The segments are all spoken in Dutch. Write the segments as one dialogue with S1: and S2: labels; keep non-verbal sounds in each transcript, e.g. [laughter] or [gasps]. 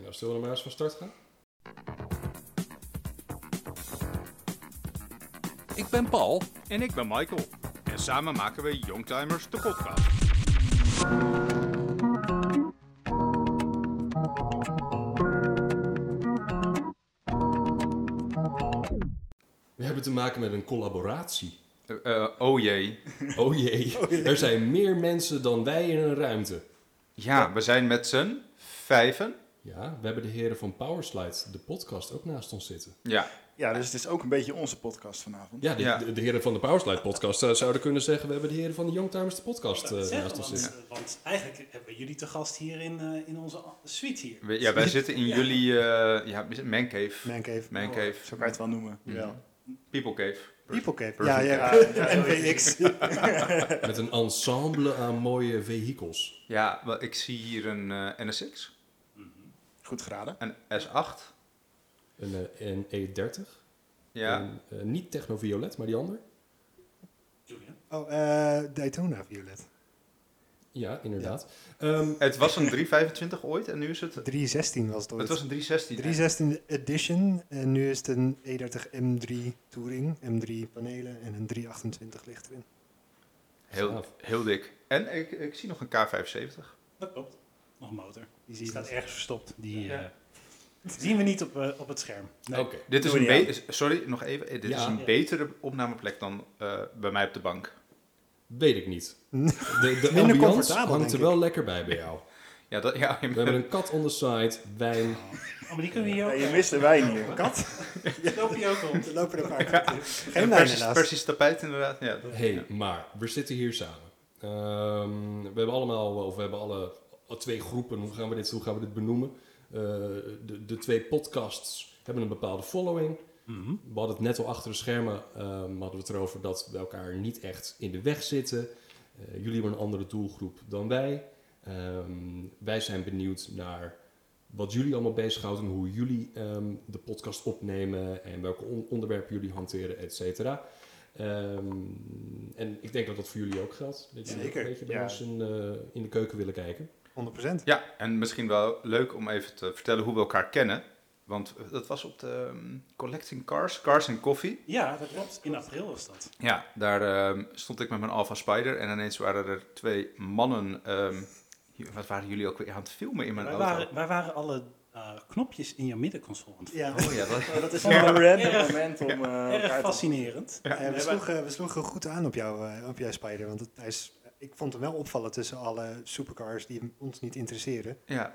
S1: nou zullen we maar eens van start gaan?
S2: Ik ben Paul.
S3: En ik ben Michael. En samen maken we Youngtimers de podcast.
S1: We hebben te maken met een collaboratie.
S3: Eh, eh, oh jee.
S1: Oh jee, er zijn meer mensen dan wij in een ruimte.
S3: Ja, we zijn met z'n vijven.
S1: Ja, we hebben de heren van Powerslide, de podcast, ook naast ons zitten.
S3: Ja.
S4: Ja, dus het is ook een beetje onze podcast vanavond.
S1: Ja, de,
S3: Ja.
S1: de, de heren van de Powerslide podcast eh, zouden kunnen zeggen... we hebben de heren van de Youngtimers, de podcast, eh,
S5: Dat zeggen,
S1: naast ons
S5: want,
S1: zitten.
S5: eh, want eigenlijk hebben we jullie te gast hier in, eh, in onze suite hier.
S3: We- ja wij zitten in
S5: Ja.
S3: jullie eh, ja, is het mancave.
S6: Mancave.
S3: Mancave.
S4: Zo kan je het wel noemen. Ja.
S3: People cave.
S6: People Cave. Ja,
S3: Perfect.
S6: ja. NVX.
S1: Met een ensemble aan mooie vehikels.
S3: Ja, wel, ik zie hier een eh, NS6,
S4: Goed geraden.
S3: een S8.
S1: Een, eh, een E30.
S3: Ja.
S1: Een, eh, niet technoviolet, maar die ander.
S5: Julian.
S6: Oh, eh, Daytona Violet.
S1: Ja, inderdaad. Ehm,
S3: Het was een 325 ooit en nu is het...
S6: 316 was het ooit.
S3: Het was een 316.
S6: 316 Edition. En nu is het een E E30 M3 Touring. M3 panelen en een 328 ligt erin.
S3: Heel,
S1: Gaaf.
S3: heel dik. En ik, ik zie nog een K75.
S5: Dat klopt. Nog een motor.
S6: Die zie
S5: Die
S6: je
S5: staat
S6: niet.
S5: ergens verstopt. Die
S3: Ja.
S5: eh, zien we niet op, eh, op het scherm.
S1: Oké.
S3: Dit is
S4: Doe
S3: een
S4: niet
S3: be- Sorry, nog even. Eh, Dit
S1: Ja.
S3: is een
S5: Ja.
S3: betere opnameplek dan eh, bij mij op de bank.
S1: Weet ik niet. De, de
S6: Minder
S1: ambiance
S6: comfortabel,
S1: hangt
S6: denk
S1: er
S6: ik.
S1: wel lekker bij bij jou.
S3: Ja, dat, ja, [laughs]
S1: We hebben een kat on the side, wijn.
S5: Oh, maar die kunnen we hier
S4: Ja,
S5: ook.
S4: je mist de wijn hier.
S6: Kat?
S5: Die lopen hier ook rond.
S6: Er lopen er een paar katten. Geen
S3: een
S6: lijn
S3: persisch,
S6: helaas.
S3: persisch tapijt inderdaad. Ja, dat-
S1: Hey,
S3: ja.
S1: maar we zitten hier samen. Ehm, we hebben allemaal, of we hebben alle alle twee groepen, hoe gaan we dit, hoe gaan we dit benoemen? Eh, de, de twee podcasts hebben een bepaalde following.
S5: Mhm.
S1: We hadden het net al achter de schermen, ehm, hadden we het erover dat we elkaar niet echt in de weg zitten. Eh, jullie hebben een andere doelgroep dan wij. Ehm, wij zijn benieuwd naar wat jullie allemaal bezighoudt en hoe jullie ehm, de podcast opnemen en welke on- onderwerpen jullie hanteren, et cetera. Ehm, en ik denk dat dat voor jullie ook geldt. Dat jullie ook
S4: Zeker,
S1: een beetje bij
S4: ja.
S1: ons in, eh, in de keuken willen kijken.
S6: 100%.
S3: Ja, en misschien wel leuk om even te vertellen hoe we elkaar kennen. Want eh, dat was op de ehm, Collecting Cars, Cars and Coffee.
S5: Ja, dat klopt. In april was dat.
S3: Ja, daar ehm, stond ik met mijn Alpha Spider en ineens waren er twee mannen. ehm, hier- wat waren jullie ook weer aan het filmen in mijn
S5: Wij
S3: auto?
S5: waren, wij waren alle eh, knopjes in jouw middenconsole. aan het
S6: Ja. eh,
S3: Oh ja, dat-
S4: Oh, dat is
S5: Ja.
S4: wel een random
S5: Erg-
S4: moment om eh
S5: Erg
S4: elkaar te-
S5: fascinerend.
S6: Eh, we,
S5: hebben-
S6: sloegen, we sloegen goed aan op jou, eh, op jou Spider. Want het, hij is, ik vond hem wel opvallen tussen alle supercars die ons niet interesseren.
S3: ja,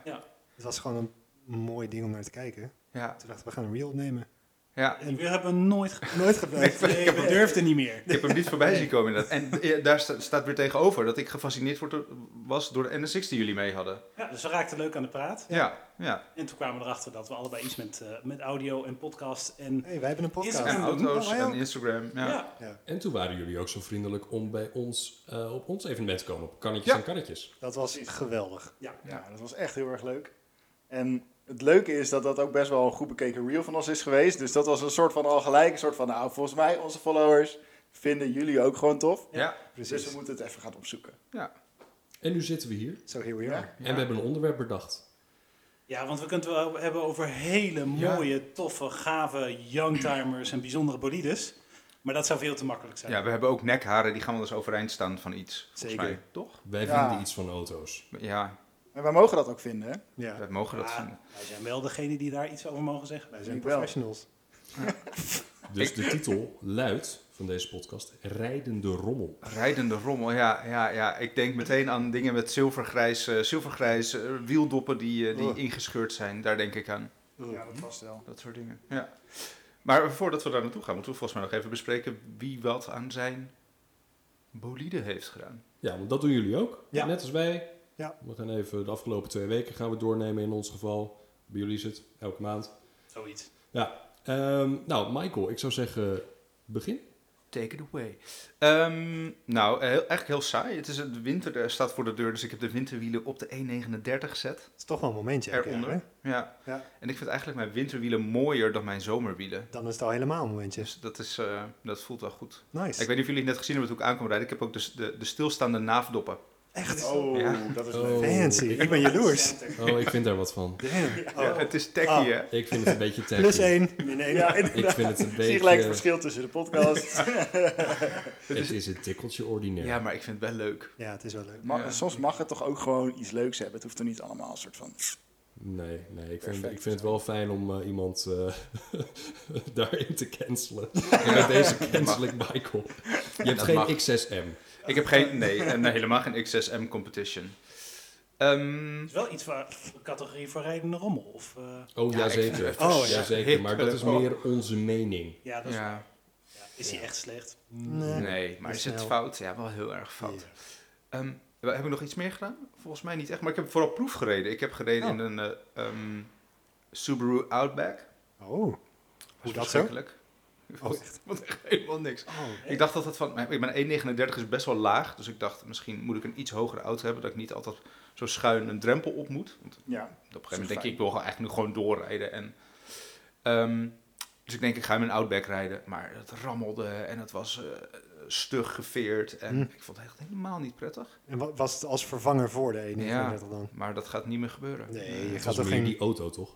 S6: Het was gewoon een mooi ding om naar te kijken.
S3: ja,
S6: Toen dachten we, we gaan een reel opnemen.
S3: ja.
S5: En we hebben nooit ge-
S6: Nooit gebruikt.
S5: Nee, we durfden niet meer.
S3: Ik heb hem niet voorbij zien komen inderdaad. En eh, daar sta- staat weer tegenover dat ik gefascineerd word door- was door de NSX die jullie mee hadden.
S5: Ja, dus we raakten leuk aan de praat.
S3: Ja, ja.
S5: En toen kwamen we erachter dat we allebei iets met, eh, met audio en podcast en...
S6: hey, wij hebben een podcast.
S5: Instagram.
S3: En
S5: Ja,
S3: auto's
S6: Oh, wij
S3: en
S6: ook?
S3: Instagram. Ja.
S5: ja,
S1: En toen waren jullie ook zo vriendelijk om bij ons eh, op ons evenement te komen, op kannetjes
S3: Ja.
S1: en karretjes.
S6: Dat was geweldig.
S4: Ja, dat was echt heel erg leuk. En het leuke is dat dat ook best wel een goed bekeken reel van ons is geweest. Dus dat was een soort van al gelijk. Een soort van, nou, volgens mij, onze followers vinden jullie ook gewoon tof.
S3: Ja.
S6: Precies.
S4: Dus we moeten het even gaan opzoeken.
S1: En nu zitten we hier.
S6: So here we are.
S3: Ja.
S1: En we hebben een onderwerp bedacht.
S5: Ja, want we kunnen het wel hebben over hele mooie, toffe, gave youngtimers en bijzondere bolides. Maar dat zou veel te makkelijk zijn.
S3: Ja, we hebben ook nekharen, die gaan wel eens overeind staan van iets. volgens
S6: Zeker.
S3: mij. Toch?
S1: Wij
S4: Ja.
S1: vinden iets van auto's.
S3: Ja,
S4: En wij mogen dat ook vinden, hè?
S6: Ja,
S3: we mogen dat
S5: Maar
S3: vinden.
S5: wij zijn wel degene die daar iets over mogen zeggen.
S6: wij zijn
S4: Ik wel.
S6: professionals.
S1: Dus de titel luidt van deze podcast: Rijdende Rommel.
S3: Rijdende rommel, ja, ja, ja. Ik denk meteen aan dingen met zilvergrijs, eh, zilvergrijs eh, wieldoppen die, eh, die
S6: Oh.
S3: ingescheurd zijn. Daar denk ik aan.
S4: Ja, dat past wel.
S3: Dat soort dingen. Ja. Maar voordat we daar naartoe gaan, moeten we volgens mij nog even bespreken wie wat aan zijn bolide heeft gedaan.
S1: Ja, want dat doen jullie ook.
S6: Ja.
S1: Net als wij.
S6: Ja.
S1: We gaan even de afgelopen twee weken gaan we doornemen in ons geval. Bij jullie is het elke maand.
S5: Zoiets.
S1: Ehm, nou, Michael, ik zou zeggen: begin.
S3: Take it away. Ehm, nou, eh, heel- eigenlijk heel saai. Het is de winter eh, staat voor de deur, dus ik heb de winterwielen op de 1,39 gezet.
S6: Het is toch wel een momentje. elk jaar,
S3: Eronder.
S6: hè?
S3: Ja.
S6: Ja.
S3: En ik vind eigenlijk mijn winterwielen mooier dan mijn zomerwielen.
S6: Dan is het al helemaal een momentje.
S3: Dus dat, is, eh, dat voelt wel goed.
S6: Nice.
S3: Ik weet niet of jullie het net gezien hebben hoe ik aankom rijden. Ik heb ook de, de, de dus stilstaande naafdoppen.
S6: Echt?
S4: Oh,
S3: Ja.
S4: dat is
S1: Oh.
S4: leuk.
S6: Fancy. Ik ben jaloers.
S1: Oh, ik vind daar wat van.
S6: Damn. Oh.
S3: Ja, het is techie,
S6: Ah.
S3: hè?
S1: Ik vind het een beetje tacky.
S6: Plus één. Min één.
S4: Ja,
S1: Ik
S6: [laughs]
S4: inderdaad.
S1: vind het een
S4: Zie je gelijk het
S1: beetje...
S4: verschil tussen de podcast.
S1: Het is een tikkeltje ordinair.
S3: Ja, maar ik vind het wel leuk.
S6: Ja, het is wel leuk.
S4: Ma-
S3: Ja.
S4: Soms mag het toch ook gewoon iets leuks hebben. Het hoeft er niet allemaal een soort van...
S1: Nee, nee ik, vind,
S4: Perfect.
S1: ik vind het wel fijn om eh, iemand eh, [laughs] daarin te
S3: [laughs]
S1: cancelen. En met deze cancel ik Michael. Je hebt
S3: Dat
S1: geen
S3: mag.
S1: XSM.
S3: Ik heb
S6: [laughs]
S3: geen, nee, en helemaal geen XSM competition. Ehm,
S5: is wel iets waar een categorie voor rijdende rommel. Of, eh,
S1: Oh,
S3: Ja,
S1: ja,
S3: ik vind
S1: jazeker.
S3: het
S6: Oh,
S1: Oh,
S6: ja.
S1: jazeker. Maar dat is
S3: Oh.
S1: meer onze mening.
S5: ja, dat is,
S3: ja,
S5: ja, is die echt slecht?
S4: Mm,
S6: Nee.
S3: nee, maar is het
S6: Snel.
S3: fout? Ja, wel heel erg fout.
S6: Ja.
S3: Ehm, heb ik nog iets meer gedaan? Volgens mij niet echt, maar ik heb vooral proef gereden. Ik heb gereden
S1: Oh.
S3: in een eh, ehm, Subaru Outback. Dat
S6: Oh.
S3: was
S6: Hoe dat zo?
S3: verschrikkelijk. [laughs]
S6: Oh,
S3: Ik vond echt helemaal niks.
S6: Oh.
S5: Nee.
S3: Ik dacht dat dat van, maar ik ben 1,39 is best wel laag, dus ik dacht misschien moet ik een iets hogere auto hebben, dat ik niet altijd zo schuin een drempel op moet. Want
S4: Ja,
S3: Op een gegeven moment denk ik, ik wil gewoon eigenlijk nu gewoon doorrijden. En, ehm, dus ik denk, ik ga in mijn Outback rijden. Maar het rammelde en het was eh, stug geveerd. En
S6: Hm.
S3: ik vond het echt helemaal niet prettig.
S6: En wa- was het als vervanger voor de 139 dan?
S3: Maar dat gaat niet meer gebeuren. Eh,
S6: Nee, je
S1: Het was
S6: gaat toch
S1: meer
S6: geen...
S1: die auto, toch?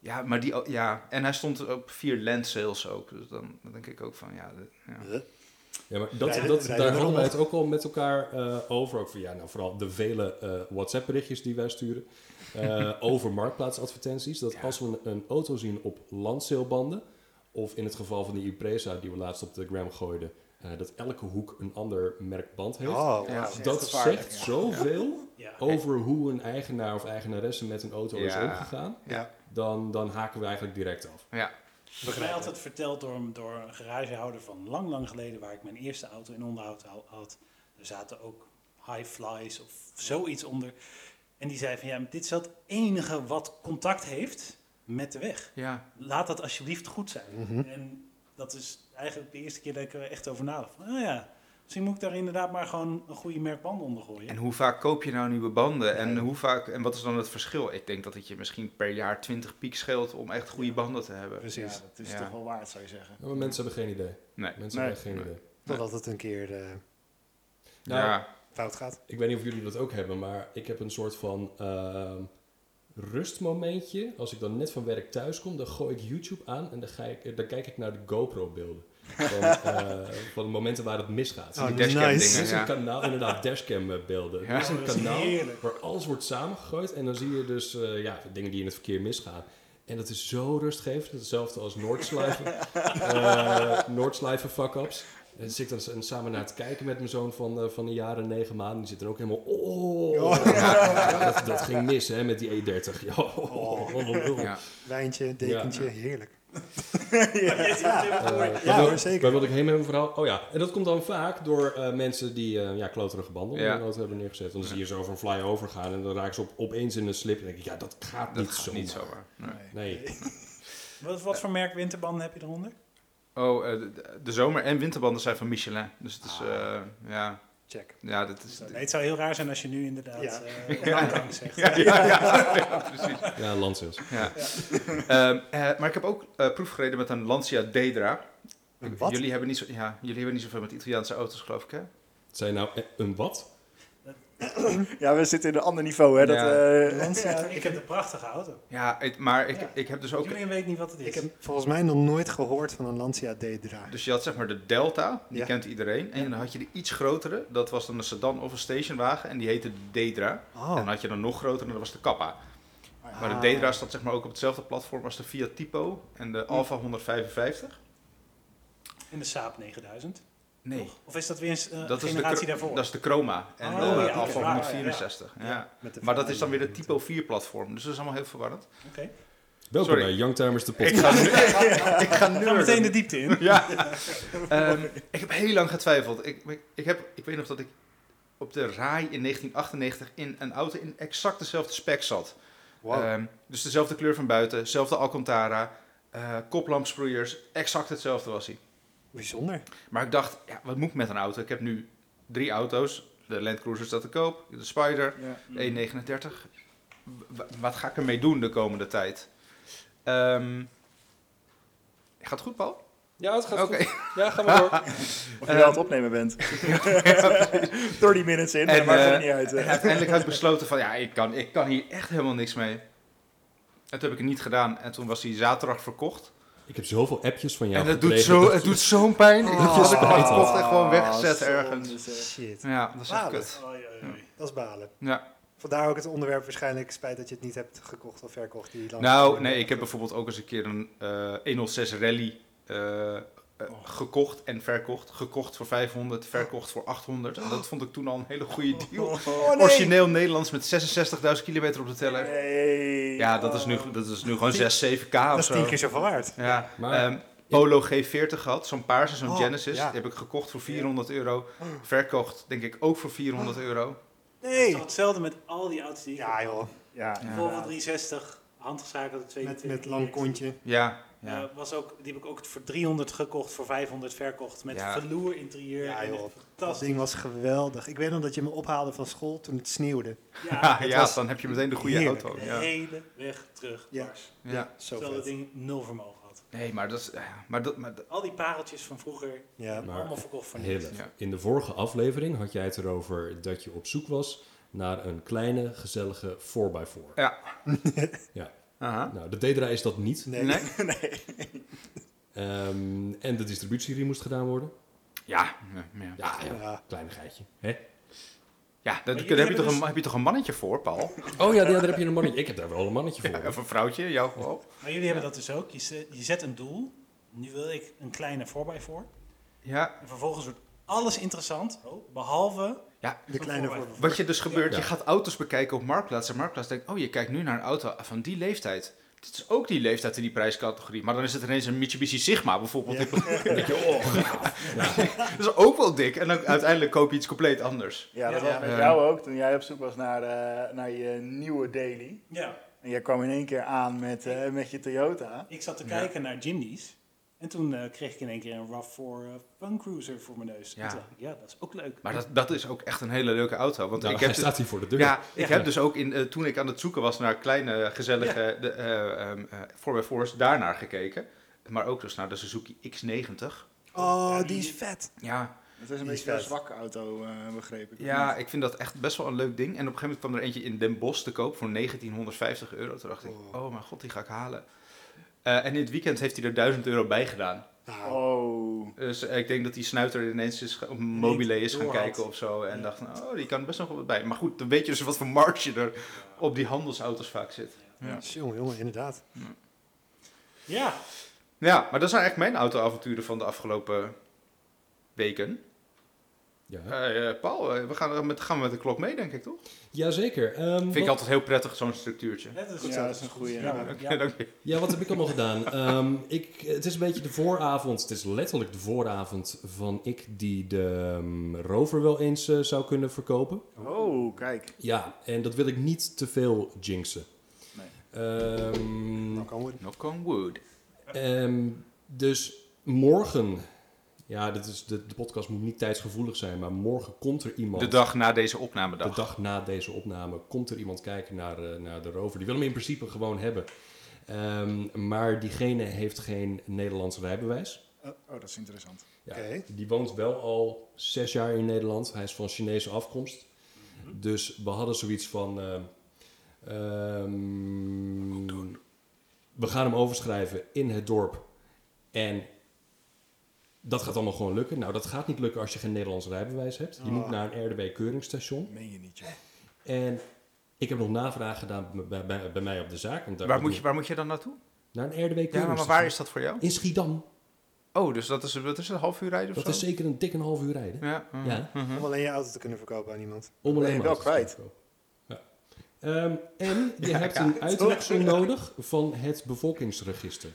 S3: Ja, maar die, ja, en hij stond op vier land sales ook. Dus dan, dan denk ik ook van, ja... de- ja.
S6: Huh?
S1: Ja, maar dat,
S6: Rijden-
S1: dat,
S6: rijden
S1: daar
S6: we
S1: hadden wij
S6: nog?
S1: het ook al met elkaar eh, over. Ook van, ja, nou, vooral de vele eh, WhatsApp-berichtjes die wij sturen. eh, [laughs] over marktplaatsadvertenties. Dat
S3: Ja.
S1: als we een, een auto zien op landseelbanden. Of in het geval van die Impreza die we laatst op de gram gooiden. eh, dat elke hoek een ander merkband heeft.
S6: Oh,
S3: Ja.
S6: wauw.
S4: echt
S1: dat
S4: gevaarlijk,
S1: zegt
S4: ja.
S1: zoveel
S5: Ja.
S1: [laughs] over hoe een eigenaar of eigenaresse met een auto is
S3: Ja.
S1: omgegaan.
S6: Ja.
S1: Dan, dan haken we eigenlijk direct af.
S3: ja.
S5: Volgens mij altijd verteld door, een- door een garagehouder van lang, lang geleden, waar ik mijn eerste auto in onderhoud hou- had. Er zaten ook high flies of zoiets onder. En die zei van ja, maar dit is wel het enige wat contact heeft met de weg.
S3: ja.
S5: Laat dat alsjeblieft goed zijn.
S6: Mhm.
S5: En dat is eigenlijk de eerste keer dat ik er echt over nadacht. Van, oh ja, misschien moet ik daar inderdaad maar gewoon een goede merkband onder gooien.
S3: En hoe vaak koop je nou nieuwe banden? En, hoe vaak, en wat is dan het verschil? Ik denk dat het je misschien per jaar 20 piek scheelt om echt goede banden te hebben.
S6: Precies.
S4: Ja, dat is
S3: Ja.
S4: toch wel waard, zou je zeggen.
S1: Ja, maar mensen hebben geen idee.
S3: Nee.
S1: Mensen
S4: Nee.
S1: hebben echt geen
S3: Nee.
S1: idee.
S6: Totdat het een keer eh,
S1: Nou,
S3: ja.
S6: fout gaat.
S1: Ik weet niet of jullie dat ook hebben, maar ik heb een soort van ehm, rustmomentje. Als ik dan net van werk thuis kom, dan gooi ik YouTube aan en dan, ga ik, eh, dan kijk ik naar de GoPro-beelden. Van, eh, van de momenten waar het misgaat.
S6: Oh,
S3: die dashcam
S1: er
S6: nice.
S1: ah, is
S3: ja.
S1: een kanaal, inderdaad, dashcam-beelden.
S3: Ja.
S1: Er is een
S5: Oh, dat is
S1: kanaal
S5: heerlijk.
S1: waar alles wordt samengegooid en dan zie je dus eh, ja, dingen die in het verkeer misgaan. En dat is zo rustgevend. Hetzelfde als Noordslijven. eh Noordslijven fuck-ups. En dan zit ik dan s- en samen naar het kijken met mijn zoon van, eh, van een jaar en negen maanden. Die zit er ook helemaal... Oh, Ja, dat, dat ging mis, hè, met die E30. [laughs] Ja, oh, oh, oh, oh.
S3: Ja.
S6: Wijntje, dekentje, heerlijk.
S5: [laughs]
S1: Eh,
S6: Ja,
S1: waar wil-
S6: hoor, zeker.
S1: Waar wil ik heen met mijn verhaal? Oh ja, en dat komt dan vaak door eh, mensen die eh, ja, kloterige banden onder
S3: Ja.
S1: hun auto hebben neergezet. Want dan zie je zo van flyover gaan en dan raken ze op, opeens in een slip. En dan denk ik, ja, dat gaat
S3: Dat
S1: niet
S3: gaat
S1: zo.
S3: niet zomaar. Nee.
S1: Nee,
S5: Wat, wat voor merk winterbanden heb je eronder?
S3: Oh, eh, de- de, de zomer- en winterbanden zijn van Michelin. Dus het is, eh, ja,
S6: Check.
S3: ja, dat [laughs] is...
S5: Nee, het zou heel raar zijn als je nu inderdaad
S6: Ja. [laughs]
S5: eh, Landgang zegt.
S3: Ja, ja, ja, [laughs] ja, precies.
S1: ja, landsels.
S3: Ja. Ehm, eh, maar ik heb ook eh, proef gereden met een Lancia Dedra.
S6: Een wat?
S3: Jullie hebben, niet zo, ja, jullie hebben niet zoveel met Italiaanse auto's, geloof ik, hè?
S1: Zijn nou eh, een wat?
S4: Ja, we zitten in een ander niveau, hè. Dat,
S3: Ja.
S4: eh,
S5: Lancia, ik heb een prachtige auto.
S3: Ja, het- maar ik,
S5: Ja.
S3: ik heb dus ook...
S5: Jullie weet niet wat het is.
S6: Ik heb volgens mij nog nooit gehoord van een Lancia D-draai.
S3: Dus je had zeg maar de Delta, die
S6: Ja.
S3: kent iedereen. En dan had je de iets grotere, dat was dan een sedan of een stationwagen. En die heette de Dedra. En dan
S6: Oh,
S3: had je dan nog groter en dat was de Kappa.
S4: Ah.
S3: Maar de Dedra staat zeg maar ook op hetzelfde platform als de Fiat Tipo en de Alfa 155.
S5: En de Saab 9000.
S3: Nee,
S5: Of is dat weer eens eh,
S3: dat
S5: een
S3: is, de,
S5: generatie
S3: kro-
S5: daarvoor?
S3: dat is de Chroma en
S5: Oh,
S3: de
S5: ja,
S3: Alfa
S5: oké.
S3: 164. Ja.
S6: met de
S3: Maar dat is dan weer de
S6: verhaal.
S3: Tipo 4 platform, dus dat is allemaal heel verwarrend.
S5: Oké.
S1: Welkom
S3: Sorry.
S1: bij Youngtimers de
S3: Ik [laughs]
S1: podcast.
S3: ga, nu- ik ga
S5: We gaan meteen de Oh,
S3: nu.
S5: diepte in.
S3: Ja. [laughs] Ehm, ik heb heel lang getwijfeld. Ik, ik, ik heb, ik weet nog dat ik op de RAI in 1998 in een auto in exact dezelfde spec zat.
S6: Wow.
S3: Ehm, dus dezelfde kleur van buiten, dezelfde Alcantara, eh koplampsproeiers, exact hetzelfde was hij.
S6: Bijzonder.
S3: Maar ik dacht, ja, wat moet ik met een auto? Ik heb nu drie auto's. De Land Cruiser staat te koop, de Spider,
S4: ja.
S3: de E39. W- w- wat ga ik ermee doen de komende tijd? Ehm, gaat het goed, Paul?
S1: Ja, het gaat
S3: Oké. [laughs]
S1: goed. Ja, ga maar door.
S4: Of je wel
S3: Ehm,
S4: aan het opnemen bent. [laughs] 30 minutes in, maar
S3: En,
S4: maakt het
S3: eh,
S4: niet uit.
S3: En
S4: eh.
S3: uiteindelijk had ik besloten van, ja, ik kan, ik kan hier echt helemaal niks mee. En toen heb ik het niet gedaan. En toen was hij zaterdag verkocht.
S1: Ik heb zoveel appjes van jou
S3: en het doet,
S1: gekregen.
S3: zo, het doet zo'n pijn. Ik
S6: Oh.
S3: had ik hem gekocht en
S4: Ah,
S3: gewoon weggezet
S4: zonde,
S3: ergens.
S6: eh,
S4: zeg.
S6: Shit.
S3: Ja, dat is echt
S6: Balen.
S3: kut.
S5: Oei, oei, oei.
S6: Dat is balen.
S3: Ja.
S6: Vandaar ook het onderwerp waarschijnlijk. Spijt dat je het niet hebt gekocht of verkocht. Die lang-
S3: Nou, nee, ik heb bijvoorbeeld ook eens een keer een eh 106 Rally eh, eh,
S6: Oh.
S3: gekocht en verkocht. Gekocht voor 500, verkocht voor 800. En dat vond ik toen al een hele goede deal.
S6: Oh, nee.
S3: Origineel Nederlands met 66.000 kilometer op de teller.
S4: Nee.
S3: Ja, dat is nu, dat is nu gewoon 6, 7k
S6: Dat
S3: of
S6: is tien
S3: zo.
S6: keer zoveel waard.
S3: Ja,
S1: Maar-
S3: ehm, Polo G40 gehad, zo'n paarse, zo'n
S6: Oh,
S3: Genesis.
S6: ja.
S3: Die heb ik gekocht voor 400 euro. Verkocht, denk ik, ook voor 400 euro.
S5: Het is
S6: Nee.
S5: toch hetzelfde met al die auto's die ik
S6: Ja joh,
S4: Ja.
S3: Ja.
S5: Volvo 360, handgezakelde 22.
S6: met, met lang kontje.
S3: Ja,
S5: Ja.
S3: ja.
S5: Eh, was ook, die heb ik ook voor 300 gekocht, voor 500 verkocht. Met
S3: Ja.
S5: verloer interieur.
S6: Ja,
S5: en
S6: joh. [laughs]
S5: echt
S6: Dat
S5: Fantastisch.
S6: ding was geweldig. Ik weet nog dat je me ophaalde van school toen het sneeuwde.
S5: Ja,
S3: ja,
S6: was
S3: dan heb je meteen de goede
S6: heerlijk.
S3: auto.
S5: de
S3: Ja.
S5: hele weg terug.
S6: Ja.
S5: dwars.
S3: Ja.
S6: Zo
S5: Terwijl dat
S6: vet.
S5: ding nul vermogen had.
S3: Nee, maar dat is... ja, Maar dat, maar dat-
S5: Al die pareltjes van vroeger,
S6: Ja.
S1: Maar-
S5: allemaal verkocht voor niks.
S1: Hille,
S3: Ja.
S1: in de vorige aflevering had jij het erover dat je op zoek was naar een kleine, gezellige 4x4.
S3: aha.
S1: Nou, de D-draai is dat niet.
S6: Nee.
S3: Nee?
S1: Ehm, en de distributie die moest gedaan worden.
S3: Ja. Ja, ja.
S1: Ja, ja.
S6: [laughs] Ja.
S1: kleinigheidje. Hè?
S3: ja daar, daar
S5: jullie
S3: heb, je
S5: hebben
S3: toch
S5: dus-
S3: een, heb je toch een mannetje voor, Paul?
S1: Oh ja, daar heb je een mannetje. Ik heb daar wel een mannetje voor.
S3: Of een vrouwtje, jou gewoon?
S5: Maar jullie hebben dat dus ook. Je zet, je zet een doel. Nu wil ik een kleine 4x4.
S3: Ja.
S5: En vervolgens wordt alles interessant, oh, behalve...
S6: De kleine
S5: Voor-
S6: voor.
S3: Wat je dus gebeurt,
S1: Ja.
S3: je gaat auto's bekijken op Marktplaats. En Marktplaats denkt, oh, je kijkt nu naar een auto van die leeftijd. Dit is ook die leeftijd in die prijscategorie. Maar dan is het ineens een Mitsubishi Sigma bijvoorbeeld.
S6: Ja.
S4: [laughs]
S3: Dan denk je, oh, dat is ook wel dik. En dan uiteindelijk koop je iets compleet anders.
S4: Ja, dat
S5: Ja.
S4: was met
S3: Ja.
S4: jou ook toen jij op zoek was naar, eh, naar je nieuwe daily.
S5: Ja,
S4: En jij kwam in één keer aan met, eh, met je Toyota.
S5: ik zat te kijken naar Jimny's. En toen eh, kreeg ik in één keer een RAV4 eh, Fun Cruiser voor mijn neus. En
S3: Ja.
S5: toen dacht ik, ja, dat is ook leuk.
S3: Maar dat, dat is ook echt een hele leuke auto. Want
S1: Nou,
S3: ik
S1: hij
S3: heb dus,
S1: staat hier voor de deur.
S3: ja, ik
S1: Ja.
S3: heb dus ook in, eh, toen ik aan het zoeken was naar kleine, gezellige de, eh, ehm, eh, 4x4's, daarnaar gekeken. Maar ook dus naar de Suzuki X90.
S6: Oh, die is vet.
S3: Ja,
S4: Het is een
S6: Die is
S4: beetje een
S6: vet.
S4: zwakke auto, eh, begreep ik.
S3: Ja, ik vind dat echt best wel een leuk ding. En op een gegeven moment kwam er eentje in Den Bosch te koop voor 1950 euro. Toen dacht ik,
S6: Oh.
S3: oh mijn god, die ga ik halen. Eh, en in het weekend heeft hij er 1000 euro bij gedaan.
S6: Nou,
S4: Oh.
S3: Dus eh, ik denk dat die snuiter ineens is, ge- op mobile is gaan
S5: doorhad.
S3: kijken of zo. En
S5: Ja.
S3: dacht, nou, oh, die kan best nog wel wat bij. Maar goed, dan weet je dus wat voor marge er op die handelsauto's vaak zit. Ja.
S6: jongen, jongen, inderdaad.
S5: Ja,
S3: Nou Ja, maar dat zijn eigenlijk mijn autoavonturen van de afgelopen weken.
S1: Ja.
S3: Eh, eh, Paul, eh, we gaan, er met, gaan we met de klok mee, denk ik, toch?
S1: Jazeker. Ehm,
S3: Vind ik
S1: wat-
S3: altijd heel prettig, zo'n structuurtje.
S5: dat is,
S4: Ja,
S5: zo.
S4: dat is een goeie.
S5: Ja,
S4: Ja,
S3: Oké,
S5: ja.
S3: [laughs] dank je.
S1: Ja, wat heb ik allemaal gedaan? Ehm, ik, het is een beetje de vooravond. Het is letterlijk de vooravond van ik die de ehm, rover wel eens eh, zou kunnen verkopen.
S4: Oh, kijk.
S1: Ja, en dat wil ik niet te veel jinxen.
S4: Nee.
S1: Ehm,
S6: Dan kan we.
S3: Knock on wood.
S1: ehm, dus morgen. Ja, dit is, de, de podcast moet niet tijdsgevoelig zijn, maar morgen komt er iemand.
S3: De dag na deze opnamedag.
S1: De dag na deze opname komt er iemand kijken naar, eh, naar de rover. Die wil hem in principe gewoon hebben. Ehm, maar diegene heeft geen Nederlands rijbewijs.
S4: Oh, dat is interessant.
S1: Ja,
S6: Oké.
S1: Die woont wel al zes jaar in Nederland. Hij is van Chinese afkomst.
S3: Mhm.
S1: Dus we hadden zoiets van... ehm, ehm, we gaan hem overschrijven in het dorp. En dat gaat allemaal gewoon lukken. Nou, dat gaat niet lukken als je geen Nederlands rijbewijs hebt. Je moet
S6: Ah.
S1: naar een RDW-keuringstation.
S4: Meen je niet, joh.
S1: En ik heb nog navraag gedaan bij- bij, bij, bij mij op de zaak. Want daar
S3: Waar
S1: komt
S3: moet, je,
S1: nog-
S3: waar moet je dan naartoe?
S1: Naar een RDW
S3: Ja, maar,
S1: keuringstation.
S3: waar is dat voor jou?
S1: In Schiedam.
S3: Oh, dus dat is, dat is een half uur rijden of
S1: Dat is
S3: zo?
S1: zeker een dikke half uur rijden.
S3: Ja. mhm,
S1: Ja.
S3: mhm.
S6: Om alleen je auto te kunnen verkopen aan iemand.
S1: Om
S4: Ben je
S1: maar
S4: wel
S1: auto's te
S4: kwijt.
S1: kopen. Ja. Ehm, en je
S3: Ja,
S1: hebt
S3: ja.
S1: een uittreksel nodig van het bevolkingsregister.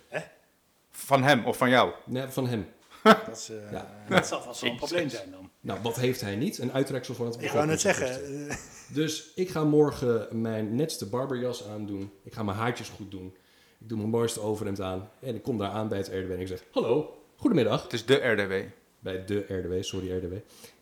S3: Van hem of van jou?
S1: Nee, van hem.
S4: Dat is... eh,
S1: Ja.
S5: dat zal vast wel een probleem zijn dan.
S1: Nou, wat heeft hij niet? Een uittreksel van het
S6: Ik wou net
S1: bevolkingsregister.
S6: zeggen. eh,
S1: Dus ik ga morgen mijn netste barberjas aandoen. Ik ga mijn haartjes goed doen. Ik doe mijn mooiste overhemd aan. En ik kom daar aan bij het RDW en ik zeg... Hallo, goedemiddag.
S3: Het is de RDW.
S1: Bij de RDW, sorry RDW.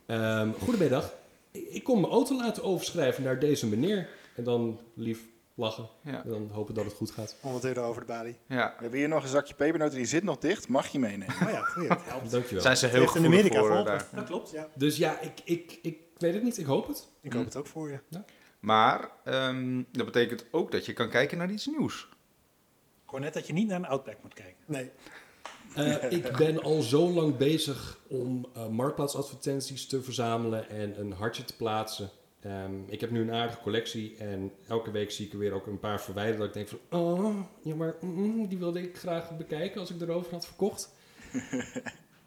S1: Ehm, goedemiddag. Ik ik kom mijn auto laten overschrijven naar deze meneer. En dan lief
S7: lachen.
S3: Ja.
S7: En dan hopen dat het goed gaat.
S6: 100 euro eh, over de balie.
S3: Ja.
S4: We hebben hier nog een zakje pepernoten, die zit nog dicht. Mag je meenemen?
S6: Oh ja, goeie.
S7: Dankjewel.
S3: Zijn ze heel
S6: Heeft in
S3: goed
S6: Amerika
S3: voor eh,
S6: geholpen.
S3: daar.
S5: Dat klopt.
S6: Ja,
S7: Dus ja, ik, ik, ik weet het niet. Ik hoop het.
S6: ik hoop het ook voor je.
S3: Maar ehm, dat betekent ook dat je kan kijken naar iets nieuws.
S5: Ik hoor net dat je niet naar een Outback moet kijken.
S6: Nee,
S7: Eh, ik ben al zo lang bezig om eh, marktplaatsadvertenties te verzamelen en een hartje te plaatsen. Ehm, ik heb nu een aardige collectie en elke week zie ik er weer ook een paar verwijderen. Dat ik denk van, oh, ja maar mm, mm, die wilde ik graag bekijken als ik erover had verkocht.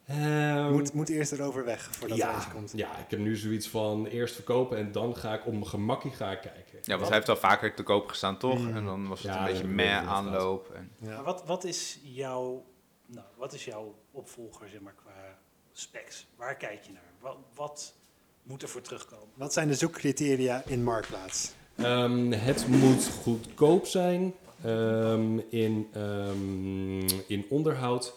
S7: Ehm,
S6: moet, moet eerst erover weg voordat er
S7: ja,
S6: iets komt.
S7: ja, ik heb nu zoiets van eerst verkopen en dan ga ik op mijn gemakkie ga ik kijken.
S3: Ja, want hij heeft al vaker te koop gestaan, toch? En dan was het
S7: Ja,
S3: een beetje
S7: dat
S3: meh
S7: inderdaad.
S3: aanloop. En...
S6: Ja.
S5: Maar wat, wat, is jouw, nou, wat is jouw opvolger, zeg maar, qua specs? Waar kijk je naar? Wat, wat moet er voor terugkomen?
S6: Wat zijn de zoekcriteria in Marktplaats?
S7: Ehm, het moet goedkoop zijn ehm, in, ehm, in onderhoud,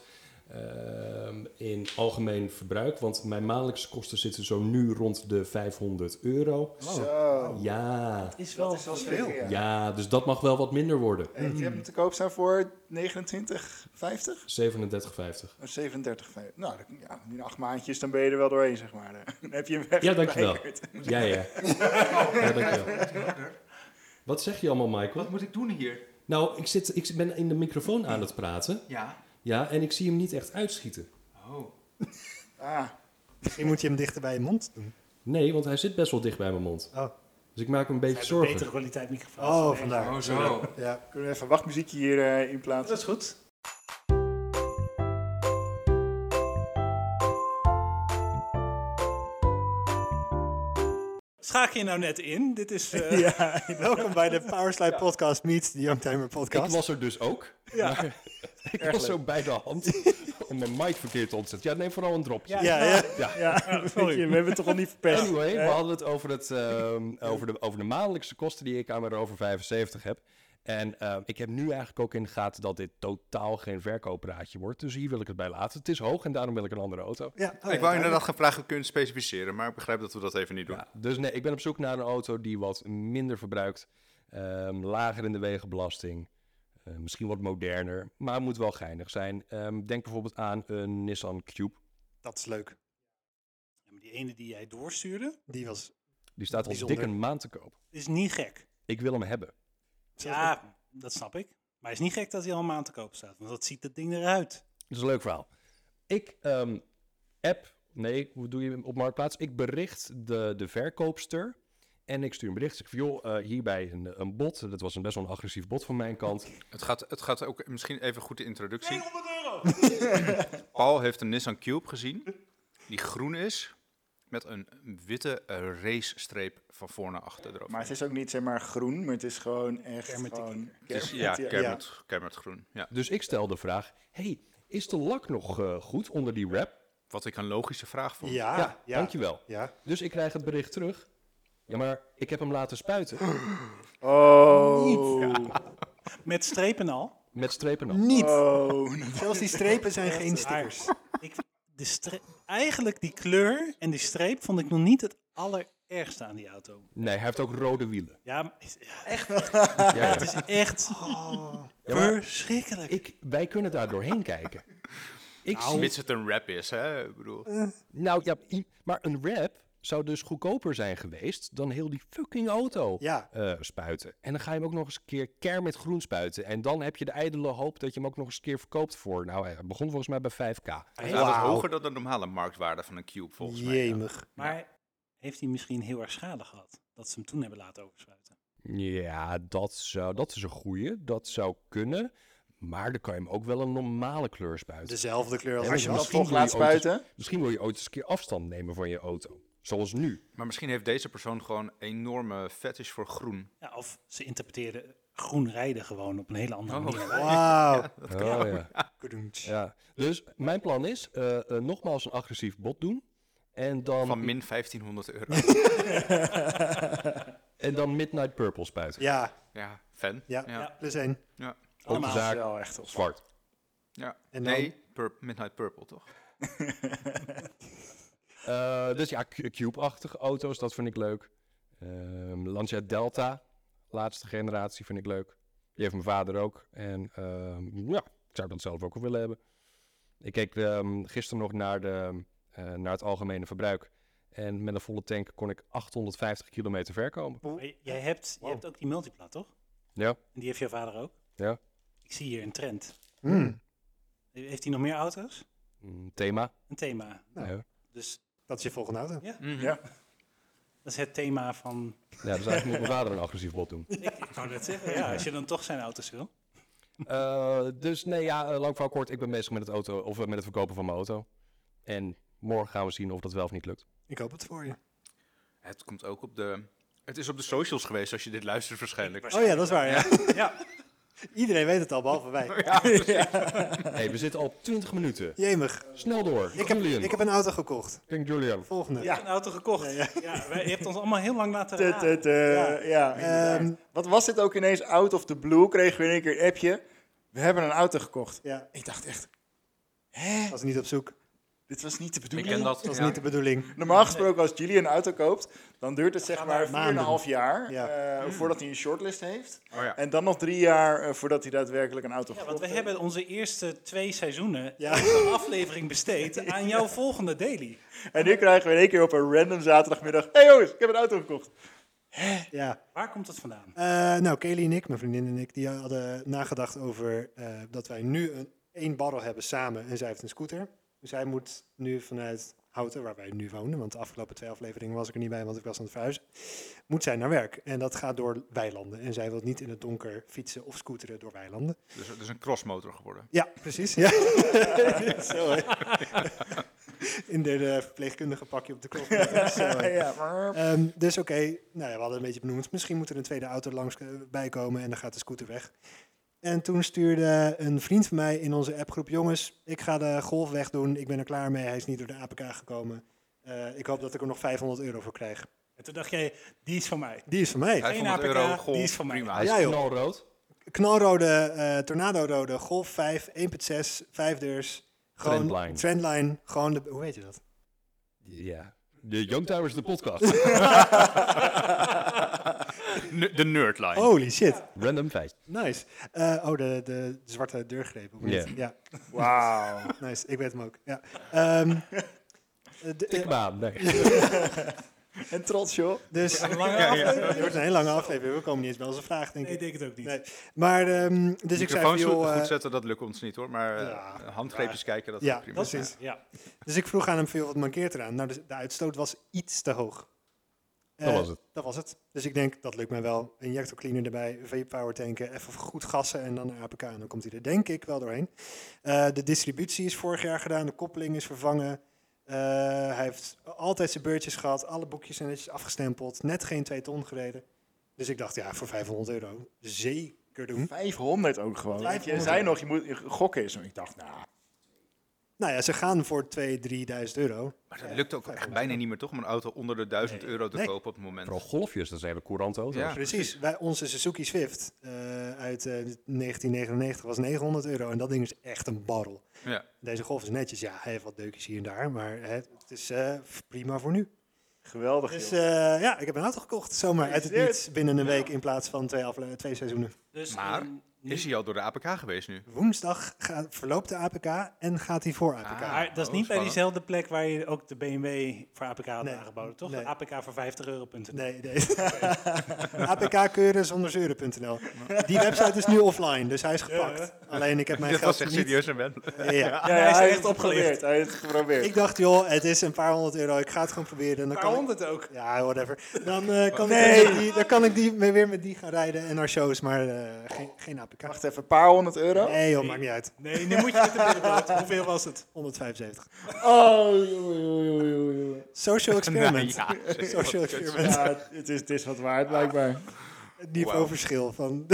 S7: ehm, in algemeen verbruik. Want mijn maandelijkse kosten zitten zo nu rond de 500 euro.
S1: Oh,
S4: Zo.
S7: Ja,
S5: Is wel,
S4: Dat is wel
S5: veel.
S4: veel. Ja.
S7: ja, dus dat mag wel wat minder worden.
S4: En je hebt hem te koop staan voor 29,50?
S7: 37,50.
S4: Of 37, vijf- nou, dat- ja, in acht maandjes dan ben je er wel doorheen, zeg maar. [laughs] Dan heb je hem weg.
S7: Ja, dankjewel. Ja, ja. ja dankjewel. Wat zeg je allemaal, Michael?
S3: moet ik doen hier?
S7: Nou, ik, zit, ik ben in de microfoon aan het praten.
S3: Ja.
S7: Ja, en ik zie hem niet echt uitschieten.
S3: Oh.
S4: Ah,
S6: Misschien moet je hem dichter bij je mond doen.
S7: Nee, want hij zit best wel dicht bij mijn mond.
S6: Oh,
S7: Dus ik maak me een beetje
S5: Hij heeft een
S7: zorgen.
S5: betere kwaliteit microfoon.
S6: oh
S5: Nee.
S6: vandaar.
S3: zo.
S4: [laughs]
S6: Ja.
S4: kunnen we even wachtmuziekje hier eh, in plaatsen?
S5: Dat is goed. Schaak je nou net in? Dit is. eh,
S6: [laughs] ja. Welkom bij de Powerslide Podcast meets de Youngtimer Podcast.
S1: Ik was er dus ook.
S5: Ja.
S1: Maar [laughs] ik was zo bij de hand om mijn mic verkeerd op te zetten. Ja, neem vooral een dropje.
S6: ja, ja, ja.
S5: sorry.
S6: [laughs] We hebben het toch al niet verpest.
S1: Anyway, we hadden het over, het, ehm, over, de, over de maandelijkse kosten die ik aan mijn over 75 heb. En ehm, ik heb nu eigenlijk ook in de gaten dat dit totaal geen verkooppraatje wordt. Dus hier wil ik het bij laten. Het is hoog en daarom wil ik een andere auto.
S6: Ja, oh ja,
S3: ik wou inderdaad gaan vragen, kunnen specificeren, maar ik begrijp dat we dat even niet doen.
S1: Ja, dus nee, ik ben op zoek naar een auto die wat minder verbruikt. ehm, lager in de wegenbelasting. eh, misschien wat moderner, maar moet wel geinig zijn. Ehm, denk bijvoorbeeld aan een Nissan Cube.
S6: Dat is leuk.
S5: Ja, maar die ene die jij doorstuurde,
S6: Die was...
S1: Die staat al
S6: Bijzonder.
S1: dik een maand te koop.
S5: is niet gek.
S1: Ik wil hem hebben.
S5: Ja, dat snap ik. Maar het is niet gek dat hij al een maand te koop staat, want dat ziet dat ding eruit.
S1: Dat is een leuk verhaal. Ik ehm, app, nee, hoe doe je hem op Marktplaats? Ik bericht de, de verkoopster en ik stuur een bericht. Ik zeg van, joh, eh, hierbij een, een bot. Dat was een best wel een agressief bot van mijn kant.
S3: Het gaat, het gaat ook misschien even goed de introductie. [laughs] Paul heeft een Nissan Cube gezien, die groen is, met een witte eh, racestreep van voor naar achter erop.
S4: Maar het is ook niet zeg maar groen, maar het is gewoon echt
S5: Kermit de
S4: gewoon...
S3: ja,
S4: Kermit,
S3: kermit, kermit groen. Ja.
S1: Dus ik stel de vraag, hey, is de lak nog eh, goed onder die wrap?
S3: Wat ik een logische vraag vond.
S6: Ja, ja, Ah, ja.
S1: dankjewel.
S6: Ja.
S1: Dus ik krijg het bericht terug. Ja, maar ik heb hem laten spuiten. [gasps]
S4: Oh,
S5: Met strepen al.
S1: Met strepen af.
S6: Niet.
S4: oh.
S6: Zelfs die strepen zijn geen stickers.
S5: Ik, de stre- eigenlijk die kleur en die streep vond ik nog niet het allerergste aan die auto.
S1: Nee, hij heeft ook rode
S6: [laughs]
S1: wielen.
S5: Ja, maar- echt,
S1: Ja, ja.
S5: het is echt
S6: Oh.
S5: verschrikkelijk.
S1: Ik, wij kunnen daar doorheen kijken. Ik
S6: Nou.
S1: zie
S3: Mits het een rap is, hè? Ik bedoel.
S6: Eh.
S1: Nou ja, i- maar een wrap zou dus goedkoper zijn geweest dan heel die fucking auto
S6: Ja.
S1: eh, spuiten. En dan ga je hem ook nog eens een keer kermit groen spuiten. En dan heb je de ijdele hoop dat je hem ook nog eens een keer verkoopt voor. Nou, hij begon volgens mij bij 5k.
S3: Hij staat wat hoger dan de normale marktwaarde van een Cube, volgens mij. ja.
S6: Jemig.
S5: Maar heeft hij misschien heel erg schade gehad? Dat ze hem toen hebben laten oversluiten.
S1: Ja, dat, zou, dat is een goeie. Dat zou kunnen. Maar dan kan je hem ook wel een normale kleur spuiten.
S6: Dezelfde kleur als
S1: Ja, maar
S4: Dus Als
S6: de
S4: je
S1: dat
S4: hem
S6: jas.
S1: misschien
S4: toch
S1: wil
S4: laat
S1: je auto's-
S4: spuiten...
S1: Misschien wil je ooit eens een keer afstand nemen van je auto. Zoals nu.
S3: Maar misschien heeft deze persoon gewoon enorme fetish voor groen.
S5: Ja, of ze interpreteerden groen rijden gewoon op een hele andere manier.
S6: Wauw.
S1: Oh, ja.
S6: Kadoentsch.
S1: Ja, dus mijn plan is eh, eh, nogmaals een agressief bot doen. En dan,
S3: Van min 1500
S6: [laughs]
S3: euro.
S1: en dan Midnight Purple spuiten.
S6: Ja,
S3: ja, fan.
S6: ja,
S3: Ja.
S6: plus één.
S3: ja.
S1: Ook de
S5: Allemaal.
S1: zaak
S4: Wel echt op.
S1: zwart.
S3: ja.
S6: En dan-
S3: nee, pur- Midnight Purple, toch?
S1: Eh, dus ja, cu- cube-achtige auto's, dat vind ik leuk. Ehm Lancia Delta, Laatste generatie vind ik leuk. Die heeft mijn vader ook. En ehm, ja, ik zou dat zelf ook wel willen hebben. Ik keek ehm, gisteren nog naar, de, eh, naar het algemene verbruik. En met een volle tank kon ik 850 kilometer ver komen.
S5: Maar j- Jij hebt, je hebt ook die multiplat, toch?
S1: Ja,
S5: En die heeft jouw vader ook?
S1: Ja.
S5: Ik zie hier een trend.
S6: Hmm,
S5: Heeft hij nog meer auto's?
S1: Mm, thema.
S5: Een thema.
S6: Nou.
S1: Ja.
S5: Dus
S6: dat is je volgende auto.
S4: Ja.
S5: dat is het thema van...
S1: Ja, dus eigenlijk moet mijn vader een agressief bod doen.
S5: Ik, ik wou net zeggen, ja, als je dan toch zijn auto's wil.
S1: Eh, dus nee, ja, eh, lang verhaal kort. Ik ben bezig met het, auto, of eh, met het verkopen van mijn auto. En morgen gaan we zien of dat wel of niet lukt.
S6: Ik hoop het voor je.
S3: Het komt ook op de... Het is op de socials geweest als je dit luistert waarschijnlijk.
S6: Oh ja, dat is waar. [laughs] Ja.
S5: Ja,
S6: Iedereen weet het al, behalve wij.
S1: hey, we zitten al 20 minuten.
S6: Jemig.
S1: Snel door.
S6: Ik heb,
S1: Julian.
S6: ik heb een auto gekocht.
S1: King Julian.
S6: Volgende.
S5: een auto gekocht. Ja, wij- je hebt ons allemaal heel lang laten
S4: Tut,
S5: raden.
S4: tut, eh, ja, inderdaad.
S6: Ehm,
S4: Wat was dit ook ineens out of the blue? Kregen we in één keer een appje. We hebben een auto gekocht.
S6: Ja,
S4: Ik dacht echt,
S6: ik was niet op zoek.
S4: dit was niet de
S3: Ik
S4: bedoeling.
S3: ken dat.
S6: Dat was
S3: ja.
S6: niet de bedoeling.
S4: Normaal gesproken als Julie een auto koopt, dan duurt het zeg maar 4,5 jaar
S6: Ja.
S4: eh, voordat hij een shortlist heeft.
S3: Oh ja.
S4: En dan nog drie jaar eh, voordat hij daadwerkelijk een auto
S5: Ja,
S4: gekocht
S5: want we
S4: heeft.
S5: hebben onze eerste twee seizoenen
S6: Ja.
S5: een aflevering [laughs] besteed aan jouw volgende daily.
S4: En nu krijgen we in één keer op een random zaterdagmiddag, hé hey jongens, ik heb een auto gekocht.
S6: Ja.
S5: Waar komt dat vandaan?
S6: Eh, nou, Kelly en ik, mijn vriendin en ik, die hadden nagedacht over eh, dat wij nu een één barrel hebben samen en zij heeft een scooter. Dus zij moet nu vanuit Houten, waar wij nu wonen, want de afgelopen twee afleveringen was ik er niet bij, want ik was aan het verhuizen, moet zij naar werk. En dat gaat door weilanden. En zij wil niet in het donker fietsen of scooteren door weilanden.
S3: Dus het is een crossmotor geworden.
S6: Ja, precies. Ja. Zo, hè. [laughs] In de eh, verpleegkundige pakje op de klok. Zo, hè.
S4: Ja, maar...
S6: Ehm, dus oké, nou ja, we hadden een beetje benoemd. Misschien moet er een tweede auto langs eh, bij komen en dan gaat de scooter weg. En toen stuurde een vriend van mij in onze appgroep: Jongens, ik ga de golf wegdoen. Ik ben er klaar mee. Hij is niet door de APK gekomen. Eh, ik hoop dat ik er nog 500 euro voor krijg.
S5: En toen dacht jij, die is van mij.
S6: Die is van mij.
S3: 500
S5: APK,
S3: euro,
S5: die
S3: golf,
S5: is van mij.
S3: prima.
S1: Hij is
S6: Ja, joh.
S1: knalrood.
S6: Knalrode, eh tornado-rode, golf 5, 1.6, 5 deurs. Gewoon
S1: Trendline.
S6: Trendline. Gewoon de, hoe heet je dat?
S1: Ja. De Youngtimers, de podcast.
S3: Nu- Dus De nerdline.
S6: Holy shit.
S1: Random feit.
S6: Nice. Eh, oh, de, de zwarte deurgreep. of niet?
S1: Ja.
S6: Ja,
S4: Wauw.
S6: nice. Ik weet hem ook. Ja. Ehm, eh, de-
S1: Tik
S6: eh,
S1: me aan. Nee.
S4: En trots joh.
S6: dus
S5: Een lange
S6: het
S5: aflevering?
S6: wordt een hele lange aflevering. We komen niet eens bij onze vraag, denk
S5: Nee, ik
S6: ik.
S5: denk het ook niet.
S6: Nee. Maar ehm, dus
S3: Dus
S6: ik zei van,
S3: Microfoons
S6: joh, eh,
S3: goed zetten, dat lukt ons niet hoor. Maar eh,
S6: ja.
S3: handgreepjes kijken, dat
S6: Ja,
S3: is prima.
S5: Dat
S6: precies.
S5: Ja.
S6: dus ik vroeg aan hem veel wat mankeert eraan. Nou, de, de uitstoot was iets te hoog.
S1: Dat
S6: Eh,
S1: was het.
S6: Dat was het. Dus ik denk, dat lukt mij wel. Injector cleaner erbij, V-power tanken, even goed gassen en dan naar APK. En dan komt hij er denk ik wel doorheen. Eh, de distributie is vorig jaar gedaan, de koppeling is vervangen. Eh, hij heeft altijd zijn beurtjes gehad, alle boekjes zijn netjes afgestempeld. Net geen twee ton gereden. Dus ik dacht, ja, voor 500 euro zeker
S1: Hm.
S6: doen.
S4: 500 ook gewoon.
S6: 500.
S4: Je zei nog, je moet je gokken is. Ik dacht, nou...
S6: Nou ja, ze gaan voor 2.000, 3.000 euro.
S3: Maar dat lukt ook echt bijna niet meer toch om een auto onder de 1000 euro te
S6: Nee.
S3: kopen op het moment.
S1: Vooral golfjes, dat zijn hele courante auto's.
S3: Ja.
S6: Precies. Wij, onze Suzuki Swift eh, uit eh, 1999 was 900 euro. En dat ding is echt een barrel.
S3: Ja.
S6: Deze golf is netjes. Ja, hij heeft wat deukjes hier en daar. Maar hè, het is eh, prima voor nu.
S4: Geweldig
S6: Dus
S4: joh.
S6: eh, ja, ik heb een auto gekocht. Zomaar uit het niets. Binnen een week in plaats van twee, afle- twee seizoenen.
S5: Dus,
S3: Maar
S5: ehm, nu-
S3: Is hij al door de APK geweest [laughs] nu?
S6: Woensdag gaat, verloopt de APK en gaat hij voor APK.
S3: Ah.
S5: Maar dat is
S3: Oh,
S5: niet bij
S3: spannend.
S5: diezelfde plek waar je ook de BMW voor APK had
S6: Nee,
S5: aangeboden, toch?
S6: nee.
S5: APK voor 50 euro. punten.
S6: Nee, nee. [laughs] APK-keuren zonder zeuren.nl. Die website is nu offline, dus hij is gepakt. Alleen ik heb mijn
S3: Dit was
S6: geld
S3: echt
S6: niet-
S3: serieus en wendel.
S6: Ja.
S4: Ja,
S5: hij is er echt
S4: heeft het
S5: opgelicht.
S4: geprobeerd, Hij heeft het geprobeerd.
S6: Ik dacht, joh, het is een paar honderd euro. Ik ga het gewoon proberen. En dan kan ik,
S5: ook.
S6: ja, whatever. Dan, eh, kan
S4: Nee.
S6: ik, die, dan kan ik die, mee- weer met die gaan rijden en naar shows, maar eh, geen, geen APK.
S4: Wacht even, een paar honderd euro?
S6: Nee joh, maakt niet uit.
S5: Nee, nu moet je het erbij
S6: [laughs]
S5: houden. Hoeveel was het?
S6: 175.
S4: Oh, joh, joh, joh, joh, joh.
S6: Social experiment.
S3: [laughs] Nou Ja,
S6: Social experiment.
S4: [laughs] Ja, het- het is, het is wat waard blijkbaar.
S6: Het niveauverschil van,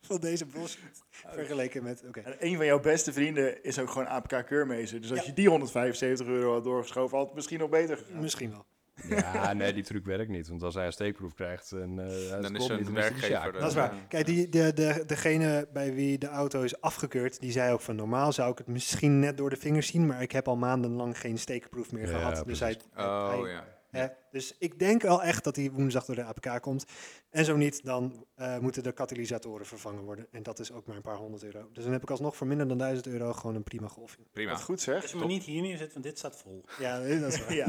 S6: van deze bullshit. Vergeleken met, oké.
S4: En een van jouw beste vrienden is ook gewoon APK keurmeester. Dus als je die 175 euro had doorgeschoven, had het misschien nog beter gegaan.
S6: Misschien wel.
S1: Ja, nee, die truc werkt niet. Want als hij een steekproef krijgt en eh, hij
S3: Dan
S1: scoort
S3: is
S1: niet, dan
S3: een
S1: hij gesjaakt.
S3: werkgever. eh,
S6: Dat is waar. Kijk, die, de, de, degene bij wie de auto is afgekeurd, die zei ook van normaal zou ik het misschien net door de vingers zien, maar ik heb al maandenlang geen steekproef meer
S1: Ja,
S6: gehad. Dus hij,
S1: precies.
S6: hij-
S3: Oh
S6: hij-
S3: ja.
S6: hè, Dus ik denk wel echt dat die woensdag door de APK komt. En zo niet, dan eh, moeten de katalysatoren vervangen worden. En dat is ook maar een paar honderd euro. Dus dan heb ik alsnog voor minder dan 1000 euro gewoon een prima golfje.
S3: Prima.
S4: Wat goed zeg.
S5: Als je me niet hier neerzet, want dit staat vol.
S6: Ja, dat is waar.
S4: Ja.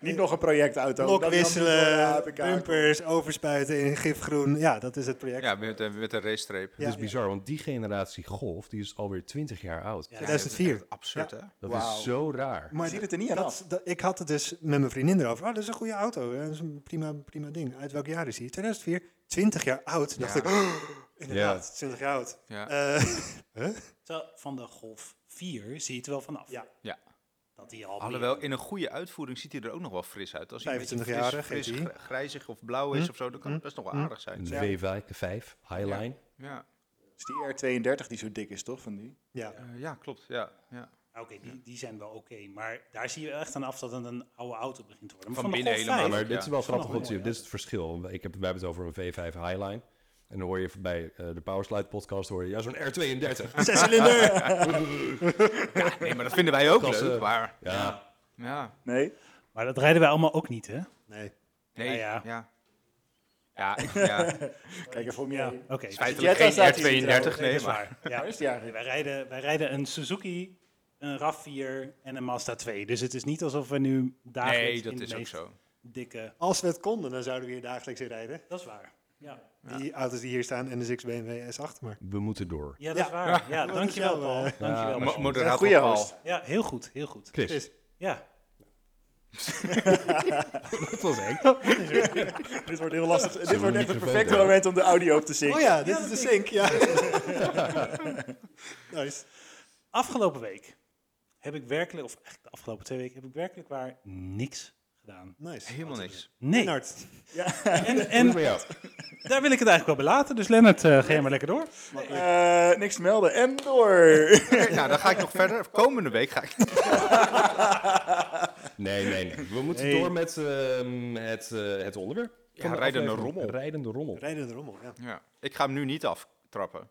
S4: Niet nog een projectauto.
S6: Blok
S4: Dat is dan
S6: wisselen,
S4: niet door de APK.
S6: bumpers, overspuiten in gifgroen. Ja, dat is het project.
S3: Ja, met, de- met een racestreep.
S6: Ja,
S1: Het
S6: ja.
S1: is bizar, want die generatie golf die is alweer 20 jaar oud.
S5: Ja.
S6: 2004.
S3: dat is echt Absurd, hè?
S1: Dat
S4: Wauw.
S1: is zo raar.
S4: Je ziet het er niet aan
S6: dat,
S4: af.
S6: dat- ik had het dus met mijn vriendin erover. Oh, dat is een goede auto. hè. Dat is een prima, prima ding. Uit welk jaar is die? 2004. 20 jaar oud. dacht
S3: Ja.
S6: ik, [gasps] oh, inderdaad, 20 jaar oud.
S3: Ja.
S6: Eh, [laughs]
S5: Terwijl van de Golf 4 zie je het wel vanaf.
S6: Ja.
S3: Ja.
S5: Dat die al
S3: Alhoewel, in een goede uitvoering ziet hij er ook nog wel fris uit. Als hij een beetje
S6: 25-jarige
S3: fris,
S6: GT.
S3: fris gr- grijzig of blauw
S6: Hm?
S3: is of zo, dan kan het best nog wel aardig zijn.
S1: Een
S3: Ja.
S1: W5 Highline.
S3: Ja,
S4: Is die R32 die zo dik is, toch? Van die?
S6: ja.
S3: Eh, ja, klopt. Ja, ja.
S5: Ah, Oké, die, die zijn wel oké. Maar daar zie je echt aan af dat het een oude auto begint te worden. Maar
S3: Van
S5: de
S3: binnen
S5: Golf
S3: helemaal,
S1: Ja,
S5: 5
S1: maar
S3: Ja.
S1: dit is wel grappig,
S5: mooi,
S1: want dit is het verschil. Ik heb, wij hebben het over een V5 Highline. En dan hoor je bij eh, de Powerslide podcast, hoor je, ja, zo'n R32.
S6: Zes cilinder.
S3: Nee, maar dat vinden wij ook
S1: Klasse.
S3: leuk. Maar
S1: Ja,
S3: ja,
S4: Nee?
S5: Maar dat rijden wij allemaal ook niet, hè?
S6: Nee.
S3: nee,
S6: Nou
S5: Ja,
S3: ja.
S5: ja.
S3: Ja, ik, ja.
S4: Kijk even om je
S5: Ja,
S4: heen.
S5: oké.
S3: feitelijk
S4: Jetta staat hier
S3: geen R32,
S5: Dat
S3: nee,
S5: is
S3: maar
S5: waar. Ja.
S4: Waar is die eigenlijk?
S5: Wij rijden, wij rijden een Suzuki, een RAV4 en een Mazda 2. Dus het is niet alsof we nu dagelijks
S3: nee,
S5: in
S3: dat
S5: de
S3: is ook
S5: meest Oh,
S3: zo.
S5: dikke...
S6: Als we het konden, dan zouden we hier dagelijks in rijden.
S5: Dat is waar. Ja,
S6: Die auto's die hier staan en de 6 BMW S8. Maar
S1: we moeten door.
S5: ja dat
S6: Ja.
S5: is waar. Ja,
S6: Ja,
S5: dankjewel,
S6: dankjewel,
S5: Paul.
S6: eh.
S5: Dankjewel,
S3: Mo-
S5: Paul.
S4: Ja,
S3: Moderaat
S4: goede
S3: op Paul.
S4: host.
S5: Ja, heel goed, heel goed.
S1: Chris,
S6: Chris.
S5: Ja,
S1: dat was eng.
S4: [laughs] Dit wordt heel lastig. Dit wordt echt het
S1: microfoon
S4: perfecte
S1: daar.
S4: moment om de audio op te zinken.
S6: Oh ja, dit is de sink.
S4: [laughs]
S6: Ja. [laughs] nice.
S5: afgelopen week heb ik werkelijk, of eigenlijk de afgelopen twee weken, heb ik werkelijk waar niks gedaan.
S6: Nice.
S3: Helemaal niks.
S5: Nee.
S6: Lennart.
S5: En, en daar wil ik het eigenlijk wel bij laten. Dus Lennart, eh, ga je maar lekker door.
S4: Eh, niks te melden. En door. [laughs]
S3: [laughs] Nou, dan ga ik nog verder. Komende week ga ik...
S1: Nee, nee, nee. We moeten
S5: Nee.
S1: door met ehm, het, eh, het onderwerp. van de
S3: rijdende
S1: aflevering.
S3: rommel.
S1: Rijdende rommel.
S6: Rijdende rommel, ja.
S3: Ja. Ik ga hem nu niet aftrappen.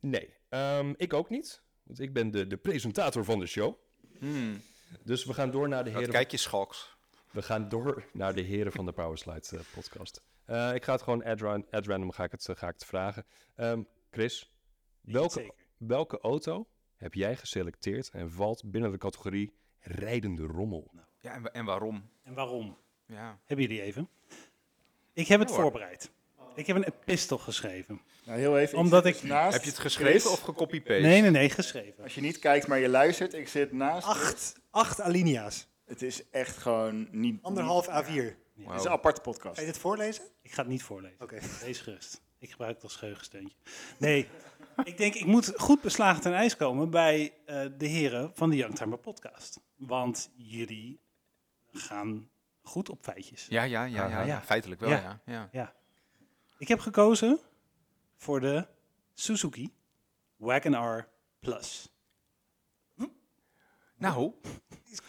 S1: Nee, ehm, ik ook niet. Want ik ben de, de presentator van de show.
S3: Hmm,
S1: Dus we gaan door naar de
S3: dat
S1: heren,
S3: kijk je schalks.
S1: we gaan door naar de heren van de Powerslide eh, podcast. Eh, ik ga het gewoon ad, ran- ad random ga ik het, eh, ga ik het vragen. Ehm, Chris, welke,
S5: Zeker.
S1: welke auto heb jij geselecteerd en valt binnen de categorie rijdende rommel?
S3: Ja, en, wa- en waarom?
S5: En waarom?
S3: Ja.
S5: Hebben jullie even? Ik heb het
S3: Ja hoor.
S5: voorbereid. Ik heb een epistel geschreven.
S4: Nou, heel even.
S5: Omdat
S4: zit
S5: ik-
S4: dus naast
S3: Heb je het geschreven
S4: Chris.
S3: of gecopy-paste?
S5: Nee, nee, nee, geschreven.
S4: Als je niet kijkt, maar je luistert. Ik zit naast.
S6: Acht, acht alinea's.
S4: Het is echt gewoon niet...
S6: Anderhalf A4.
S3: Wauw.
S4: Het is een aparte
S6: Ga je
S4: podcast.
S6: dit voorlezen?
S5: Ik ga het niet voorlezen.
S6: Oké.
S5: Wees gerust. Ik gebruik het als geheugensteuntje. Nee, ik denk ik moet goed beslagen ten ijs komen bij eh, de heren van de Youngtimer podcast. Want jullie gaan goed op feitjes.
S3: Ja, ja, ja, ja,
S5: Ah,
S3: ja.
S5: ja.
S3: Feitelijk wel,
S5: Ja.
S3: ja. ja.
S5: Ik heb gekozen voor de Suzuki Wagon R Plus.
S3: Nou,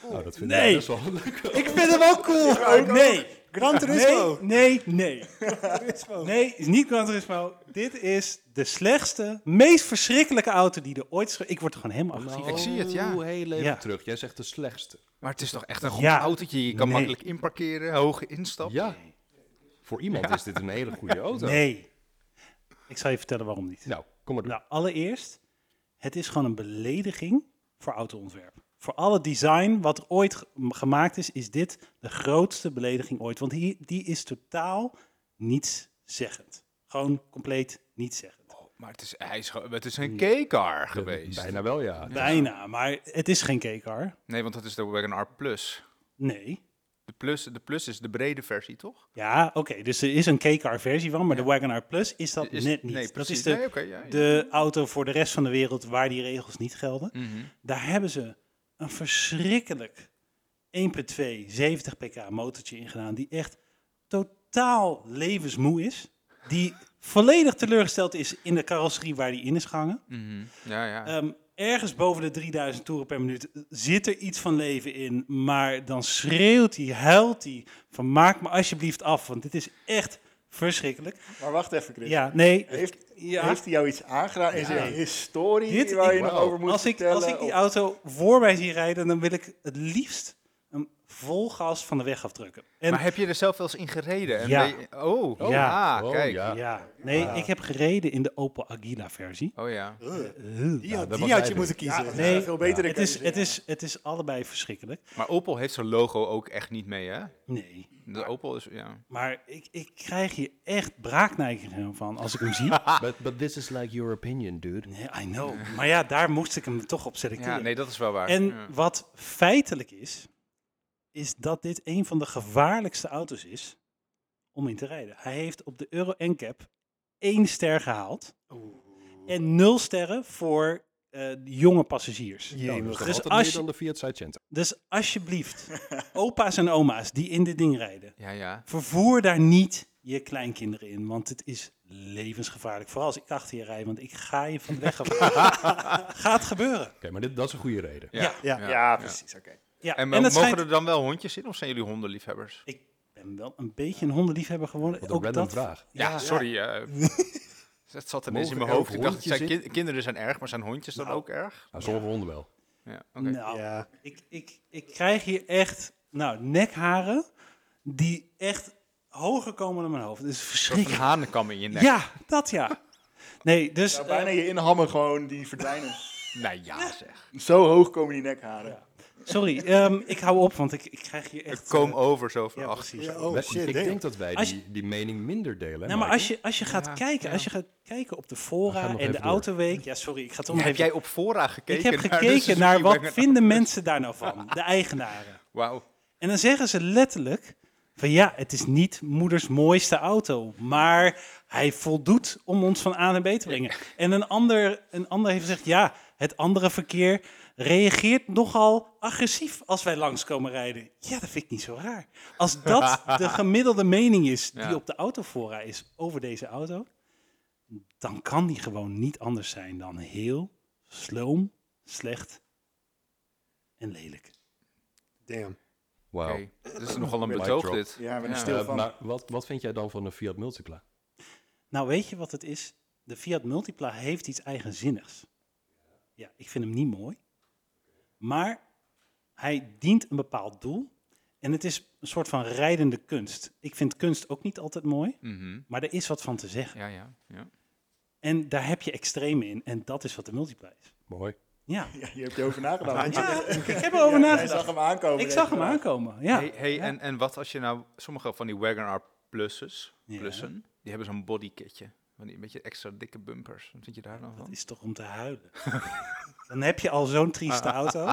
S1: Nou, dat vind
S5: Nee.
S1: ik best wel een leuke
S6: Ik vind hem ook cool.
S5: nee,
S6: Gran Turismo.
S5: nee, nee,
S6: [laughs]
S5: nee. Nee, is niet Gran Turismo. Dit is de slechtste, meest verschrikkelijke auto die er ooit is. ge- Ik word er gewoon helemaal agressief.
S3: ik zie het, ja.
S1: heel even
S5: Ja.
S1: terug. Jij zegt de slechtste.
S3: Maar het is toch echt een goed
S5: Ja.
S3: autootje. Je kan
S5: Nee.
S3: makkelijk inparkeren, hoge instap.
S1: Ja. Voor iemand is dit een hele goede auto.
S5: Nee. Ik zal je vertellen waarom niet.
S1: Nou, kom maar door.
S5: Nou, allereerst, het is gewoon een belediging voor autoontwerp. Voor alle design wat er ooit ge- m- gemaakt is, is dit de grootste belediging ooit. Want die, die is totaal nietszeggend. Gewoon compleet nietszeggend.
S3: Maar het is, hij is, ge- het is een K-car
S1: Eh,
S3: geweest.
S1: Bijna wel, ja.
S5: Bijna, maar het is geen K-car.
S3: Nee, want dat is de Wagon R Plus.
S5: Nee.
S3: De plus. De plus is de brede versie, toch?
S5: Ja, oké, dus er is een K-car versie van, maar de Wagon R Plus is dat
S3: Is-
S5: net niet.
S3: Nee,
S5: dat
S3: precies.
S5: is de,
S3: Nee, oké, ja, ja.
S5: de auto voor de rest van de wereld waar die regels niet gelden.
S3: Mm. Mhm,
S5: Daar hebben ze een verschrikkelijk 1.2 70 pk motortje in gedaan die echt totaal levensmoe is. Die volledig teleurgesteld is in de carrosserie waar die in is gehangen.
S3: Mhm. Ja, ja.
S5: Ehm, ergens boven de 3000 toeren per minuut zit er iets van leven in. Maar dan schreeuwt hij, huilt hij van maak me alsjeblieft af. Want dit is echt verschrikkelijk.
S4: Maar wacht even, Chris.
S5: Ja, nee.
S4: Heeft,
S5: Ja.
S4: heeft hij jou iets aangedaan? Is er een historie
S5: Dit-
S4: waar je
S1: ik-
S4: nog
S1: Wauw.
S4: over moet
S5: als ik,
S4: vertellen?
S5: als ik die
S4: Of-
S5: auto voor mij zie rijden, dan wil ik het liefst hem vol gas van de weg afdrukken. En
S3: maar heb je er zelf wel eens in gereden? En
S5: Ja.
S3: ben je- oh, ja.
S5: Oh, ja.
S1: Oh,
S3: kijk.
S1: ja.
S5: ja, nee,
S6: Ah.
S5: ik heb gereden in de Opel Aguila versie.
S3: Oh ja.
S6: Die had,
S1: dat
S6: die
S1: was
S6: had
S1: hij
S6: je
S1: dus.
S6: moeten kiezen.
S4: Ja,
S5: nee.
S4: veel beter dan
S5: Het is,
S4: Kaiser.
S5: het, is, het is allebei verschrikkelijk.
S3: Maar Opel heeft zijn logo ook echt niet mee, hè?
S5: Nee.
S3: De Opel is, ja.
S5: Maar ik, ik krijg hier echt braakneigingen van als ik hem zie.
S1: But, but this is like your opinion, dude.
S5: Nee, I know. Maar ja, daar moest ik hem toch op selecteren.
S3: Ja, nee, dat is wel waar.
S5: En
S3: Ja.
S5: wat feitelijk is, is dat dit een van de gevaarlijkste auto's is om in te rijden. Hij heeft op de Euro NCAP één ster gehaald en nul sterren voor eh, jonge passagiers.
S6: Jee,
S1: Dus,
S5: Dus
S1: altijd
S5: als
S1: meer
S5: je-
S1: dan de Fiat Seicento.
S5: Dus alsjeblieft, opa's en oma's die in dit ding rijden,
S3: Ja, ja.
S5: vervoer daar niet je kleinkinderen in, want het is levensgevaarlijk. Vooral als ik achter je rijd, want ik ga je van de
S3: [laughs]
S5: weg af. Gaat gebeuren.
S1: Oké, maar dit, dat is een goede reden.
S3: Ja.
S6: Ja.
S4: ja, precies, oké.
S5: Ja,
S3: En,
S5: en,
S3: mo- mogen
S5: het schijnt
S3: er dan wel hondjes in of zijn jullie hondenliefhebbers?
S5: Ik ben wel een beetje een hondenliefhebber geworden.
S1: Wat een
S5: ook
S1: random
S5: dat,
S1: vraag.
S3: Ja, sorry. eh
S5: [laughs]
S3: het zat ineens
S1: Mogen
S3: in mijn
S1: er
S3: hoofd.
S1: ook
S3: Ik dacht,
S1: hondjes
S3: zijn kin- kinderen zijn erg, maar zijn hondjes dan ook erg?
S1: Nou, sommige honden wel.
S3: Ja, oké.
S5: Nou,
S6: Ja.
S5: ik, ik, ik krijg hier echt nou, nekharen die echt hoger komen dan mijn hoofd. Het is
S3: Een soort van
S5: verschrikkelijk.
S3: hanenkam in je nek.
S5: Ja, dat ja. Nee, dus...
S4: Nou,
S5: eh,
S4: bijna je inhammen gewoon, die verdwijnen.
S3: Nou ja,
S5: [laughs]
S3: zeg.
S4: [laughs] Zo hoog komen die nekharen.
S5: sorry, ehm, ik hou op, want ik, ik krijg hier
S3: Ik
S5: echt...
S3: kom
S5: eh,
S3: over zo van
S5: ja,
S3: achter.
S5: precies.
S6: Ja, oh
S1: Wij-
S6: shit,
S1: ik
S6: damn.
S1: denk dat wij
S5: Als
S1: die, die mening minder delen. hè,
S5: Nou, maar
S1: Michael?
S5: als je, als je gaat
S3: Ja,
S5: kijken,
S3: ja.
S5: als je gaat kijken op de
S1: We gaan
S5: fora
S1: nog
S5: en de
S1: even door.
S5: autoweek... Ja, sorry, ik ga toch nog
S3: heb
S5: even...
S3: jij op fora gekeken?
S5: ik heb
S3: naar de
S5: gekeken naar
S3: Suzuki
S5: wat
S3: Wagon?
S5: vinden mensen daar nou van, de eigenaren.
S3: Wauw.
S5: En dan zeggen ze letterlijk van ja, het is niet moeders mooiste auto, maar hij voldoet om ons van A naar B te brengen. En een ander, een ander heeft gezegd ja, het andere verkeer reageert nogal agressief als wij langskomen rijden. Ja, dat vind ik niet zo raar. Als dat de gemiddelde mening is die
S3: Ja.
S5: op de autofora is over deze auto, dan kan die gewoon niet anders zijn dan heel sloom, slecht en lelijk.
S6: Damn.
S1: Wauw.
S3: Oké, Dat is nogal een
S1: Mic
S3: betoog
S1: drop.
S3: dit.
S4: Ja, met een
S3: Ja.
S4: stil
S1: Eh,
S4: van.
S1: maar wat, wat vind jij dan van een Fiat Multipla?
S5: Nou, weet je wat het is? De Fiat Multipla heeft iets eigenzinnigs. Ja, ik vind hem niet mooi. Maar hij dient een bepaald doel. En het is een soort van rijdende kunst. Ik vind kunst ook niet altijd mooi,
S3: Mhm.
S5: maar er is wat van te zeggen.
S3: Ja, ja, ja.
S5: En daar heb je extreme in. En dat is wat de Multipla is.
S1: Mooi.
S5: Ja,
S4: Ja, hier heb je over nagedacht.
S5: ja ik heb erover
S4: Ja, jij zag
S5: nagedacht.
S4: hem aankomen.
S5: Ik zag
S4: deze
S5: hem
S4: dag.
S5: aankomen. Ja.
S3: hey, hey, En, en wat als je nou sommige van die Wagon R plussen,
S5: Ja.
S3: plussen die hebben zo'n bodykitje. Van die een beetje extra dikke bumpers. Wat vind je daar dan
S5: Dat
S3: van?
S5: is toch om te huilen. [laughs] Dan heb je al zo'n
S3: [laughs]
S5: trieste auto.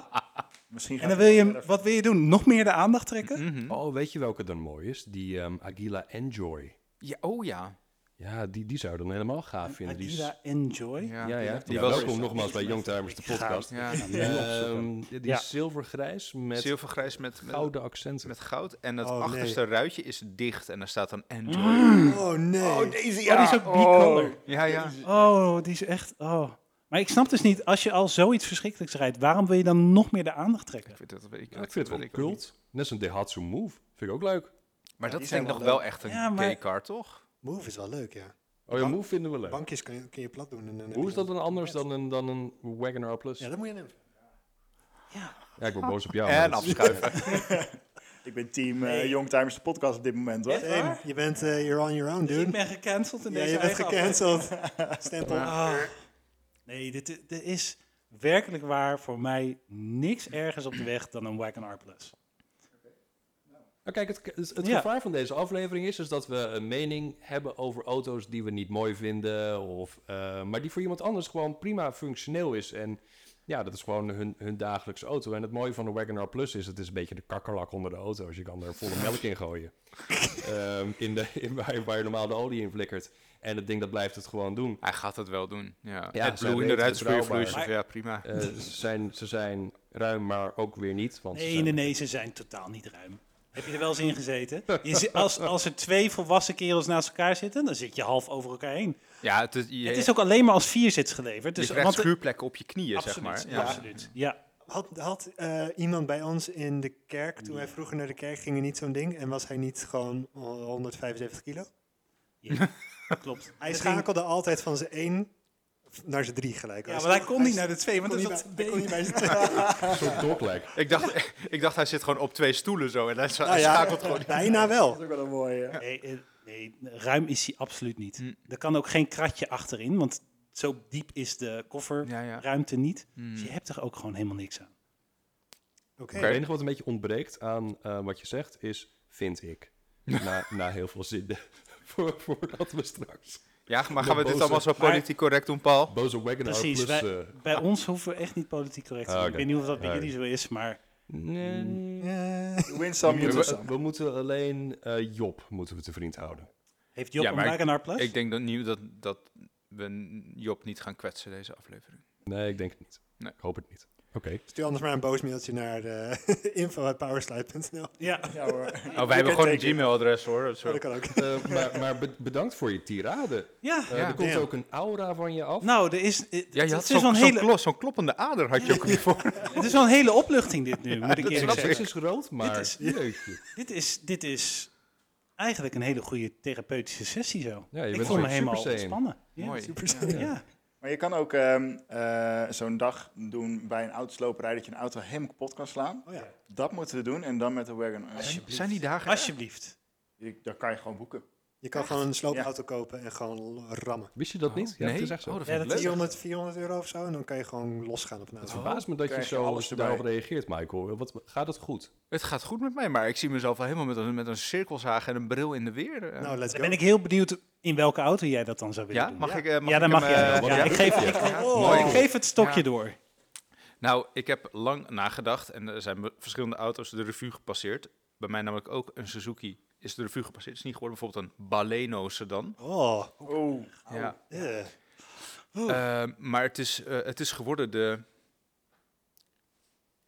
S4: Misschien
S5: En
S4: gaat
S5: dan
S4: hij
S5: wil je,
S4: verder.
S5: wat wil je doen? Nog meer de aandacht trekken?
S3: Mhm.
S1: Oh, weet je welke dan mooi is? Die ehm, Aguila Enjoy.
S3: ja, oh ja.
S1: Ja, die, die zou je dan helemaal gaaf vinden. Die is-
S5: Aguila Enjoy.
S3: Ja,
S1: ja, ja.
S3: Die
S1: Ja,
S3: was
S1: welkom nogmaals bij Youngtimers, de podcast.
S3: Ja.
S1: Ehm, die
S5: Ja.
S1: is zilvergrijs met
S3: Zilvergrijs met, met,
S1: gouden accenten.
S3: met goud. En het
S6: Oh, nee.
S3: achterste ruitje is dicht. En daar staat dan Enjoy.
S6: Oh nee.
S4: Deze,
S5: Oh, die is ook bicolor.
S3: Ja, ja.
S5: Oh, die is echt. Oh. Maar ik snap dus niet, als je al zoiets verschrikkelijks rijdt, waarom wil je dan nog meer de aandacht trekken?
S3: Ik vind dat weet ik,
S1: Ja,
S3: dat
S1: ik vind het
S3: weet
S1: wel
S3: ik ook niet.
S1: cult. Net zo'n Daihatsu Move. Vind ik ook leuk.
S3: Maar
S4: Ja,
S3: dat
S4: die
S3: vind
S4: zijn
S3: ik nog
S4: wel
S3: wel echt een
S5: Ja, maar-
S3: gay car, toch?
S6: Move is wel leuk, ja.
S1: Oh ja, Move vinden we leuk.
S6: Bankjes kun je, kun je plat doen. En, dan heb
S1: Hoe
S6: je
S1: is dat
S6: een-
S1: dan anders dan een, dan een Wagon R Plus?
S6: Ja, dat moet je nemen.
S5: Ja.
S1: Ja, ik ben boos op jou. maar
S3: En
S1: dat is-
S3: afschuiven. [laughs]
S4: Ik ben team eh, Youngtimers, de podcast op dit moment, hoor.
S5: Echt? Waar?
S6: Damn, je bent, eh you're on your own,
S5: Dus ik
S6: dude.
S5: ben gecanceld in
S6: Ja,
S5: deze
S6: je bent
S5: eigen
S6: gecanceld.
S5: [laughs]
S6: Stempel.
S5: aflevering. Ah. Nee, dit, i- dit is werkelijk waar voor mij niks ergens op de weg dan een Wagon R+. Plus.
S1: Nou, kijk, het, het, het
S5: Ja.
S1: gevaar van deze aflevering is, is dat we een mening hebben over auto's die we niet mooi vinden. Of, eh, maar die voor iemand anders gewoon prima functioneel is. En ja, dat is gewoon hun, hun dagelijkse auto. En het mooie van de Wagon R Plus is, het is een beetje de kakkerlak onder de auto's. Je kan er volle melk in
S5: [laughs]
S1: gooien. Ehm, in de, [laughs] in waar, waar je normaal de olie in flikkert. En het ding dat blijft het gewoon doen.
S3: Hij gaat het wel doen. Ja.
S1: Ja,
S3: het
S1: ze
S3: bloed in de
S1: weten
S3: ruit
S1: betrouwbaar.
S3: vloeistof. Ja, prima.
S1: Eh, ze, zijn, ze zijn ruim, maar ook weer niet. Want ze
S5: Nee,
S1: zijn-
S5: nee, nee, ze zijn totaal niet ruim. Heb je er wel eens in gezeten? Je zi- als, als er twee volwassen kerels naast elkaar zitten, dan zit je half over elkaar heen.
S3: Ja, het is, je,
S5: Het is ook alleen maar als vierzits geleverd. Dus,
S3: je krijgt
S5: want-
S3: schuurplekken op je knieën,
S5: absoluut,
S3: zeg maar. Ja.
S5: absoluut. Ja.
S6: Had, had eh, iemand bij ons in de kerk, toen wij vroeger naar de kerk gingen, niet zo'n ding? En was hij niet gewoon 175 kilo?
S5: Ja, klopt.
S6: Hij
S5: Het ding-
S6: schakelde altijd van zijn één naar zijn drie gelijk.
S5: Ja, maar hij kon niet naar
S6: is-
S5: de twee, want dat
S6: kon
S5: is
S6: niet
S5: dat
S6: bij- kon niet bij
S5: [laughs]
S6: zijn-
S1: Een soort doklek.
S3: Ik dacht, ik dacht, hij zit gewoon op twee stoelen zo en hij scha-
S6: Nou ja,
S3: schakelt gewoon.
S6: bijna wel.
S4: Dat is ook wel een mooie. hè?
S5: Nee, eh, nee, ruim is hij absoluut niet.
S3: Hm.
S5: Er kan ook geen kratje achterin, want zo diep is de kofferruimte
S3: Ja, ja.
S5: niet.
S3: Hmm.
S5: Dus je hebt er ook gewoon helemaal niks aan.
S6: Oké.
S1: Het enige wat een beetje ontbreekt aan eh, wat je zegt is, vind ik. Na, na heel veel zinnen. [laughs] voor, voordat we straks
S3: Ja, maar gaan we dit
S1: boze.
S3: allemaal zo
S5: Maar-
S3: politiek correct doen, Paul?
S1: boze Wagoner
S5: Precies,
S1: plus...
S5: wij-
S1: eh,
S5: Bij ons hoeven we echt niet politiek correct te
S1: Ah,
S5: zijn.
S1: oké.
S5: Ik weet niet of dat bij
S1: Ah,
S5: jullie zo is, maar
S1: nee.
S6: Eh,
S4: Win some, you
S1: Mm. We,
S4: lose some.
S1: we- we moeten alleen eh, Job moeten we te vriend houden.
S5: heeft Job
S3: Ja, maar
S5: een
S3: ik-
S5: Wagenaar Plus?
S3: Ik denk dat, niet, dat, dat we Job niet gaan kwetsen deze aflevering.
S1: Nee, ik denk het niet.
S3: Nee.
S1: Ik hoop het niet. Oké.
S6: Stuur anders maar een boos mailtje naar eh [laughs] info.powerslide.nl.
S5: Ja,
S4: Ja hoor. [laughs]
S3: Oh, wij hebben gewoon een
S4: teken.
S3: Gmail-adres hoor.
S6: Dat kan ook.
S1: Eh, maar maar be- bedankt voor je tirade.
S5: ja.
S1: Eh,
S3: Ja.
S1: er komt
S6: Damn.
S1: ook een aura van je af.
S5: Nou, er is,
S3: Ja,
S5: eh, het,
S3: je had
S5: is
S3: zo'n
S5: wel een
S3: zo'n
S5: hele,
S3: klos, zo'n kloppende ader had je ook niet voor.
S5: het is wel een hele opluchting
S3: [laughs]
S5: dit nu, moet ik
S1: de
S5: eerlijk
S1: succes
S5: zeggen.
S1: is groot, maar
S5: Dit is-
S1: [laughs] jeetje.
S5: Dit is, dit is eigenlijk een hele goede therapeutische sessie zo.
S1: Ja, je
S5: ik
S1: bent
S5: voel me
S1: een soort
S5: helemaal
S1: Super Saiyan.
S5: ontspannen. Ja,
S3: Mooi.
S5: Ja.
S4: Maar je kan ook ehm, eh, zo'n dag doen bij een autosloperij dat je een auto helemaal kapot kan slaan.
S6: [laughs] Oh ja.
S4: Dat moeten we doen en dan met de wagon.
S3: Zijn die dagen?
S5: Alsjeblieft.
S4: Je- Daar kan je gewoon boeken.
S6: Je kan gewoon een sloopauto kopen en gewoon rammen.
S1: Wist je dat niet? Ja,
S3: nee.
S1: dat is echt zo.
S3: Oh, dat
S5: Ja,
S3: vind ik
S5: dat is-
S3: leuk.
S6: 400, 400 euro of zo en dan kan je gewoon losgaan op een
S1: Het
S6: auto.
S1: verbaast me dat je
S4: krijg je
S1: zo
S4: alles erbij.
S1: daarop reageert, Michael. Wat, gaat het goed?
S3: Het gaat goed met mij, maar ik zie mezelf al helemaal met een, met een cirkelzaag en een bril in de weer. eh.
S6: Nou, let's
S5: Dan
S6: go.
S5: ben ik heel benieuwd in welke auto jij dat dan zou willen
S3: ja,
S5: doen.
S3: mag ik? eh, Mag
S5: ja,
S3: ik
S5: dan mag
S3: hem,
S5: je.
S3: eh,
S5: ja,
S1: ja.
S5: ik, geef, Oh. ik,
S3: Mooi.
S5: ik geef het stokje
S3: Ja.
S5: door.
S3: Nou, ik heb lang nagedacht en er zijn be- verschillende auto's de revue gepasseerd. Bij mij namelijk ook een Suzuki is de revue gepasseerd. Het is niet geworden bijvoorbeeld een Baleno sedan.
S6: Oh,
S4: Oh,
S3: Ja.
S6: eh.
S3: Eh, maar het is, eh, het is geworden de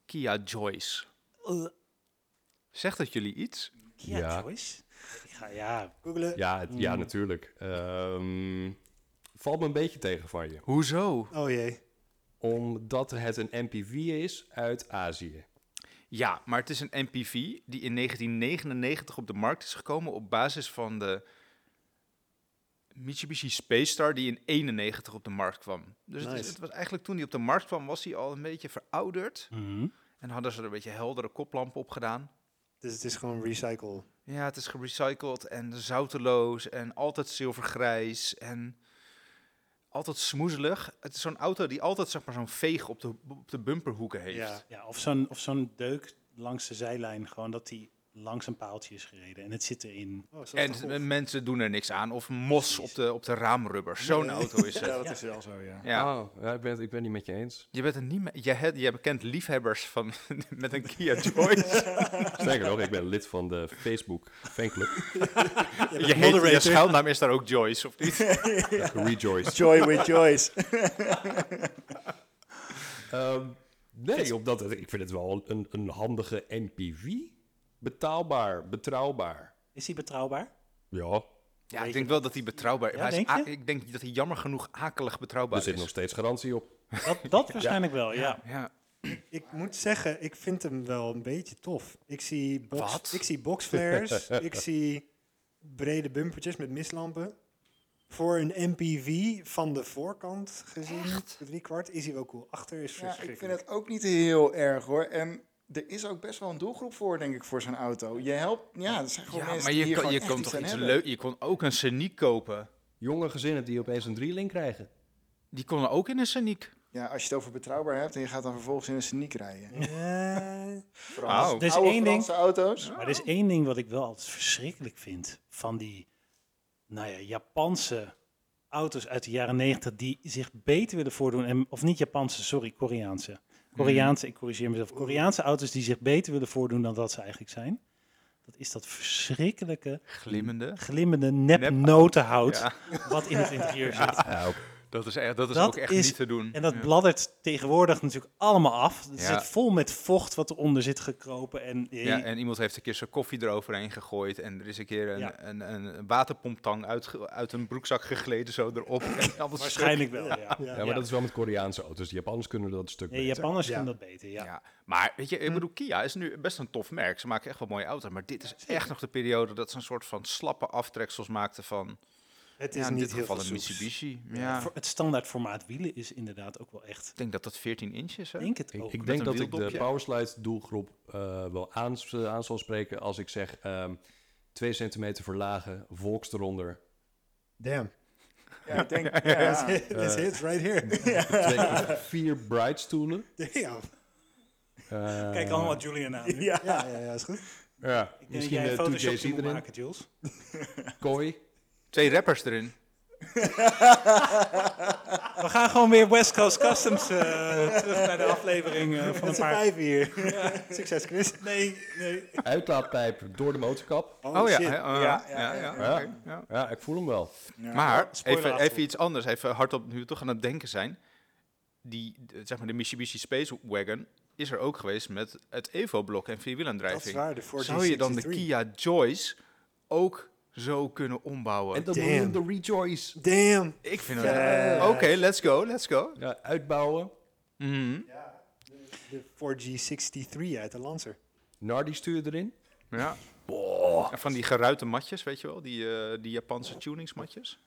S3: Kia Joyce. Zegt dat jullie iets?
S5: Kia
S1: Ja.
S5: Joyce? Ik ga, ja,
S6: googelen.
S1: Ja, het- ja
S5: Mm.
S1: natuurlijk. Ehm, valt me een beetje tegen van je.
S3: Hoezo?
S6: Oh jee.
S1: Omdat het een MPV is uit Azië.
S3: Ja, maar het is een MPV die in 1999 op de markt is gekomen op basis van de Mitsubishi Space Star die in 91 op de markt kwam. Dus het, is-
S6: Nice.
S3: het was eigenlijk toen die op de markt kwam, was hij al een beetje verouderd. En hadden ze er een beetje heldere koplampen op gedaan.
S6: Dus het is gewoon recycle.
S3: Ja, het is gerecycled en zouteloos en altijd zilvergrijs en altijd smoezelig. Het is zo'n auto die altijd zeg maar zo'n veeg op de, op de bumperhoeken heeft.
S6: Ja.
S5: ja, of zo'n of zo'n deuk langs de zijlijn, gewoon dat die langs een paaltje is gereden en het zit erin.
S6: Oh, zo
S3: En
S6: is
S3: s-
S6: het goed.
S3: mensen doen er niks aan. Of mos
S5: Precies.
S3: op de, op de raamrubber. Zo'n auto is
S4: ja,
S3: het.
S4: dat is wel zo, ja.
S3: Ja.
S1: Oh, ja, ik, ben, het- ik ben het niet met je eens.
S3: Je bent er niet mee. Je, hebt, je kent liefhebbers van, [laughs] met een Kia Joyce.
S1: Sterker nog, ik ben lid van de Facebook [laughs] fanclub.
S3: je, heet, je schuilnaam is daar ook Joyce, of niet?
S1: Ja, Rejoice.
S4: Joy with Joyce.
S1: Ehm, nee, omdat het- ik vind het wel een, een handige MPV. Betaalbaar, betrouwbaar.
S5: Is die betrouwbaar?
S1: Ja,
S3: Ja, ik denk wel dat hij betrouwbaar
S5: Ja,
S3: hij is.
S5: denk
S3: a-
S5: je?
S3: ik denk dat hij jammer genoeg akelig betrouwbaar
S1: er zit
S3: is.
S1: nog steeds garantie op.
S5: Dat,
S3: [laughs]
S5: dat waarschijnlijk wel, ja.
S3: Ja.
S6: Ik moet zeggen, ik vind hem wel een beetje tof. Ik zie,
S3: Wat?
S6: box, ik zie [laughs] boxflares, ik zie brede bumpertjes met mislampen. Voor een MPV van de voorkant gezien, drie kwart, is hij wel cool. Achter is
S4: Ja, ik
S6: verschrikkelijk.
S4: vind het ook niet heel erg hoor. En er is ook best wel een doelgroep voor, denk ik, voor zo'n auto. Je helpt, ja, er zijn gewoon
S3: Ja,
S4: mensen
S3: maar je,
S4: die hier
S3: kan, je
S4: gewoon
S3: kon
S4: echt
S3: toch iets
S4: aan hebben.
S3: leuk. Je kon ook een Scenic kopen.
S1: Jonge gezinnen die opeens een drieling krijgen.
S3: Die konden ook in een Scenic.
S4: Ja, als je het over betrouwbaar hebt en je gaat dan vervolgens in een sneak rijden.
S6: Eh,
S4: Frans.
S3: Oh.
S5: Dus
S4: Oude
S5: één ding-
S4: Franse auto's.
S5: Maar er is één ding wat ik wel altijd verschrikkelijk vind van die, nou ja, Japanse auto's uit de jaren negentig die zich beter willen voordoen. En, of niet Japanse, sorry, Koreaanse. Koreaanse, ik corrigeer mezelf. Koreaanse auto's die zich beter willen voordoen dan dat ze eigenlijk zijn. Dat is dat verschrikkelijke,
S3: Glimmende.
S5: glimmende nep
S3: Nep-
S5: notenhout
S3: Ja.
S5: wat in het interieur zit.
S1: Ah,
S3: Dat is, echt, dat is
S5: Dat
S3: ook echt
S5: is-
S3: niet te doen.
S5: En dat
S3: Ja.
S5: bladdert tegenwoordig natuurlijk allemaal af. Het
S3: Ja.
S5: zit vol met vocht wat eronder zit gekropen. En, eh,
S3: Ja, en iemand heeft een keer zijn koffie eroverheen gegooid. En er is een keer een,
S5: Ja.
S3: een, een, waterpomptang uit, uit een broekzak gegleden, zo erop. En alles
S5: waarschijnlijk wel, ja.
S6: ja.
S1: Ja, maar
S5: Ja.
S1: dat is wel met Koreaanse auto's. De Japanners kunnen dat een stuk
S5: Nee,
S1: beter.
S5: Japanners
S6: Ja.
S5: kunnen dat beter,
S3: stuk.
S5: ja.
S3: Ja, maar weet je, ik bedoel, Kia is nu best een tof merk. Ze maken echt wel mooie auto's. Maar dit is echt nog de periode dat ze een soort van slappe aftreksels maakten van...
S6: Het is
S3: Ja, in
S6: niet
S3: dit
S6: heel
S3: geval
S6: veel
S3: een
S6: soeps.
S3: Mitsubishi. Ja,
S5: Voor het standaard formaat wielen is inderdaad ook wel echt.
S3: ik denk dat dat 14 inch is. Hè?
S5: Ik denk het
S1: Ik,
S5: ook.
S1: ik
S3: met
S1: denk
S3: een
S1: dat ik de
S3: wieldopje.
S1: Powerslide doelgroep eh, wel aan, aan zal spreken als ik zeg ehm 2 centimeter verlagen, volks eronder.
S6: [laughs] [laughs] Damn. Eh,
S4: Ja, ik
S3: [laughs]
S4: denk...
S6: That's,
S4: Ja,
S6: it, that's it right [laughs] here.
S5: [laughs]
S1: Twee, vier bridestoelen.
S6: Damn.
S1: Eh,
S5: Kijk allemaal Julian aan. nu.
S4: ja.
S6: Ja, ja, ja, is goed.
S1: Ja,
S5: Ik denk
S1: misschien
S5: dat
S1: eh,
S5: jij een
S1: 2
S5: Photoshop
S1: jc
S5: die moet
S1: erin.
S5: maken, Jules.
S1: Kooi.
S3: Twee rappers erin.
S5: We gaan gewoon weer West Coast Customs eh, terug naar de aflevering eh, van
S6: Met
S5: een
S6: z'n
S5: paar...
S6: vijf
S3: [laughs]
S6: hier. Succes, Chris.
S5: Nee, nee.
S1: Uitlaatpijp door de motorkap.
S6: Oh,
S3: ja,
S6: shit.
S3: hè, oh,
S4: Ja,
S3: ja, ja,
S4: ja, ja,
S3: ja,
S1: ja.
S3: oké, ja.
S1: Ja, ik voel hem wel.
S5: Oh,
S3: Maar
S5: spoiler
S3: even,
S5: alert.
S3: even iets anders, even hardop nu we toch aan het denken zijn. Die, eh, zeg maar, de Mitsubishi Space Wagon is er ook geweest met het Evo-blok en
S6: Dat is
S3: vierwielaandrijving.
S6: waar, de 1463.
S3: Zou je dan de Kia Joyce ook zo kunnen ombouwen?
S1: En dan
S6: Damn.
S1: noemen we hem de Rejoice.
S6: Damn.
S3: Ik vind het...
S6: Ja.
S3: Oké, let's go, let's go.
S1: Ja, uitbouwen.
S3: Mhm,
S6: De 4G63 uit de Lancer.
S1: Nardi stuur erin.
S3: Ja. En van die geruite matjes, weet je wel? Die, eh, die Japanse tuningsmatjes?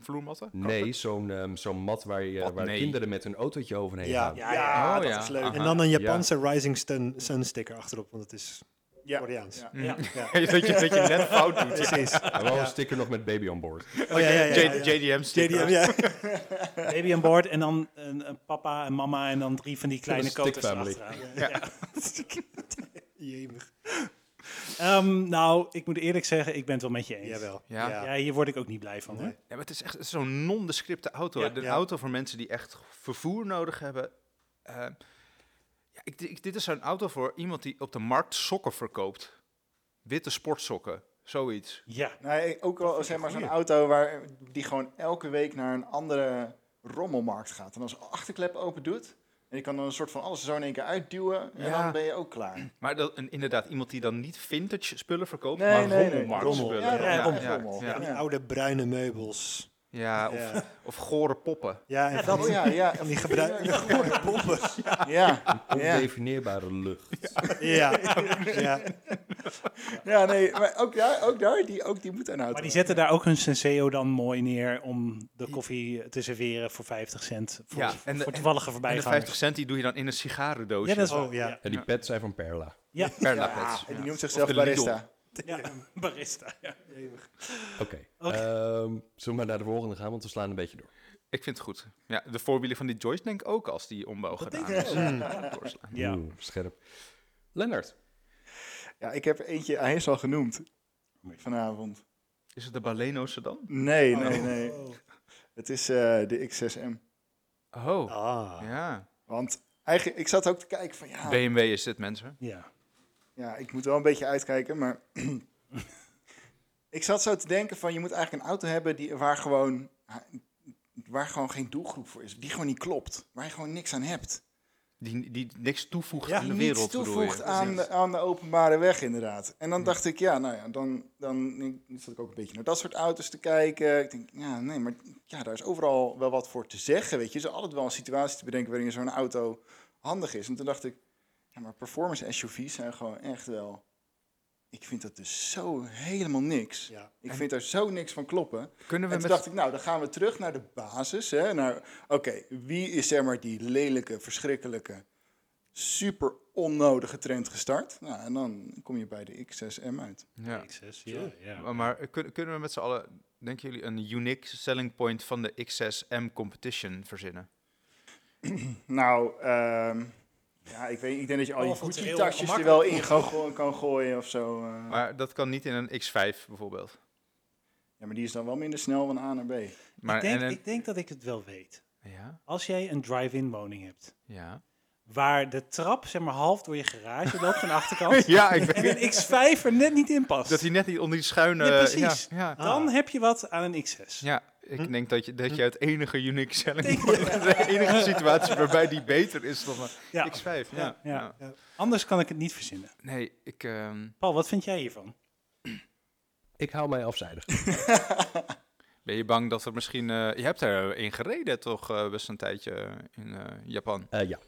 S3: Vloermatten?
S1: Nee,
S3: Carpet?
S1: zo'n ehm, zo'n mat waar, je,
S3: Wat
S1: waar
S3: nee?
S1: kinderen met hun autootje overheen
S6: Ja.
S1: gaan.
S5: Ja, ja.
S3: Oh,
S4: dat
S3: ja.
S4: is leuk.
S3: Ah.
S6: En dan een Japanse Rising Sun, Sun sticker achterop, want het is
S4: Ja.
S6: Koreaans.
S4: Ja.
S5: ja.
S3: [laughs] dat, je, dat je net fout doet. ja.
S6: Precies.
S1: En wel een sticker nog met baby on board.
S6: Oh, ja, ja, ja, ja,
S3: J-
S6: ja.
S3: JDM
S6: JDM,
S3: sticker.
S6: ja.
S5: Baby aan boord en dan eh, een, een papa en mama en dan drie van die kleine
S1: Een stick
S5: koters
S1: family.
S5: achteraan.
S6: [laughs] Jemig.
S5: Ehm, nou, ik moet eerlijk zeggen, ik ben het wel met je eens.
S6: Jawel.
S3: Ja.
S5: Ja, hier word ik ook niet blij van.
S6: Nee.
S5: Hoor.
S3: Ja, maar het is echt het is zo'n nondescripte auto.
S5: Ja,
S3: hè. een
S6: ja.
S3: auto voor mensen die echt vervoer nodig hebben. Eh, ja, ik, ik- dit is zo'n auto voor iemand die op de markt sokken verkoopt. Witte sportsokken, zoiets.
S5: Ja,
S4: Nee, ook wel zeg maar zo'n auto waar, die gewoon elke week naar een andere rommelmarkt gaat. En als de achterklep open doet, en je kan dan een soort van alles zo in één keer uitduwen, en
S3: Ja.
S4: dan ben je ook klaar.
S3: Maar dat, en inderdaad, iemand die dan niet vintage spullen verkoopt,
S4: Nee,
S3: maar
S4: nee, nee.
S3: rommelmarktspullen.
S4: Ja,
S5: ja,
S4: rommel, rommel.
S3: ja.
S6: Die oude bruine meubels.
S3: Ja, of,
S6: Ja.
S3: of gore poppen.
S6: Ja, en van
S4: Oh
S6: die,
S4: ja, ja.
S6: van die gebruikte geworden bommen.
S4: Ja, ja.
S1: Ondefinieerbare lucht.
S6: Ja. ja.
S4: ja nee, maar ook daar, ook daar die, ook die moet een auto.
S5: maar die zetten daar ook hun senseo dan mooi neer om de koffie te serveren voor 50 cent. Voor,
S3: Ja, en de-
S5: voor toevallige
S3: En de
S5: voorbijgangers.
S3: 50 cent die doe je dan in een sigarendoosje.
S5: Ja, dat is wel.
S6: Oh, ja.
S5: ja.
S1: En die pet zijn van Perla.
S5: Ja,
S3: Perla
S4: Ja,
S3: Pets.
S4: en die
S3: Ja.
S4: noemt zichzelf
S3: Of de Lidl.
S4: barista.
S5: ja, barista. Ja.
S1: Oké. Ehm, zullen we maar naar de volgende gaan, want we slaan een beetje door.
S3: Ik vind het goed. Ja, de voorwielen van die Joyce denk ik ook als die ombouw gedaan is. Mm. Ja, doorslaan.
S5: Ja.
S1: Oeh, scherp. Lennart.
S4: Ja, ik heb eentje, hij is al genoemd vanavond.
S3: Is het de Baleno sedan?
S4: Nee, nee, nee. Het is eh, de X6M.
S3: Oh,
S6: Ah.
S3: ja.
S4: Want eigenlijk, ik zat ook te kijken van ja,
S3: BMW is dit, mensen.
S5: Ja.
S4: Ja, ik moet wel een beetje uitkijken, maar... [clears throat] ik zat zo te denken van, je moet eigenlijk een auto hebben die, waar, gewoon, waar gewoon geen doelgroep voor is. Die gewoon niet klopt. Waar je gewoon niks aan hebt.
S3: Die, die niks toevoegt
S6: Ja,
S3: aan de
S4: Die
S3: wereld,
S4: niets
S3: bedoel je?
S4: toevoegt aan de, aan de openbare weg, inderdaad. En dan dacht ik, ja, nou ja, dan, dan ik- zat ik ook een beetje naar dat soort auto's te kijken. Ik denk, ja, nee, maar ja, daar is overal wel wat voor te zeggen, weet je. Er is altijd wel een situatie te bedenken waarin zo'n auto handig is. En toen dacht ik, ja, maar performance SUV's zijn gewoon echt wel... Ik vind dat dus zo helemaal niks.
S6: Ja.
S4: Ik vind daar zo niks van kloppen.
S3: Kunnen we
S4: En toen
S3: met...
S4: dacht ik, nou, dan gaan we terug naar de basis. hè, naar- Oké, wie is zeg maar die lelijke, verschrikkelijke, super onnodige trend gestart? Nou, en dan kom je bij de X6M uit.
S3: Ja.
S5: X6, ja, ja.
S3: Maar, maar kun- kunnen we met z'n allen, denken jullie, een unique selling point van de X6M Competition verzinnen?
S4: Nou, ehm, ja, ik weet ik denk dat je al
S5: Oh,
S4: je
S5: vond ze heel
S4: Gucci-tasjes er wel
S5: ongemakkelijk.
S4: in kan, goo- kan gooien of zo. eh.
S3: Maar dat kan niet in een X5 bijvoorbeeld.
S4: Ja, maar die is dan wel minder snel van A naar B.
S3: Maar,
S5: ik, denk,
S3: en een-
S5: ik denk dat ik het wel weet.
S3: Ja,
S5: Als jij een drive-in woning hebt,
S3: ja.
S5: waar de trap zeg maar half door je garage loopt aan de
S3: [laughs]
S5: achterkant,
S3: Ja, ik weet
S5: en een X5 er net niet in past,
S3: dat hij net niet onder die schuine...
S5: Ja, precies.
S3: Ja, ja.
S5: dan heb je wat aan een X6.
S3: Ja, ik denk dat je, dat je het enige unique selling point, de enige situatie waarbij die beter is dan een
S5: Ja.
S3: X5. Ja,
S5: Ja, ja.
S3: ja.
S5: Anders kan ik het niet verzinnen.
S3: Nee, ik... ehm,
S5: Paul, wat vind jij hiervan?
S1: Ik hou mij afzijdig.
S3: ben je bang dat er misschien... eh, je hebt er in gereden toch eh, best een tijdje in eh, Japan.
S1: Eh, ja.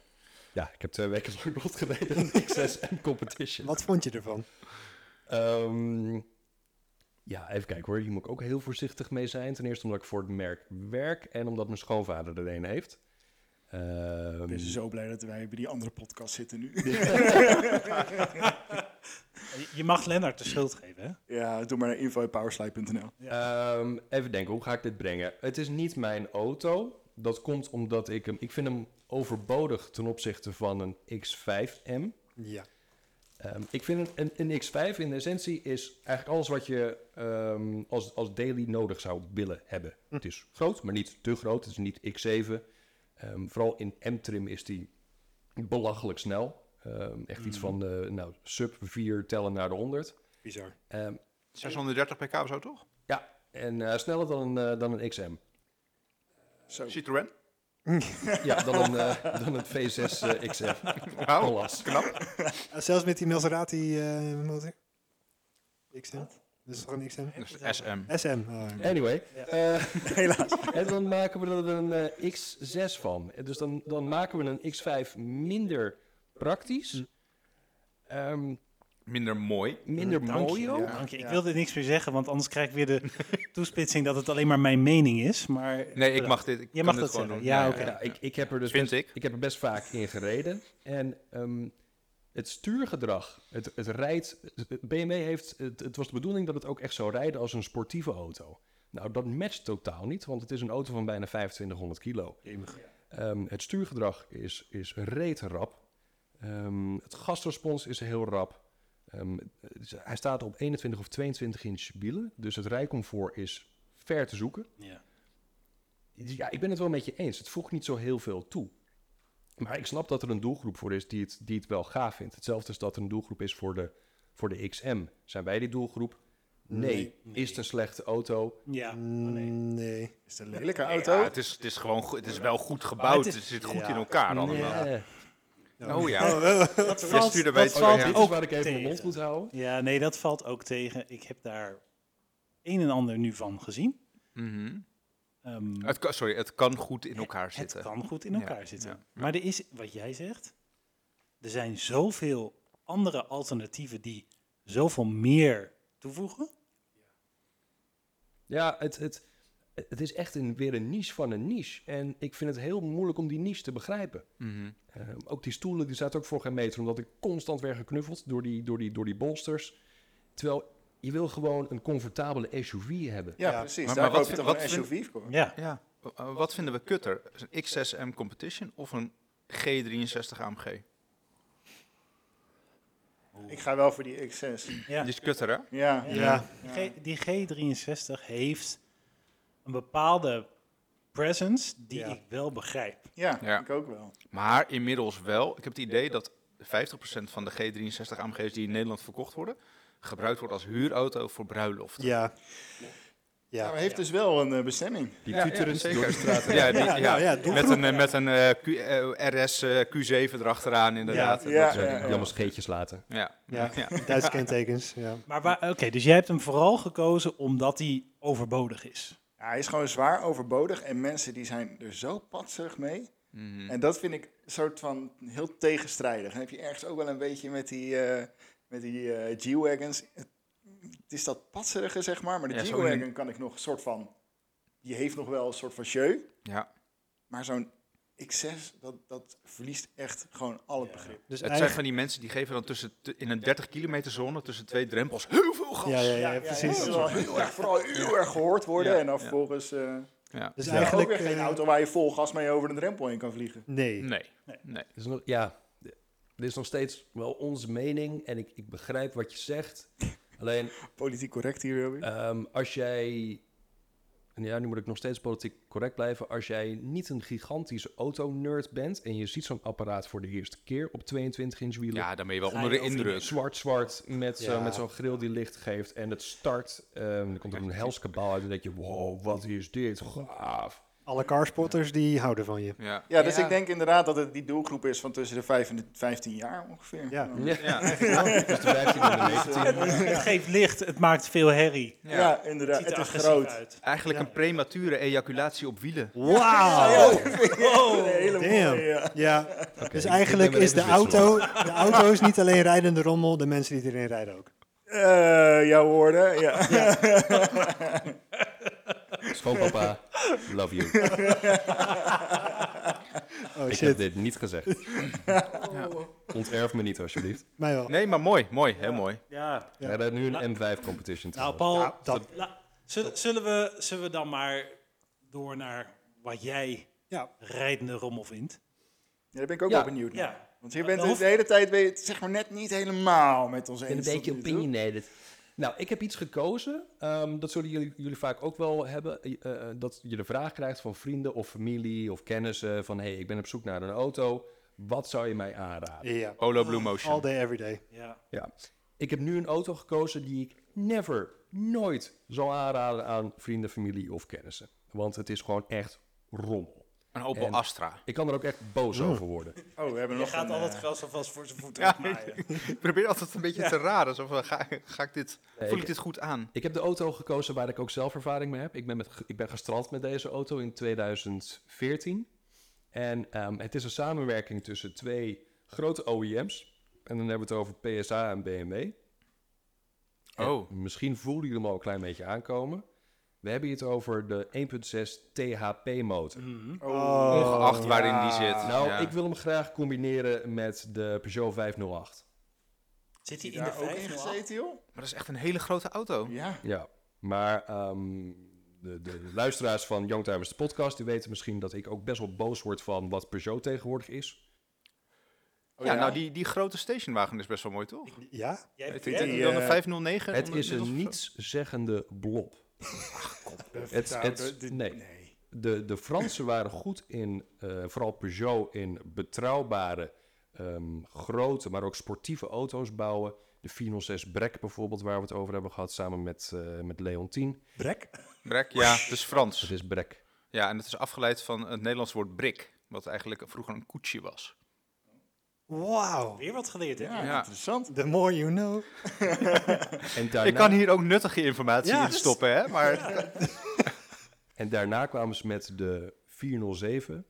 S1: Ja, ik heb twee weken lang rondgereden in de XSM Competition.
S6: Wat vond je ervan?
S1: Ehm, Ja, even kijken hoor. Hier moet ik ook heel voorzichtig mee zijn. Ten eerste omdat ik voor het merk werk en omdat mijn schoonvader er een heeft. Ehm,
S4: Ik ben zo blij dat wij bij die andere podcast zitten nu.
S5: Je- Je mag Lennart de schuld geven, hè?
S4: ja, doe maar naar info.powerslide.nl.
S1: Ehm, even denken, hoe ga ik dit brengen? Het is niet mijn auto. Dat komt omdat ik hem... Ik vind hem overbodig ten opzichte van een X5M.
S6: Ja.
S1: Ehm, ik vind een, een, een X5 in essentie is eigenlijk alles wat je ehm, als, als daily nodig zou willen hebben.
S3: Hm.
S1: Het is groot, maar niet te groot. Het is niet X7. Ehm, vooral in M-trim is die belachelijk snel. Ehm, echt
S3: Hm.
S1: iets van eh, nou, sub 4 tellen naar de 100.
S6: Bizar.
S1: Ehm,
S3: 630 pk of zo, toch?
S1: en eh, sneller dan een, eh, dan een XM.
S4: Zo.
S3: Citroën?
S1: Ja, dan een, eh, [laughs] dan een V6 eh, XF.
S3: Wauw,
S1: Helaas.
S3: knap.
S6: Eh, zelfs met die Maserati eh, motor? XM? Dat is toch een XM?
S3: Dus SM.
S6: SM. oh, oké.
S1: Anyway.
S5: Ja.
S1: eh,
S4: Helaas.
S1: en dan maken we er een eh, X6 van. En Dus dan, dan maken we een X5 minder praktisch. ehm,
S3: Minder mooi.
S1: minder
S5: Dank je,
S1: mooi ook.
S5: dank je. Ik
S4: Ja.
S5: wilde niks meer zeggen, want anders krijg ik weer de
S3: [laughs]
S5: toespitsing dat het alleen maar mijn mening is. Maar
S3: Nee, ik mag dit. Ik
S5: Je
S3: kan
S5: mag
S3: dit
S5: dat
S3: gewoon
S5: zeggen.
S3: doen.
S5: Ja, oké.
S1: Ja, ik, ik heb er dus
S3: Nou, Vind
S1: best,
S3: ik.
S1: heb er best vaak in gereden. En ehm, het stuurgedrag, het, het rijdt... het- BMW heeft... Het, het was de bedoeling dat het ook echt zou rijden als een sportieve auto. Nou, dat matcht totaal niet, want het is een auto van bijna 2500 kilo. Ehm, het stuurgedrag is, is reet rap. Ehm, het gasrespons is heel rap. Ehm, het is- hij staat op 21 of 22 inch wielen. Dus het rijcomfort is ver te zoeken.
S5: Ja.
S1: Dus Ja, ik ben het wel met je eens. Het voegt niet zo heel veel toe. Maar ik snap dat er een doelgroep voor is die het, die het wel gaaf vindt. Hetzelfde is dat er een doelgroep is voor de, voor de XM. Zijn wij die doelgroep? Nee. Is het een slechte auto?
S5: Ja. Oh, nee.
S6: Mm, nee.
S4: Is het een lelijke auto?
S3: Ja, het, is, het, is gewoon, goed- het is wel goed gebouwd.
S5: is-
S3: Het zit goed
S5: ja.
S3: in elkaar allemaal.
S1: Nee.
S3: Oh ja.
S5: Dat
S3: Je
S5: valt,
S3: stuurde
S5: dat
S3: bij het-
S5: valt
S3: ja.
S1: Dit is
S5: ook
S1: waar ik even mijn mond
S5: tegen.
S1: moet houden.
S5: Ja, nee, dat valt ook tegen. Ik heb daar een en ander nu van gezien.
S3: Mhm.
S5: Ehm,
S3: Het kan, sorry, het kan goed in elkaar
S5: het
S3: zitten.
S5: kan goed in elkaar
S3: Ja,
S5: zitten.
S3: ja, ja.
S5: Maar er is, wat jij zegt, er zijn zoveel andere alternatieven die zoveel meer toevoegen.
S1: Ja, het, het, het is echt een, weer een niche van een niche. En ik vind het heel moeilijk om die niche te begrijpen.
S3: Mhm.
S1: Eh, ook die stoelen, die zaten ook voor geen meter, omdat ik constant werd geknuffeld door die, door die, door die bolsters. Terwijl je wil gewoon een comfortabele SUV hebben.
S4: Ja,
S6: Ja.
S4: precies.
S3: Maar- maar
S4: Daar hoop
S3: wat
S4: ik
S3: vind-
S4: toch een
S3: wat vind-
S4: SUV voor.
S5: Ja,
S3: Ja. Eh, Wat vinden we kutter? Een X6M Competition of een G63 AMG?
S4: Ik ga wel voor die X6.
S5: Ja.
S3: Die is kutter, hè?
S4: Ja.
S6: Ja.
S5: G- die G63 heeft een bepaalde presence die
S6: Ja.
S5: ik wel begrijp.
S4: Ja,
S3: Ja.
S4: ik ook wel.
S3: Maar inmiddels wel. Ik heb het idee dat 50% van de G63 AMG's die in Nederland verkocht worden, gebruikt wordt als huurauto voor bruiloft.
S6: Ja.
S4: Ja,
S6: Ja.
S4: maar heeft dus wel een eh, bestemming.
S1: Die tuteren ze door de
S3: [laughs]
S1: straat.
S3: Ja, die-
S6: Ja,
S3: ja.
S6: nou ja,
S3: met een, eh, met een eh, Q- eh, RS eh, Q7 erachteraan, inderdaad.
S4: Ja,
S3: Dat
S4: ja,
S3: soort
S4: ja,
S3: dingen.
S1: Die allemaal scheetjes laten.
S3: Ja.
S6: Ja.
S3: Ja.
S6: Duitse kentekens. Ja.
S5: Maar waar- oké, dus jij hebt hem vooral gekozen omdat hij overbodig is.
S4: Ja, hij is gewoon zwaar overbodig en mensen die zijn er zo patserig mee.
S3: Hm. Mhm.
S4: En dat vind ik een soort van heel tegenstrijdig. Dan heb je ergens ook wel een beetje met die, eh, met die eh, G-Wagons. Het, het is dat patserige, zeg maar. Maar de
S3: Ja, zo'n-
S4: G-Wagon kan ik nog een soort van... Die heeft nog wel een soort van jeu.
S3: Ja.
S4: Maar zo'n X6, dat, dat verliest echt gewoon al het begrip.
S6: Dus
S3: Het zijn van die mensen die geven dan tussen, t- in een 30 kilometer zone tussen twee drempels heel veel gas.
S6: ja, ja, ja,
S4: Het
S6: precies.
S4: is wel heel erg, vooral heel erg gehoord worden.
S3: Ja,
S4: en dan
S3: ja.
S4: vervolgens... eh,
S3: Ja.
S6: Dus
S1: Ja.
S4: ook
S6: eigenlijk...
S4: weer geen
S6: eh,
S4: auto waar je vol gas mee over de drempel heen kan vliegen.
S6: Nee.
S3: Nee. nee.
S1: Dus nog, ja, dit is nog steeds wel onze mening en ik, ik begrijp wat je zegt. Alleen
S4: Politiek correct hier,
S5: Eh,
S4: Robby.
S1: Ehm, als jij, en ja, nu moet ik nog steeds politiek correct blijven. Als jij niet een gigantische auto-nerd bent en je ziet zo'n apparaat voor de eerste keer op 22 inch wielen.
S3: Ja, dan ben je wel onder de indruk.
S1: Zwart-zwart met, zo-
S6: Ja.
S1: met zo'n grill die licht geeft en het start. ehm er komt er een helskabaal uit en dan denk je, wow, wat is dit gaaf.
S6: Alle carspotters die houden van je.
S3: Ja.
S4: Ja, dus ik denk inderdaad dat het die doelgroep is van tussen de 5 en de 15 jaar ongeveer.
S6: Ja.
S4: Dan-
S1: Ja.
S3: Ja.
S1: Dus de 15 en de 19.
S5: Het geeft licht, het maakt veel herrie.
S4: ja. inderdaad.
S5: Het
S4: Het,
S5: ziet er
S4: is
S5: agressief
S4: groot.
S5: uit.
S3: Eigenlijk een premature ejaculatie op wielen.
S6: Wauw!
S5: Oh.
S4: [laughs] Een hele
S6: damn.
S4: mooie, ja.
S6: Ja,
S1: Oké,
S6: dus
S1: ik-
S6: eigenlijk
S1: ik ben
S6: is de
S1: weer even
S6: auto, de auto is niet alleen rijdende rommel, de mensen die erin rijden ook.
S4: Eh, jouw woorden, [laughs] ja.
S1: Schoonpapa, love you.
S6: Oh
S1: Ik
S6: shit,
S1: heb dit niet gezegd. Onterf me niet, alsjeblieft.
S6: mij wel.
S3: Nee, maar mooi, mooi, heel mooi.
S5: Ja.
S1: We hebben nu een M5-competition.
S5: Nou, Paul,
S6: Ja, dat-
S5: la- zullen, zullen we, zullen we dan maar door naar wat jij
S6: Ja,
S5: rijdende rommel vindt?
S4: Ja, daar ben ik ook
S1: Ja.
S4: wel benieuwd naar.
S5: Ja.
S4: Want je bent
S5: Dat
S4: het de
S5: hoeft-
S4: hele tijd ben je het zeg maar net niet helemaal met ons eens.
S1: ben een beetje
S4: tot nu toe.
S1: opinionated. Nou, ik heb iets gekozen. Ehm, dat zullen jullie, jullie vaak ook wel hebben. eh, eh, dat je de vraag krijgt van vrienden of familie of kennissen. Van, hey, ik ben op zoek naar een auto. Wat zou je mij aanraden?
S6: ja.
S3: Polo Blue Motion.
S6: All day, every day.
S5: Ja.
S1: Ja. Ik heb nu een auto gekozen die ik never, nooit zal aanraden aan vrienden, familie of kennissen. Want het is gewoon echt rommel.
S3: Een Opel
S1: En-
S3: Astra.
S1: Ik kan er ook echt boos over worden.
S4: Oh, we hebben
S5: Je
S4: nog
S5: gaat
S4: een,
S5: al het
S4: eh,
S5: gras alvast voor zijn voeten
S3: Ja.
S4: [laughs]
S5: maaien.
S3: [laughs] Ik probeer altijd een beetje te raden. Zo van, ga, ga ik dit,
S1: Nee,
S3: voel
S1: Eh, ik-
S3: ik dit goed aan?
S1: Ik heb de auto gekozen waar ik ook zelf ervaring mee heb. Ik ben, met, ik ben gestrand met deze auto in 2014. En ehm, het is een samenwerking tussen twee grote OEM's. En dan hebben we het over PSA en BMW. En
S3: Oh.
S1: Misschien voelden jullie hem al een klein beetje aankomen. We hebben het over de 1.6 THP motor.
S4: Oh,
S3: Ongeacht
S4: ja.
S3: waarin die zit.
S1: nou,
S3: Ja.
S1: ik wil hem graag combineren met de Peugeot 508.
S5: Zit hij
S4: Die
S5: in de
S4: daar ook in
S5: 508?
S4: gezeten, joh?
S3: Maar dat is echt een hele grote auto.
S4: Ja.
S1: Ja, maar ehm, de, de luisteraars van Youngtimers de podcast... die weten misschien dat ik ook best wel boos word van wat Peugeot tegenwoordig is.
S4: Oh,
S3: ja, nou, die, die grote stationwagen is best wel mooi, toch?
S6: Ja?
S5: Jij,
S3: Weet
S5: jij-
S3: ik dat
S4: die,
S3: die dan een
S4: eh,
S3: 509?
S1: Het is
S3: ondermiddels
S1: een
S3: of zo?
S1: nietszeggende blob. Het-
S4: nou,
S1: het-
S4: dat- dit-
S1: nee. De, de Fransen waren goed in, eh, vooral Peugeot, in betrouwbare, ehm, grote, maar ook sportieve auto's bouwen. De 406 Brek bijvoorbeeld, waar we het over hebben gehad, samen met, eh met Leontien.
S6: Brek?
S3: Brek, ja, het is
S1: Dat
S3: Frans.
S1: is Brek.
S3: Ja, en het is afgeleid van het Nederlands woord brik. Wat eigenlijk vroeger een koetsje was.
S6: Wauw.
S5: Weer wat geleerd, hè?
S4: Ja,
S3: Ja.
S4: interessant.
S6: The more you know.
S1: En daarna,
S3: Ik kan hier ook nuttige informatie
S6: Ja,
S3: in stoppen, hè? Maar
S1: en daarna kwamen ze met de 407.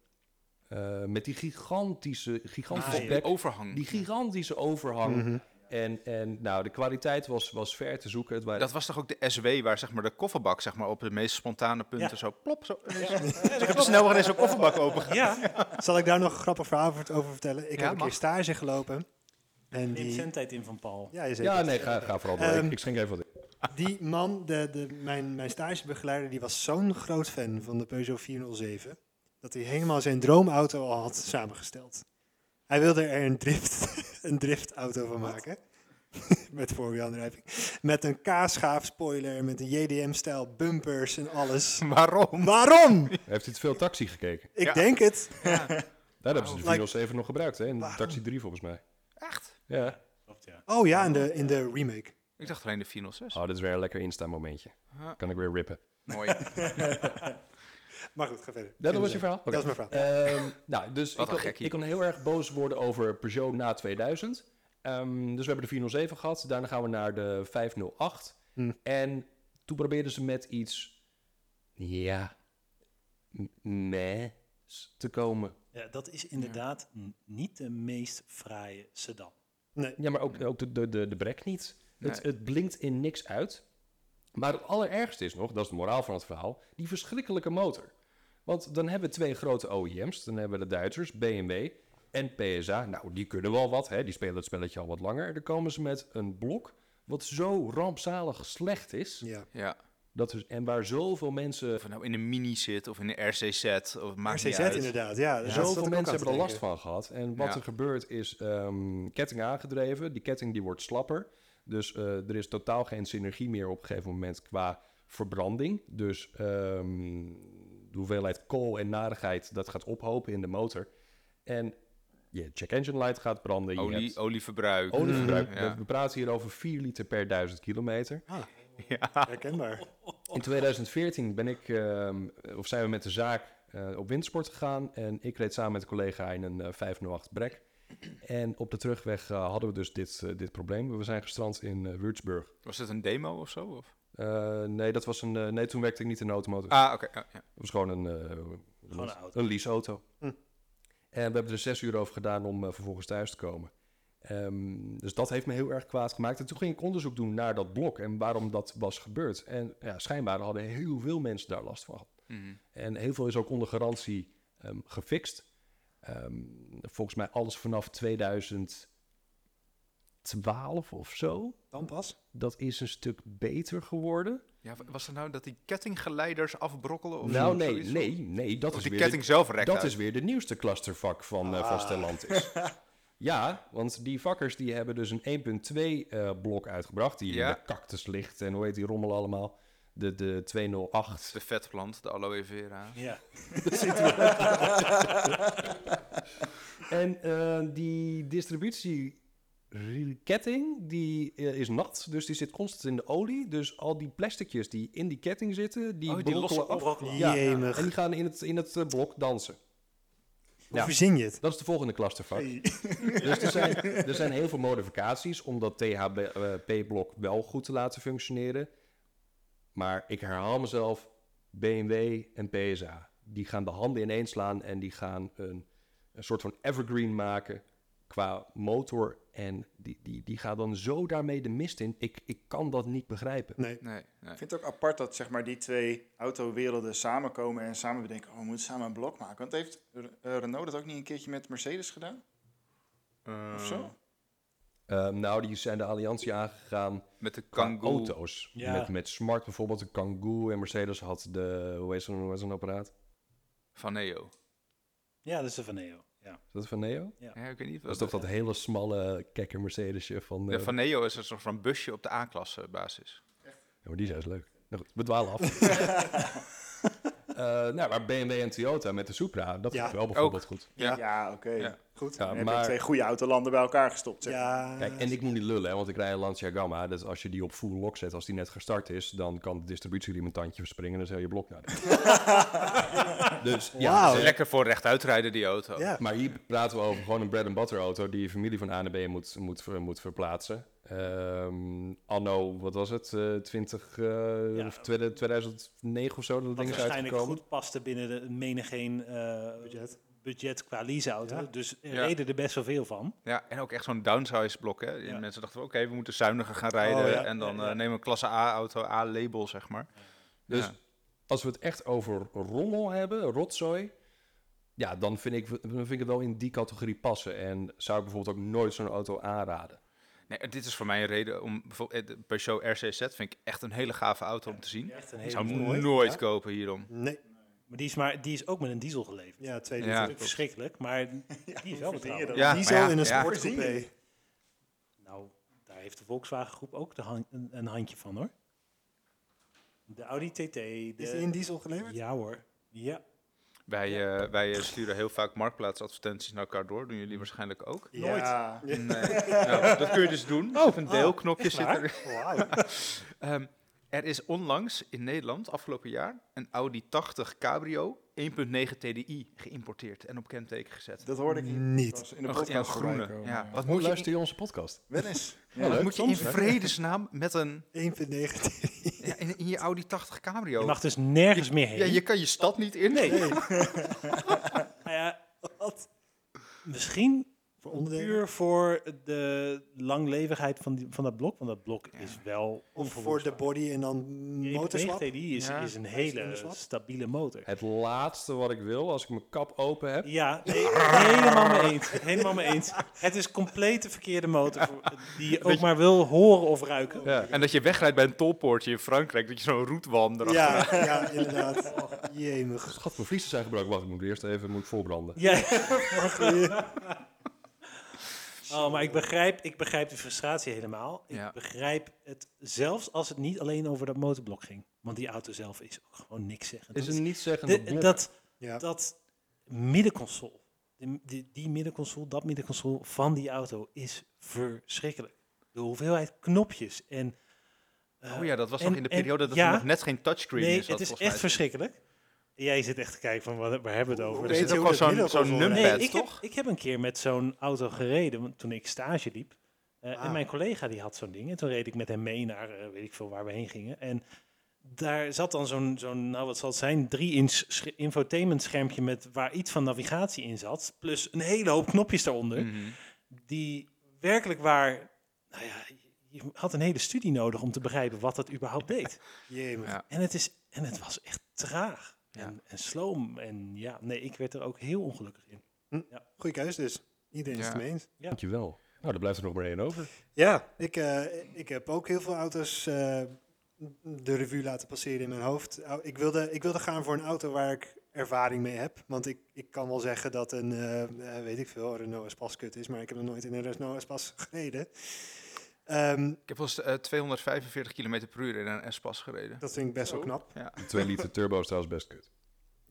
S1: eh, met die gigantische, gigantische
S5: Ah, ja.
S1: bek.
S3: overhang.
S1: Die gigantische overhang.
S6: Mhm.
S1: En, en nou, de kwaliteit was, was ver te zoeken. Het waren
S3: Dat was toch ook de SW waar zeg maar, de kofferbak zeg maar, op de meest spontane punten
S5: Ja.
S3: zo plop. Zo, ineens-
S5: Ja, dat
S3: Ik heb er
S5: klopt.
S3: snel weer eens een kofferbak open.
S5: Ja,
S6: Zal ik daar nog een grappig verhaal voor- over vertellen? Ik
S3: Ja,
S6: heb een keer
S3: mag.
S6: stage gelopen. En
S5: neem
S6: die...
S5: zendtijd in van Paul.
S6: Ja, zeker.
S1: Ja, nee, ga, ga vooral door.
S6: Ehm,
S1: ik, ik schenk even wat in.
S6: Die man, de, de, mijn, mijn stagebegeleider, die was zo'n groot fan van de Peugeot 407. Dat hij helemaal zijn droomauto al had samengesteld. Hij wilde er een, drift, [laughs] een driftauto van maken. [laughs] met voorwielaandrijving. Met een K-schaaf spoiler, met een JDM-stijl bumpers en alles.
S3: [laughs] Waarom?
S6: Waarom?
S1: Heeft u te veel taxi gekeken?
S6: Ik
S3: Ja.
S6: denk het.
S1: Daar hebben ze de
S6: Like-
S1: 407 nog gebruikt, hè? In
S6: Waarom?
S1: Taxi 3 volgens mij.
S3: Echt?
S1: Ja.
S5: Klopt, ja.
S6: Oh ja, in de, in de remake.
S3: Ik dacht alleen de 406.
S1: Oh, dit is weer een lekker Insta-momentje.
S3: Ja.
S1: Kan ik weer rippen.
S3: Mooi. [laughs]
S6: Maar goed, ga verder.
S1: Dat was je verhaal?
S6: Dat is mijn verhaal.
S1: Ehm, nou, dus
S3: Wat
S1: ik
S3: een
S1: kon,
S3: gekkie.
S1: ik kon heel erg boos worden over Peugeot na 2000. Ehm, dus we hebben de 407 gehad. Daarna gaan we naar de 508.
S6: Hm.
S1: En toen probeerden ze met iets... Ja... m- meh te komen.
S5: Ja, dat is inderdaad n- niet de meest fraaie sedan.
S6: Nee.
S1: Ja, maar ook, ook de, de, de, de brek niet. Het,
S3: Nee.
S1: het blinkt in niks uit. Maar het allerergste is nog, dat is de moraal van het verhaal, die verschrikkelijke motor. Want dan hebben we twee grote OEM's. Dan hebben we de Duitsers, BMW en PSA. Nou, die kunnen wel wat, hè? die spelen het spelletje al wat langer. Dan komen ze met een blok wat zo rampzalig slecht is.
S6: Ja.
S3: Ja.
S1: Dat is, en waar zoveel mensen,
S3: Of het nou in een mini zit of in een RCZ. Of, maakt niet
S6: RCZ
S3: uit.
S6: inderdaad, ja. daar zat ik ook
S1: zoveel
S6: aan te
S1: mensen hebben er last
S6: denken.
S1: van gehad. En wat
S3: Ja.
S1: er gebeurt is ehm, ketting aangedreven. Die ketting die wordt slapper. Dus eh, er is totaal geen synergie meer op een gegeven moment qua verbranding. Dus ehm, de hoeveelheid kool en narigheid, dat gaat ophopen in de motor. En je check engine light gaat branden. je
S3: Olie,
S1: hebt
S3: olieverbruik.
S1: olieverbruik.
S3: Mm, ja.
S1: We praten hier over 4 liter per 1000 kilometer.
S6: Herkenbaar.
S1: In 2014 ben ik, ehm, of zijn we met de zaak eh, op windsport gegaan. En ik reed samen met een collega in een eh, 508 Brek. En op de terugweg eh, hadden we dus dit, eh, dit probleem. We zijn gestrand in eh, Würzburg.
S3: Was het een demo of zo? Of?
S1: Eh, nee, dat was een, eh, nee, toen werkte ik niet in de automotive.
S3: Ah, oké. ja, ja.
S1: Het was gewoon een, eh, hoe noem je
S5: een
S1: dat?
S5: auto.
S1: een leaseauto.
S6: Hm.
S1: En we hebben er zes uur over gedaan om eh, vervolgens thuis te komen. Ehm, dus dat heeft me heel erg kwaad gemaakt. En toen ging ik onderzoek doen naar dat blok en waarom dat was gebeurd. En ja, schijnbaar hadden heel veel mensen daar last van.
S3: Mhm.
S1: En heel veel is ook onder garantie ehm, gefixt. Ehm, volgens mij alles vanaf 2012 of zo.
S6: Dan pas.
S1: Dat is een stuk beter geworden.
S3: Ja, wa- was het nou dat die kettinggeleiders afbrokkelen? Of
S1: nou,
S3: zo-
S1: nee,
S3: zoiets?
S1: nee, nee. Dat,
S3: Of
S1: is
S3: die
S1: weer,
S3: ketting zelf
S1: de,
S3: rekt
S1: dat
S3: uit. Ah.
S1: is weer de nieuwste clustervak van, eh van
S3: [laughs]
S1: Stellantis. ja, want die vakkers die hebben dus een 1.2 eh, blok uitgebracht. Die
S3: Ja.
S1: in de cactus ligt en hoe heet die rommel allemaal? De, de 208.
S3: De vetplant, de aloe vera.
S5: Ja.
S1: En eh, die distributieketting die eh, is nat, dus die zit constant in de olie. Dus al die plasticjes die in die ketting zitten, die
S3: Oh, die
S1: brokkelen
S3: lossen
S1: af.
S3: op.
S1: Ja,
S6: Jemig.
S1: en die gaan in het, in het eh, blok dansen.
S6: Hoe
S1: Ja.
S6: verzin je het?
S1: Dat is de volgende clustervak. [laughs] Dus er zijn, er zijn heel veel modificaties om dat THP-blok eh, wel goed te laten functioneren. Maar ik herhaal mezelf, BMW en PSA, die gaan de handen ineens slaan en die gaan een, een soort van evergreen maken qua motor. En die, die, die gaat dan zo daarmee de mist in. Ik, ik kan dat niet begrijpen.
S6: Nee.
S3: Nee, nee.
S4: Ik vind het ook apart dat zeg maar, die twee autowerelden samenkomen en samen bedenken, oh, we moeten samen een blok maken. Want heeft R- eh, Renault dat ook niet een keertje met Mercedes gedaan? Of
S3: Mm.
S4: zo?
S1: Eh, nou, die zijn de alliantie aangegaan
S3: Met de
S1: qua
S3: Kangoo.
S1: auto's.
S5: Ja.
S1: Met, met Smart bijvoorbeeld, de Kangoo en Mercedes had de... Hoe heet zo'n hoe heet zo'n apparaat?
S3: Van Neo.
S5: ja, dat is de Van Neo. Ja.
S1: Is dat van Neo?
S3: Ja, ik weet niet.
S1: Dat is
S3: Wat
S1: toch dat hele smalle kekker Mercedesje van... eh,
S3: Ja, van Neo is een soort van busje op de A-klasse basis.
S1: ja, maar die zijn is leuk. Nou goed, we dwalen af. Eh, nou, maar BMW en Toyota met de Supra, dat
S6: Ja,
S1: gaat wel bijvoorbeeld goed.
S4: Ja,
S3: Ja.
S4: oké.
S3: Ja.
S6: Goed.
S1: Ja,
S4: Dan heb je
S1: maar-
S4: twee goede autolanden bij elkaar gestopt. Zeg.
S6: Ja.
S1: Kijk, en ik moet niet lullen, hè, want ik rij een Lancia Gamma. Dus als je die op full lock zet, als die net gestart is, dan kan de distributieriem een tandje verspringen en dan is heel je blok naar de. dus ja,
S6: Wauw.
S3: Dat is lekker voor rechtuitrijden, die auto.
S6: Ja.
S1: Maar hier praten we over gewoon een bread and butter auto die je familie van A naar B moet, moet, ver- moet verplaatsen. Ehm, anno, wat was het? eh 20, eh,
S5: Ja.
S1: of 2000 2009 of zo dat
S5: Wat
S1: ding is
S5: waarschijnlijk
S1: uitgekomen.
S5: goed paste binnen de menigeen eh budget. budget qua leaseauto.
S6: Ja.
S5: Dus er
S3: Ja.
S5: reden er best wel veel van.
S3: Ja, en ook echt zo'n downsize blok. Hè?
S5: Ja.
S3: Mensen dachten, oké, we moeten zuiniger gaan rijden.
S6: Oh, ja.
S3: En dan
S5: Ja,
S3: eh,
S5: ja.
S3: nemen we een klasse A-auto, A-label, zeg maar.
S1: Dus
S3: Ja.
S1: als we het echt over rommel hebben, rotzooi, ja, dan vind ik, dan vind ik het wel in die categorie passen. En zou ik bijvoorbeeld ook nooit zo'n auto aanraden.
S3: Nee, dit is voor mij een reden om... bijvoorbeeld eh, de Peugeot RCZ vind ik echt een hele gave auto om te zien.
S5: Echt een
S3: Ik
S5: hele
S3: zou hem
S5: mooie.
S3: nooit
S6: Ja.
S3: kopen hierom.
S6: Nee.
S5: Maar die is, maar, die is ook met een diesel geleverd.
S6: Ja, twee
S3: Ja.
S6: liter.
S5: Natuurlijk verschrikkelijk, maar die is wel
S4: hoe verdien je
S5: betrouwbaar.
S4: dat?
S3: Ja,
S6: Diesel
S3: maar ja,
S6: in een
S3: ja.
S6: sportcoupé.
S5: Nou, daar heeft de Volkswagen Groep ook de han- een, een handje van hoor. De Audi TT. De...
S6: Is die in diesel geleverd?
S5: Ja hoor. Ja.
S3: Wij, eh, wij eh, sturen heel vaak marktplaatsadvertenties naar elkaar door. Doen jullie waarschijnlijk ook?
S4: Ja.
S3: Nee. nou, dat kun je dus doen. Oh, een deelknopje zit
S6: waar?
S3: er. [laughs] Ehm, er is onlangs in Nederland, afgelopen jaar, een Audi 80 Cabrio 1.9 TDI geïmporteerd en op kenteken gezet.
S4: Dat hoorde ik hier
S6: Niet.
S4: in de
S3: Een- Oh, ja, een
S4: podcast voorbij
S3: groene.
S4: komen,
S3: Ja. Wat
S1: Hoe
S3: moet je,
S1: luister je onze podcast?
S3: [laughs]
S4: Wel eens.
S1: Ja,
S3: wat
S1: leuk,
S3: moet je in
S1: soms, hè?
S3: vredesnaam met een
S6: 1,19.
S3: ja, in, in je Audi 80
S5: Je
S3: Cabrio?
S5: mag dus nergens meer heen.
S3: ja, je kan je stad niet in.
S5: Nee. [laughs] Nou ja, Misschien
S6: Voor onderdelen.
S5: puur voor de langlevigheid van, die, van dat blok. Want dat blok is wel
S6: Of voor de body en dan motorswap.
S5: Die 1.9 TDI is,
S3: Ja.
S5: is een
S6: Is
S5: hele
S6: het een
S5: stabiele motor.
S1: Het laatste wat ik wil, als ik mijn kap open heb,
S5: [laughs] Ja, nee, helemaal mee eens. Helemaal mee eens. Het is compleet de verkeerde motor voor, die je ook maar wil horen of ruiken.
S3: Ja. En dat je wegrijdt bij een tolpoortje in Frankrijk, dat je zo'n roetwalm erachter
S6: Ja, ja, inderdaad. Jemig.
S1: schat, mijn vliezen zijn gebroken. Wacht, ik moet eerst even moet ik voorbranden.
S5: Ja. Oh, maar ik begrijp, ik begrijp de frustratie helemaal. Ik
S3: Ja.
S5: begrijp het zelfs als het niet alleen over dat motorblok ging. Want die auto zelf is ook gewoon niks zeggen.
S1: Is
S5: Dat
S1: een niet
S5: de-
S1: zeggen dat
S5: dat,
S6: Ja.
S5: dat middenconsole, die, die, die middenconsole, dat middenconsole van die auto is verschrikkelijk. De hoeveelheid knopjes en... eh,
S3: Oh ja, dat was
S5: en-
S3: nog in de
S5: en-
S3: periode dat
S5: ja.
S3: er nog net geen touchscreen
S5: Nee,
S3: is.
S5: het is echt verschrikkelijk. Jij zit echt te kijken van, wat- waar hebben we het over?
S3: Er
S6: Weet
S3: zit
S6: je
S3: Dus ook
S6: hoe
S3: wel
S6: dat
S3: zo'n
S6: middelconsole werkt?
S3: zo'n
S5: Nee,
S3: numpad,
S5: ik, heb,
S3: toch?
S5: ik heb een keer met zo'n auto gereden want toen ik stage liep. Eh,
S6: Ah.
S5: En mijn collega die had zo'n ding. En toen reed ik met hem mee naar eh, weet ik veel waar we heen gingen. En daar zat dan zo'n, zo'n nou wat zal het zijn, drie inch sch- infotainment schermpje
S3: Mm.
S5: met waar iets van navigatie in zat. Plus een hele hoop knopjes daaronder.
S3: Mhm.
S5: Die werkelijk waar, nou ja, je had een hele studie nodig om te begrijpen wat dat überhaupt
S3: [laughs]
S5: deed.
S6: Jemig.
S3: Ja.
S5: En het, is, en het was echt traag en,
S3: Ja.
S5: en sloom. En ja, nee, ik werd er ook heel ongelukkig in.
S6: Goeie keus dus. Iedereen is
S3: Ja.
S6: het mee eens.
S1: Dankjewel. Nou, daar blijft er nog maar één over.
S6: Ja, ik, eh, ik heb ook heel veel auto's eh, de revue laten passeren in mijn hoofd. Au- Ik wilde, ik wilde gaan voor een auto waar ik ervaring mee heb. Want ik, ik kan wel zeggen dat een, eh, eh, weet ik veel, Renault Espace kut is. Maar ik heb nog nooit in een Renault Espace gereden. Ehm,
S3: Ik heb wel eens eh, 245 km per uur in een S-pas gereden.
S6: dat vind ik best wel knap.
S3: Ja.
S1: De 2 liter turbo is trouwens best kut.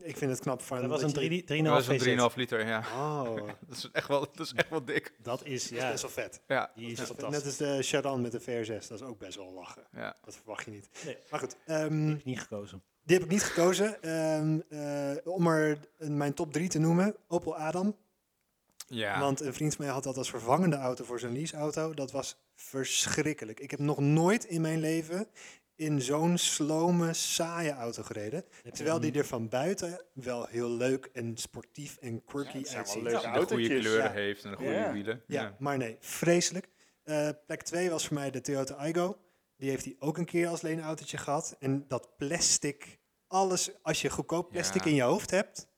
S6: Ik vind het knap van...
S5: Dat was een
S6: je-
S5: 3 3,5
S3: Dat is
S5: VZ.
S3: een 3,5 liter, ja. [laughs]
S6: Oh,
S3: Dat is echt wel, dat is echt wel dik.
S5: [laughs] Dat is,
S6: dat is
S5: ja,
S6: best wel vet.
S3: Ja.
S5: die is fantastisch.
S6: Net als de Sharan met de VR6. Dat is ook best wel lachen.
S3: Ja.
S6: Dat verwacht je niet.
S5: Nee.
S6: Maar goed, ehm,
S5: Niet gekozen.
S6: Die heb ik niet gekozen. Ehm, eh, om er mijn top 3 te noemen, Opel Adam.
S3: ja.
S6: Want een vriend van mij had dat als vervangende auto voor zijn leaseauto. Dat was verschrikkelijk. Ik heb nog nooit in mijn leven in zo'n slome, saaie auto gereden. Terwijl
S4: ehm,
S6: die er van buiten wel heel leuk en sportief en quirky
S4: het zijn wel
S6: uitziet.
S4: leuke
S3: Als je de goede
S4: autootjes.
S3: kleuren
S6: Ja.
S3: heeft en de goede
S4: Ja.
S3: wielen.
S6: Ja, maar nee, vreselijk. Eh, plek 2 was voor mij de Toyota Igo. Die heeft hij ook een keer als leenautootje gehad. En dat plastic, alles, als je goedkoop plastic
S3: Ja.
S6: in je hoofd hebt,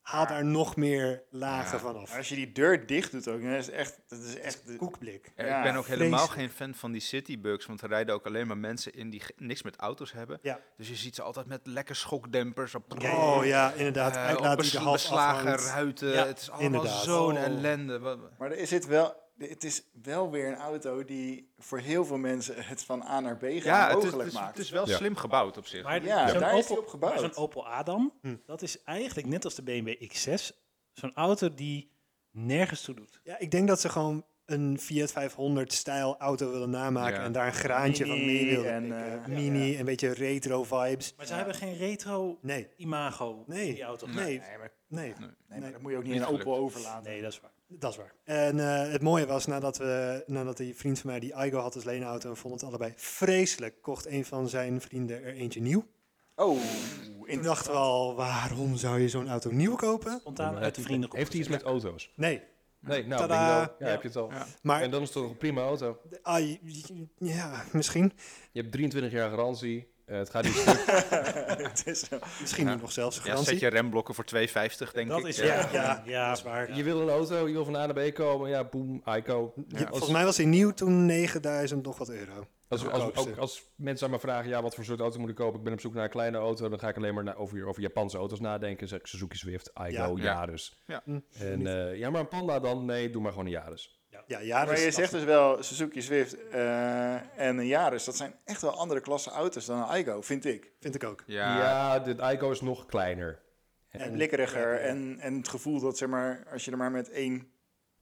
S6: haal daar nog meer lagen
S3: Ja.
S6: van
S4: Maar
S6: af.
S4: Als je die deur dicht doet ook, dan is het echt... Dat is echt
S6: Koekblik.
S3: Ja,
S4: Ja,
S3: ik ben ook helemaal geen
S6: vreselijk.
S3: fan van die citybugs, want er rijden ook alleen maar mensen in die ge- niks met auto's hebben.
S6: Ja.
S3: Dus je ziet ze altijd met lekker schokdempers op,
S6: Oh ja, inderdaad.
S3: eh, op
S6: Uitlaat die
S3: bes-
S6: de half
S3: beslagen
S6: afhangt.
S3: ruiten.
S5: Ja,
S3: het is allemaal
S6: inderdaad.
S3: zo'n
S6: Oh.
S3: ellende. Wat-
S4: Maar er is dit wel... Het is wel weer een auto die voor heel veel mensen het van A naar B gaan
S3: Ja, het is, het,
S4: mogelijk
S3: is,
S4: maakt.
S3: het is wel
S1: Ja.
S3: slim gebouwd op zich.
S5: Maar
S4: Ja,
S5: zo'n
S4: daar is
S5: Opel,
S4: die op gebouwd.
S5: maar zo'n Opel Adam,
S6: Hm.
S5: dat is eigenlijk net als de BMW X6, zo'n auto die nergens toe doet.
S6: Ja, ik denk dat ze gewoon een Fiat 500 stijl auto willen namaken
S3: Ja.
S6: en daar een graantje van mee
S4: Mini
S6: willen
S4: en,
S6: pikken.
S4: eh,
S6: Mini, een beetje retro vibes.
S5: Maar ze hebben geen retro
S6: Nee,
S5: imago
S6: Nee.
S5: in die auto.
S6: nee,
S4: Nee, maar,
S6: nee.
S4: nee, maar
S6: Nee.
S4: dat moet je ook niet
S3: Niet
S4: aan Opel
S3: gelukt.
S4: overlaten.
S5: Nee, dat is waar.
S6: Dat is waar. En eh, het mooie was, nadat, we, nadat die vriend van mij die Igo had als leenauto en vond het allebei vreselijk, kocht een van zijn vrienden er eentje nieuw.
S4: Oh,
S6: Toen
S4: in,
S6: dachten we al, waarom zou je zo'n auto nieuw kopen?
S5: Spontaan
S1: Maar
S5: uit de vrienden
S1: Heeft hij iets met auto's?
S6: Nee,
S1: Nee, nou,
S6: Tadaa.
S1: bingo. Ja,
S5: Ja.
S1: heb je het al.
S3: Ja.
S6: maar
S1: En dan is het toch een prima auto.
S6: ah, j- j- ja, misschien.
S1: Je hebt 23 jaar garantie. Eh, het gaat niet stuk.
S4: [laughs] het is wel-
S6: Misschien
S3: Ja.
S6: nu nog zelfs een
S3: Ja, zet
S6: garantie.
S3: je remblokken voor 2,50 denk
S5: Dat
S3: ik.
S5: is
S3: Ja.
S5: ja,
S6: ja,
S5: ja, dat is waar.
S1: Je wil een auto, je wil van A naar B komen. Ja, boem, Ico.
S6: Ja,
S1: Als-
S6: Volgens mij was hij nieuw toen 9000 nog wat euro.
S1: Als, als, ook
S6: Goedkoopste.
S1: als mensen aan me vragen, ja, wat voor soort auto moet ik kopen? Ik ben op zoek naar een kleine auto. Dan ga ik alleen maar na- over, over Japanse auto's nadenken. Zeg ik Suzuki Swift,
S6: Ja.
S1: Igo,
S3: Ja.
S1: Yaris.
S3: Ja.
S6: Hm.
S1: En eh, ja, maar een Panda dan? Nee, doe maar gewoon een Yaris.
S6: Ja, ja
S4: maar je zegt dus wel Suzuki Swift eh, en een Yaris. Dat zijn echt wel andere klasse auto's dan een Igo, vind ik.
S6: Vind ik ook.
S3: Ja.
S1: Ja, de Igo is nog kleiner.
S4: En blikkeriger en, en het gevoel dat zeg maar, als je er maar met één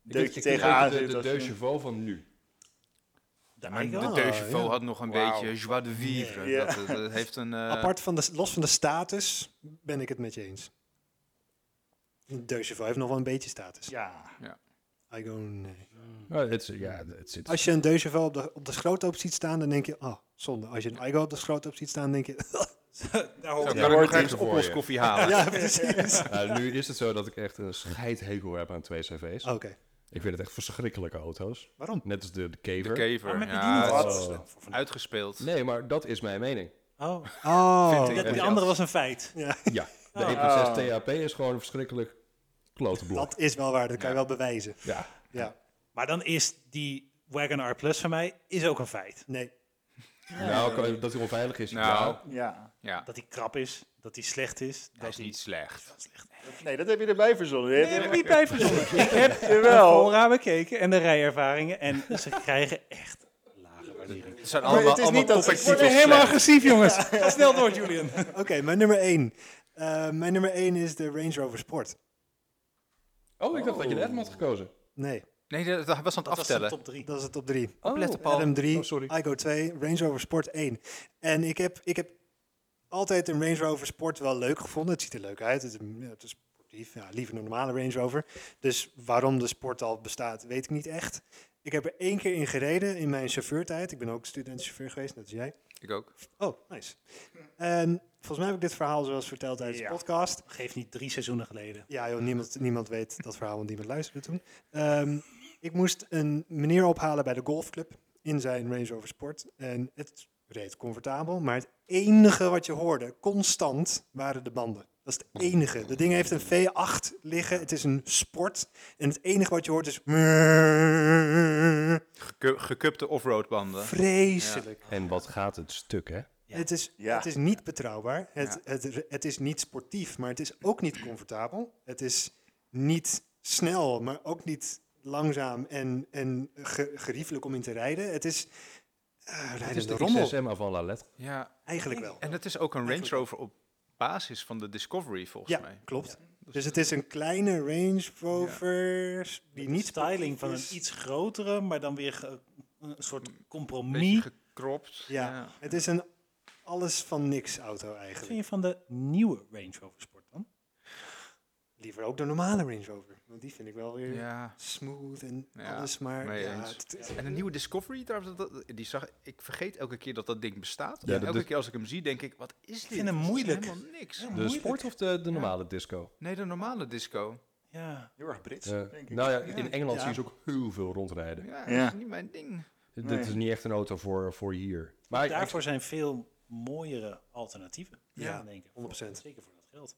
S4: deukje
S1: Ik denk
S4: tegenaan
S1: de,
S4: zit.
S1: de,
S4: als
S1: de
S4: je-
S1: Deux Chevaux van nu.
S5: De
S3: Maar
S5: Igo?
S3: de Deugevo
S6: ja.
S3: had nog een
S4: Wauw.
S3: beetje joie de vivre.
S4: Ja.
S3: Dat, dat- dat heeft een... eh,
S6: Apart van de, los van de status ben ik het met je eens. Deucevo heeft nog wel een beetje status.
S4: Ja,
S6: Igo, nee.
S1: Nou, het, is- ja, het zit.
S6: Als je een Deugevel op de, op de schroothoop ziet staan, dan denk je, oh, zonde. Als je een Igo op de schroothoop ziet staan, denk je, [laughs]
S5: Daar
S3: Zo,
S5: hoort
S3: kan ik
S4: hoort
S3: nog ergens
S1: voor je.
S3: oploskoffie halen?
S6: ja, precies.
S1: Nou, nu is het zo dat ik echt een scheidhekel heb aan twee CV's.
S6: Oké,
S1: Ik vind het echt verschrikkelijke auto's.
S6: waarom?
S1: Net als de, de
S3: De
S1: Kever.
S5: Maar
S3: kever.
S5: met die
S3: ja,
S5: niet
S3: dat
S4: wat?
S1: Oh.
S5: Voor
S3: is
S5: vandaag.
S3: Uitgespeeld.
S1: Nee, maar dat is mijn mening.
S5: Oh,
S6: Oh,
S3: Vind ik.
S5: dat- die andere was een feit.
S1: Ja, de E
S5: Oh.
S1: 1.6
S4: Oh.
S1: THP is gewoon een verschrikkelijk klote blok.
S6: dat is wel waar. Dat kan je
S3: Ja.
S6: wel bewijzen.
S1: Ja.
S6: Ja,
S5: Maar dan is die Wagon R Plus van mij is ook een feit.
S6: nee.
S1: Nou, kan- dat hij onveilig is.
S3: Nou.
S1: ja.
S4: ja.
S3: Ja,
S5: Dat die krap is, dat die slecht is.
S3: dat is niet slecht.
S4: Nee, dat heb je erbij verzonnen. Nee,
S5: heb ik niet bij verzonnen. [laughs] Ik heb
S4: Jawel.
S5: Fora bekeken en de rijervaringen. En ze krijgen echt lage waardering.
S3: Het zijn
S4: Maar
S3: allemaal,
S4: het is
S3: allemaal
S4: niet dat ze-
S3: topics die
S4: Ik word
S3: tot
S4: er helemaal
S3: slecht-
S5: agressief, jongens. Ga snel door, Julian.
S6: Oké, mijn nummer één. Eh, mijn nummer één is de Range Rover Sport.
S1: Oh, ik dacht dat je de Adam had gekozen.
S6: Nee,
S3: Nee, dat, dat was aan het
S5: Dat was de
S3: aftellen.
S5: top 3.
S6: dat is het top drie.
S3: Opletten, Paul.
S6: Adam 3,
S1: Oh, sorry.
S6: Igo 2, Range Rover Sport 1. En ik heb, ik heb altijd een Range Rover Sport wel leuk gevonden. Het ziet er leuk uit. Het is, ja, het is sportief. Ja, liever een normale Range Rover. Dus waarom de sport al bestaat, weet ik niet echt. Ik heb er één keer in gereden in mijn chauffeurtijd. Ik ben ook studentchauffeur geweest, net als jij.
S3: Ik ook.
S6: Oh, nice. En volgens mij heb ik dit verhaal zoals verteld tijdens
S4: Ja.
S6: de podcast.
S5: Geef niet drie seizoenen geleden.
S6: Ja, joh, niemand, niemand weet dat verhaal, want niemand luisterde toen. Ehm, Ik moest een meneer ophalen bij de golfclub in zijn Range Rover Sport. En het reed comfortabel, maar het enige wat je hoorde constant waren de banden. Dat is het enige. Dat ding heeft een V8 liggen. Het is een sport. En het enige wat je hoort is...
S3: Geku- Gekupte offroadbanden.
S6: Vreselijk.
S1: En wat gaat het stuk, hè?
S5: Ja.
S6: Het, is,
S4: Ja.
S6: het is niet betrouwbaar. Het,
S3: Ja.
S6: het, het is niet sportief, maar het is ook niet comfortabel. Het is niet snel, maar ook niet langzaam en, en ge- geriefelijk om in te rijden. Het is eh
S1: Het is
S6: rijdende
S1: de
S6: rommel,
S1: XSM van La Lettre.
S3: Ja,
S6: eigenlijk wel.
S3: en het is ook een Range
S6: Eigenlijk wel.
S3: Rover op basis van de Discovery volgens
S6: Ja,
S3: mij.
S6: klopt. Dus het is een kleine Range Rover die
S5: Die
S6: niet
S5: styling
S6: sportief
S5: van een
S6: is.
S5: iets grotere, maar dan weer ge- een soort
S3: Beetje
S5: compromis.
S3: gekropt.
S6: Ja, het is een alles van niks auto
S5: Wat
S6: eigenlijk.
S5: vind je van de nieuwe Range Rover Sport dan?
S6: Liever ook de normale Range Rover, want die vind ik wel weer
S3: Ja.
S6: smooth en
S3: Ja,
S6: alles maar.
S3: mee
S6: Ja,
S3: eens.
S6: het- het-
S3: En de nieuwe Discovery, daar, dat- dat- die zag, ik vergeet elke keer dat dat ding bestaat.
S1: Ja,
S3: en
S1: dat-
S3: elke
S1: dat-
S3: keer als ik hem zie, denk ik, wat is dit?
S5: vind hem
S3: Dat is
S5: moeilijk.
S3: helemaal niks.
S5: Ja.
S1: De
S5: Moeilijk.
S1: sport of de, de normale disco?
S3: Nee, de normale disco.
S5: Ja.
S4: Heel erg Brits,
S1: Eh,
S5: Dus
S4: denk ik.
S1: nou ja, in Engeland
S6: Ja.
S1: zie je ze ook heel veel rondrijden.
S3: Ja,
S4: Ja.
S3: dat is niet mijn ding.
S1: Dit
S4: Nee.
S1: is niet echt een auto voor, voor hier. Maar ik-
S5: Daarvoor zijn veel mooiere alternatieven.
S6: Ja,
S5: Ja, denk ik.
S6: 100%.
S5: Zeker voor dat geld.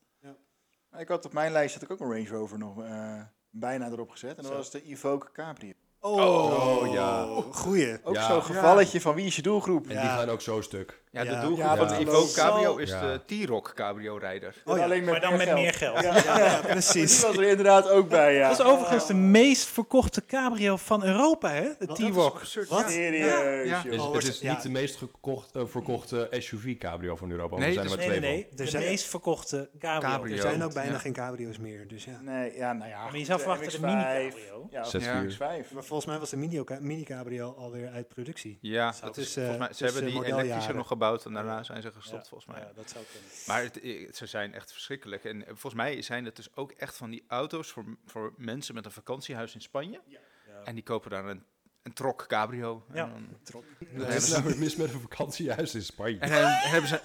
S4: Maar Ik had op mijn lijst had ik ook een Range Rover nog eh, bijna erop gezet. En dat
S5: Zo.
S4: was de Evoque Capri.
S6: Oh,
S1: Oh, ja.
S6: Goeie.
S4: Ook
S1: Ja.
S4: zo'n gevalletje van wie is je doelgroep?
S1: en
S4: Ja.
S1: die gaan ook zo stuk.
S3: Ja,
S6: Ja.
S3: de doelgroep
S4: Ja,
S3: van
S4: dat
S3: de
S4: is
S3: Evoque
S4: wel-
S3: Cabrio is
S1: Ja.
S3: de T-Rock Cabrio-rijder.
S6: Oh ja,
S4: Alleen
S5: Maar dan met meer geld.
S4: Ja,
S6: Ja, ja, precies.
S4: [laughs] Die was er inderdaad ook bij, ja.
S5: Dat is overigens de meest verkochte cabrio van Europa, hè? De T-Rock.
S6: Wat?
S4: Serieus,
S3: Ja.
S4: joh.
S1: Dus
S6: Oh,
S1: het
S6: is-
S1: is
S6: ja.
S1: niet de meest gekocht, eh, verkochte SUV-cabrio van Europa. want
S3: Nee,
S1: er zijn er
S3: dat
S1: maar
S5: Nee,
S1: twee
S5: nee, nee. De
S6: Er zijn-
S5: meest verkochte cabrio.
S3: Cabrio.
S6: Er zijn ook
S3: Ja.
S6: bijna geen cabrio's meer, dus ja.
S4: Nee, ja, nou ja.
S5: Maar je
S4: goed,
S5: zou
S4: de
S5: verwachten de
S4: MX-5.
S5: mini-cabrio.
S4: Ja,
S1: van. Zes
S3: Ja.
S1: uur.
S4: MX-5.
S6: Maar volgens mij was de mini- mini-cabrio alweer uit productie.
S3: Ja,
S5: Zou
S3: dat
S5: het
S3: is,
S6: zijn.
S3: volgens mij,
S6: Dus,
S3: ze hebben
S6: eh,
S3: die
S6: modeljaren.
S3: elektrische nog gebouwd en daarna zijn ze gestopt,
S5: Ja.
S3: volgens mij.
S5: Ja, dat zou kunnen.
S3: Maar het, eh, ze zijn echt verschrikkelijk. En eh, volgens mij zijn het dus ook echt van die auto's voor, voor mensen met een vakantiehuis in Spanje.
S5: Ja.
S3: En die kopen daar een, een trok cabrio.
S5: Ja.
S3: En, dan,
S1: [laughs] Er is nou mis met een vakantiehuis in
S3: [laughs]
S1: Spanje.
S3: en dan hebben ze...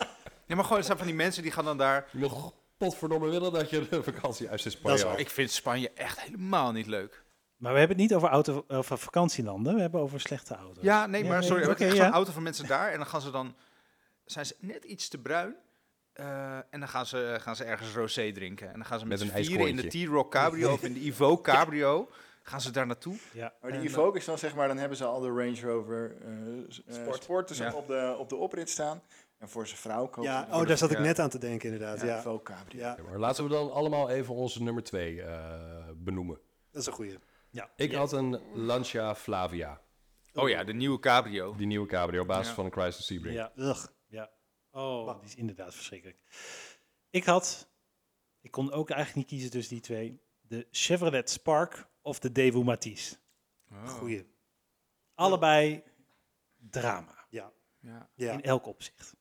S3: Ja, maar gewoon, het zijn van die mensen die gaan dan daar...
S1: Je mag potverdomme willen dat je een vakantiehuis in
S6: Dat is
S1: Spanje
S6: waar.
S1: had.
S3: Ik vind Spanje echt helemaal niet leuk.
S5: Maar we hebben het niet over, auto, over vakantielanden, we hebben over slechte auto's.
S3: Ja, nee, maar sorry.
S5: Oké,
S3: Okay, echt
S5: ja.
S3: zo'n auto van mensen daar. En dan gaan ze dan... Zijn ze net iets te bruin. eh, en dan gaan ze, gaan ze ergens rosé drinken. En dan gaan ze met,
S1: Met
S3: z'n
S1: een
S3: vieren in de T-Rock cabrio of in de [laughs] Ivo cabrio... Gaan ze daar naartoe.
S5: Ja.
S4: Maar de
S3: En,
S4: Evoque is dan zeg maar, dan hebben ze al de Range Rover eh, s- eh,
S3: Sport.
S4: Sport dus
S3: Ja.
S4: op, de, op de oprit staan. En voor zijn vrouw kopen
S6: Ja,
S4: ze
S6: oh, daar zat ik
S3: Ja.
S6: net aan te denken inderdaad.
S4: een
S6: Ja,
S4: Evoque Capri.
S6: ja
S1: Ja, maar laten we dan allemaal even onze nummer twee eh, benoemen.
S6: dat is een goeie.
S5: Ja.
S1: Ik
S5: Ja.
S1: had een Lancia Flavia,
S3: Oh ja, de nieuwe cabrio.
S1: die nieuwe cabrio, op basis
S3: Ja.
S1: van een Chrysler Sebring.
S5: Ja.
S6: Ugh.
S5: ja. Oh, die is inderdaad verschrikkelijk. Ik had, ik kon ook eigenlijk niet kiezen tussen die twee, de Chevrolet Spark of de Daewoo Matisse.
S3: Oh,
S6: Goeie.
S5: Allebei drama,
S3: Ja.
S6: Ja.
S5: in
S3: [laughs]
S5: elk opzicht.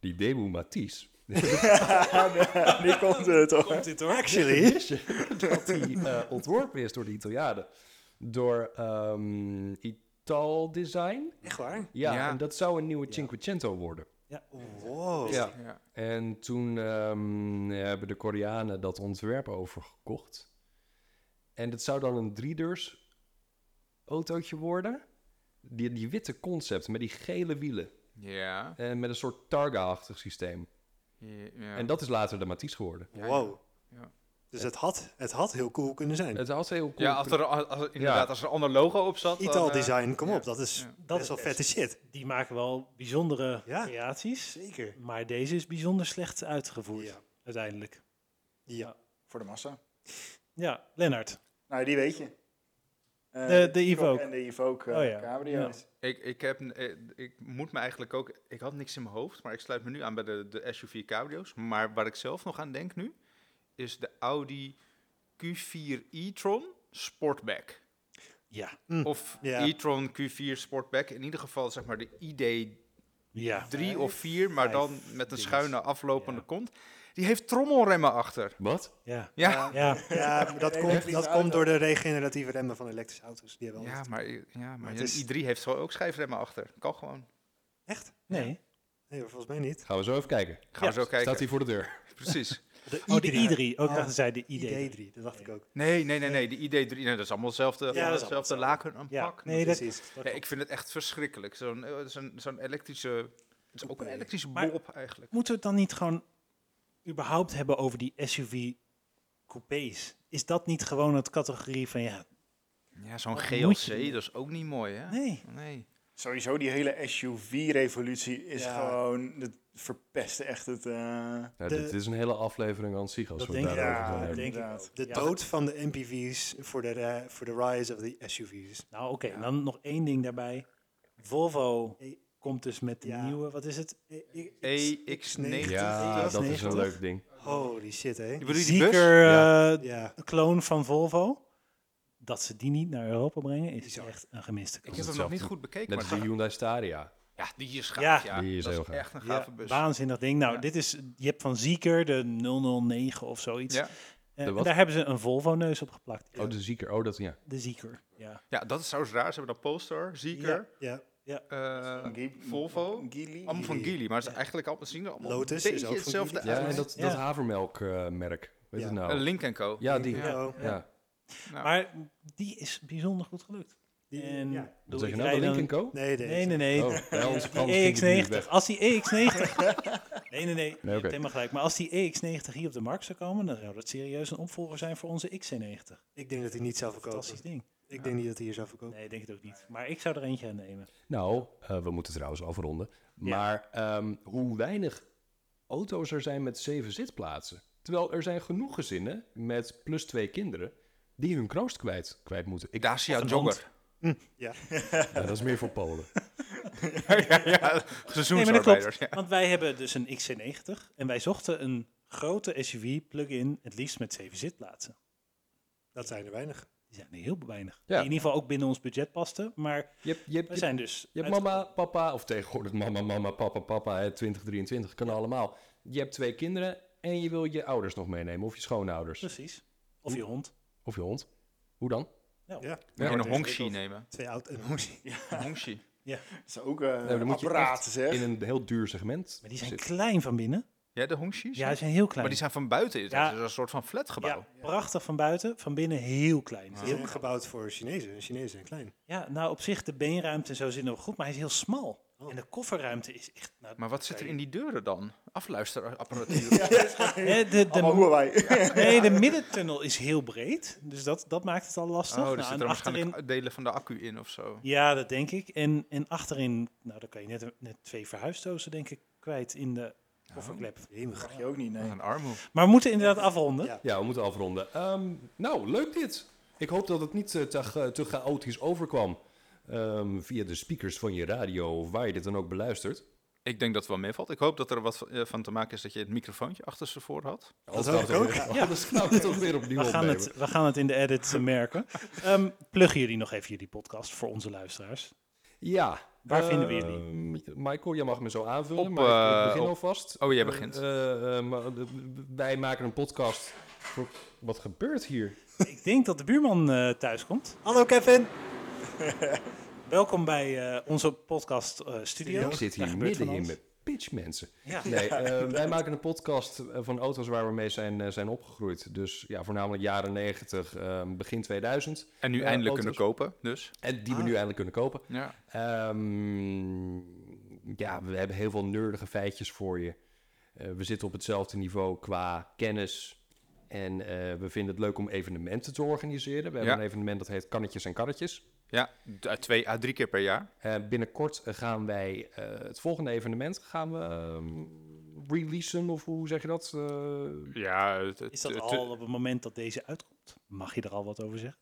S1: Die Daewoo Matisse,
S4: Nu komt het, hoor.
S5: Komt dit hoor.
S6: Actually,
S1: wist je dat die eh, ontworpen is door de Italianen? Door ehm Ital Design?
S6: echt waar?
S1: Ja,
S3: Ja.
S1: en dat zou een nieuwe Cinquecento worden.
S6: Wow.
S1: Ja.
S3: Ja.
S1: En toen ehm, hebben de Koreanen dat ontwerp overgekocht. En dat zou dan een driedeurs autootje worden. Die, die witte concept met die gele wielen.
S3: Ja.
S1: En met een soort targa-achtig systeem.
S3: ja.
S1: En dat is later de Matisse geworden.
S3: ja.
S6: Wow.
S3: Ja.
S6: Dus het had, het had heel cool kunnen zijn.
S1: Het had heel cool.
S3: Ja, als er, als, als- inderdaad, als er een ander logo op zat. dan,
S6: Ital
S3: eh,
S6: design, kom
S3: ja.
S6: op, dat is
S3: Ja.
S5: Dat
S6: dat is
S5: is
S6: wel
S5: best.
S6: vette shit.
S5: Die maken wel bijzondere
S6: Ja.
S5: creaties,
S6: Zeker.
S5: maar deze is bijzonder slecht uitgevoerd
S6: Ja.
S5: uiteindelijk.
S6: Ja.
S4: Voor de massa.
S5: Ja, Lennart.
S4: Nou, die weet je. Eh,
S5: De- de
S4: Evoque
S5: Evoque.
S4: En de Evoque eh,
S5: Oh, ja.
S4: Cabrio.
S5: Ja.
S3: Ik, ik, heb, n- eh, ik moet me eigenlijk ook... Ik had niks in mijn hoofd, maar ik sluit me nu aan bij de, de SUV cabrio's. Maar waar ik zelf nog aan denk nu, is de Audi Q4 e-tron Sportback.
S5: Ja,
S3: Of
S6: Ja.
S3: e-tron Q4 Sportback. In ieder geval zeg maar de ID
S5: ja.
S3: 3 of 4, maar
S5: Vijf
S3: dan met een
S5: dinges.
S3: schuine aflopende
S5: Ja.
S3: kont. Die heeft trommelremmen achter.
S1: Wat?
S5: ja.
S3: Ja,
S5: ja.
S6: [laughs] Ja, maar dat, komt, dat komt door de regeneratieve remmen van elektrische auto's. Die hebben wel
S3: Ja, maar, ja, maar,
S6: het
S3: een
S6: is-
S3: i3 heeft zo ook schijfremmen achter. Kan gewoon.
S6: Echt?
S5: Nee.
S6: Nee, volgens mij niet.
S1: Gaan we zo even kijken.
S3: Gaan
S5: Ja.
S3: we zo kijken.
S1: Staat hij voor de deur?
S3: Precies.
S5: De
S6: Oh,
S5: i3.
S6: die
S5: Ook
S6: Ja.
S5: dachten zij de ID3.
S6: ID3, dat dacht ik ook.
S3: Nee, nee, nee, nee. De ID3, nee, dat is allemaal hetzelfde,
S5: dat is allemaal
S3: hetzelfde
S5: hetzelfde.
S3: laken aan
S5: Ja,
S3: pak.
S5: nee, dat,
S6: Precies.
S5: dat
S3: Ja,
S5: klopt.
S3: ik vind het echt verschrikkelijk. Zo'n eh, zo'n zo'n elektrische. Het is ook een
S4: Coupé.
S3: elektrische
S5: Maar-
S3: bob eigenlijk.
S5: Moeten we het dan niet gewoon überhaupt hebben over die SUV-coupés? Is dat niet gewoon het categorie van ja,
S3: Ja, zo'n
S5: Wat
S3: GLC,
S5: moet je
S3: dat
S5: doen?
S3: is ook niet mooi, hè?
S5: nee.
S3: Nee.
S4: Sowieso, die hele SUV-revolutie is
S6: Ja.
S4: gewoon... Dat verpestte echt het... eh,
S1: Ja,
S6: De-
S1: dit is een hele aflevering aan zich als
S5: Dat
S1: we
S5: denk ik.
S1: daarover
S4: Ja,
S1: gaan
S4: dat
S1: hebben.
S4: denk-
S5: inderdaad.
S6: De
S5: Ja.
S6: dood van de MPV's voor de, ri- voor de rise of the SUV's.
S5: Nou oké, dan nog één ding daarbij. Volvo
S6: E-
S5: komt dus met de
S6: Ja.
S5: nieuwe, wat is het?
S6: E- e-
S3: EX90.
S1: Ja, dat is een
S6: 90.
S1: leuk ding.
S6: Holy shit, hè?
S3: Ik
S5: De
S3: bedoel, die bus.
S5: Zeker
S1: Ja.
S5: eh,
S6: Ja.
S5: kloon van Volvo. Dat ze die niet naar Europa brengen is
S6: Bizar.
S5: echt een gemiste
S3: Ik
S5: kans.
S1: is
S3: heb hem nog
S1: hetzelfde.
S3: niet goed bekeken,
S1: Net
S3: maar
S1: als die
S3: het
S1: Hyundai Staria.
S3: gaat- ja, die is gaaf.
S5: Ja.
S3: Ja,
S1: Die is
S3: dat
S1: heel
S3: is
S1: gaaf.
S3: echt een
S5: Ja,
S3: gave bus.
S5: waanzinnig ding. Nou,
S3: Ja.
S5: dit is, je hebt van Zeker de 009 of zoiets.
S3: Ja.
S5: Eh,
S1: De
S5: en
S1: wat?
S5: daar hebben ze een Volvo-neus op geplakt.
S1: Oh, de zieker. Oh, dat ja.
S5: De Zeker. Ja.
S3: ja, dat is trouwens raar. Ze hebben dan Polestar, Zeker,
S6: Ja,
S3: eh,
S4: Ghi-
S3: Volvo.
S4: Ghili?
S3: Allemaal van
S6: Geely.
S3: Geely, maar ze eigenlijk allemaal zien er allemaal
S6: Lotus is
S3: een beetje
S6: ook van
S3: hetzelfde
S6: Geely.
S1: Ja,
S3: uit.
S1: en dat, dat
S5: Ja.
S1: havermelkmerk. Weet
S6: Ja.
S1: het
S3: Eh,
S1: nou?
S3: Link Co.
S1: Ja, die.
S3: Ja.
S1: Ja.
S6: Oh,
S3: Ja.
S5: Maar die is bijzonder goed gelukt.
S6: Die-
S5: en
S6: ja.
S1: Wat
S5: bedoel,
S1: zeg je
S5: ik
S1: nou?
S5: rijd
S1: De
S5: dan-
S1: Lincoln Co?
S6: Nee, nee.
S5: Nee, nee, nee.
S1: Oh, bij ons
S5: Die E
S1: anders ging die niet
S5: EX90.
S1: weg.
S5: Als die
S6: [laughs]
S5: EX90. nee, nee, nee.
S1: Nee, oké.
S5: Je hebt helemaal gelijk. Maar als die EX90 hier op de markt zou komen, dan zou dat serieus een opvolger zijn voor onze XC90.
S6: Ik denk dat hij niet zou verkopen.
S5: Fantastisch ding.
S6: Ik denk niet dat hij hier zou verkopen.
S5: Nee, ik denk het ook niet. Maar ik zou er eentje aan nemen.
S1: Nou, eh, we moeten trouwens afronden. Maar ehm, hoe weinig auto's er zijn met zeven zitplaatsen. Terwijl er zijn genoeg gezinnen met plus twee kinderen die hun kroost kwijt, kwijt moeten. Ik,
S3: Dacia
S5: een
S3: Jogger.
S1: Ja, dat is meer voor Polen.
S3: ja, ja,
S5: Nee, maar dat klopt.
S3: seizoensarbeiders. ja.
S5: Want wij hebben dus een XC90 en wij zochten een grote SUV plug-in, het liefst met zeven zitplaatsen.
S6: Dat zijn er weinig.
S5: Die zijn er heel weinig.
S1: Ja.
S5: Die in ieder geval ook binnen ons budget pasten. Maar
S1: Je hebt, je hebt,
S5: we zijn dus...
S1: je hebt
S5: uit-
S1: mama, papa, of tegenwoordig mama, mama, papa, papa, hè, 2023, kan allemaal. Je hebt twee kinderen en je wil je ouders nog meenemen, of je schoonouders,
S5: Precies. Of je hond.
S1: of je hond. Hoe dan? Oh,
S6: Ja.
S3: Moet je
S6: wordt
S3: een Hongxi
S6: ingewikkeld.
S3: nemen.
S6: Twee oud en Hongxi.
S3: Een Hongxi.
S4: Dat is ook eh
S1: Nou, dan moet je
S4: apparaat,
S1: echt
S4: zeg.
S1: in een heel duur segment
S5: Maar die zijn
S1: zitten.
S5: klein van binnen.
S3: Ja, de Hongxi's?
S5: Ja, die zijn heel klein.
S3: Maar die zijn van buiten. Het
S5: Ja.
S3: is een soort van flatgebouw.
S5: Ja, prachtig van buiten, van binnen heel klein.
S6: Die hebben gebouwd voor Chinezen. En Chinezen zijn klein.
S5: Ja, nou op zich, de beenruimte en zo zit nog goed, maar hij is heel smal.
S3: Oh.
S5: En de kofferruimte is echt... Nou,
S3: Maar wat zit er in die deuren dan?
S5: [laughs]
S3: Afluisterapparatuur. Oh,
S5: hè, de, de,
S4: Allemaal Huawei. [laughs]
S5: nee, de middentunnel is heel breed, dus dat, dat maakt het al lastig.
S3: Oh,
S5: Nou,
S3: er
S5: en
S3: zitten er waarschijnlijk delen van de accu in of zo.
S5: Ja, dat denk ik. En, en achterin, nou dan kan je net, net twee verhuisdozen denk ik kwijt in de
S3: Nou.
S5: kofferklep.
S6: Jemig.
S4: Mag je ook niet, nee.
S3: Een armhoe.
S5: Maar we moeten inderdaad afronden.
S6: Ja.
S1: Ja, we moeten afronden. Ehm, nou, leuk dit. Ik hoop dat het niet eh, te, cha- te chaotisch overkwam ehm, via de speakers van je radio of waar je dit dan ook beluistert.
S3: Ik denk dat het wel meevalt. Ik hoop dat er wat van, eh, van te maken is dat je het microfoontje achter ze voor had.
S1: Dat
S6: hoop ik ook.
S1: Weer, [laughs] anders gaan we het ook weer opnieuw
S5: We gaan,
S1: opnemen.
S5: het, we gaan het in de edit
S3: [laughs]
S5: eh, merken. Ehm pluggen jullie nog even jullie podcast voor onze luisteraars.
S1: Ja.
S5: Waar
S1: eh,
S5: vinden we
S1: Michael, jij mag me zo aanvullen,
S3: Op,
S1: maar ik- ik
S3: eh,
S1: begin
S3: op-
S1: alvast.
S3: Oh, jij begint.
S1: Eh, eh, maar de- wij maken een podcast. voor- Wat gebeurt hier?
S5: ik denk dat de buurman eh thuis komt.
S6: Hallo Kevin.
S5: Welkom bij eh, onze podcast eh, studio.
S1: Ik zit
S5: Daar
S1: hier
S5: gebeurt van
S1: midden in
S5: alles.
S1: met pitchmensen.
S5: Ja. [laughs]
S1: Nee, eh, wij maken een podcast eh, van auto's waar we mee zijn, eh, zijn opgegroeid. Dus ja, voornamelijk jaren 90, eh, begin 2000.
S3: En nu
S1: Eh,
S3: eindelijk
S1: auto's.
S3: kunnen kopen, dus.
S1: En
S5: Ah.
S1: die we nu eindelijk kunnen kopen.
S3: Ja.
S1: Ehm, ja, we hebben heel veel nerdige feitjes voor je. Eh, we zitten op hetzelfde niveau qua kennis. En eh, we vinden het leuk om evenementen te organiseren. We hebben
S3: Ja.
S1: een evenement dat heet Kannetjes en Karretjes.
S3: Ja, d- eh, twee à drie keer per jaar.
S1: Eh, binnenkort gaan wij eh, het volgende evenement gaan we ehm, releasen, of hoe zeg je dat? Eh,
S3: Ja, het,
S5: Is dat al op het moment dat deze uitkomt? Mag je er al wat over zeggen?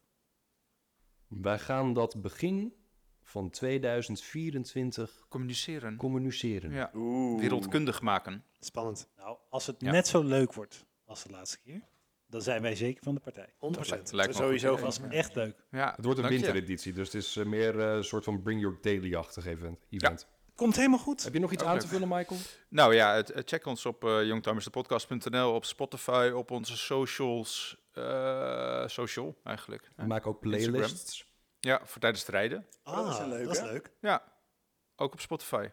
S1: wij gaan dat begin van 2024
S3: communiceren?
S1: communiceren.
S3: Hm. Ja.
S4: Oeh.
S3: Wereldkundig maken.
S6: Spannend. 100%.
S5: Nou, als het
S3: Ja.
S5: net zo leuk wordt als de laatste keer, dan zijn wij zeker van de partij.
S3: Dat lijkt- lijkt me
S4: Sowieso
S5: Dat was
S4: van-
S5: echt leuk.
S3: Ja,
S1: Het wordt een
S3: dank je.
S1: wintereditie, dus het is eh, meer eh, een soort van bring your daily-achtig event. event.
S5: Komt helemaal goed.
S1: Heb je nog iets
S3: Ook
S1: aan
S3: leuk.
S1: te vullen, Michael?
S3: Nou ja, het- eh, check ons op eh youngtimersdepodcast.nl, op Spotify, op onze socials. eh, social, eigenlijk. Ja.
S1: Maak ook
S3: Instagram.
S1: playlists.
S3: Ja, voor tijdens het rijden.
S6: Ah, dat is,
S4: leuk,
S6: leuk, dat is
S4: hè?
S6: leuk.
S3: Ja, ook op Spotify.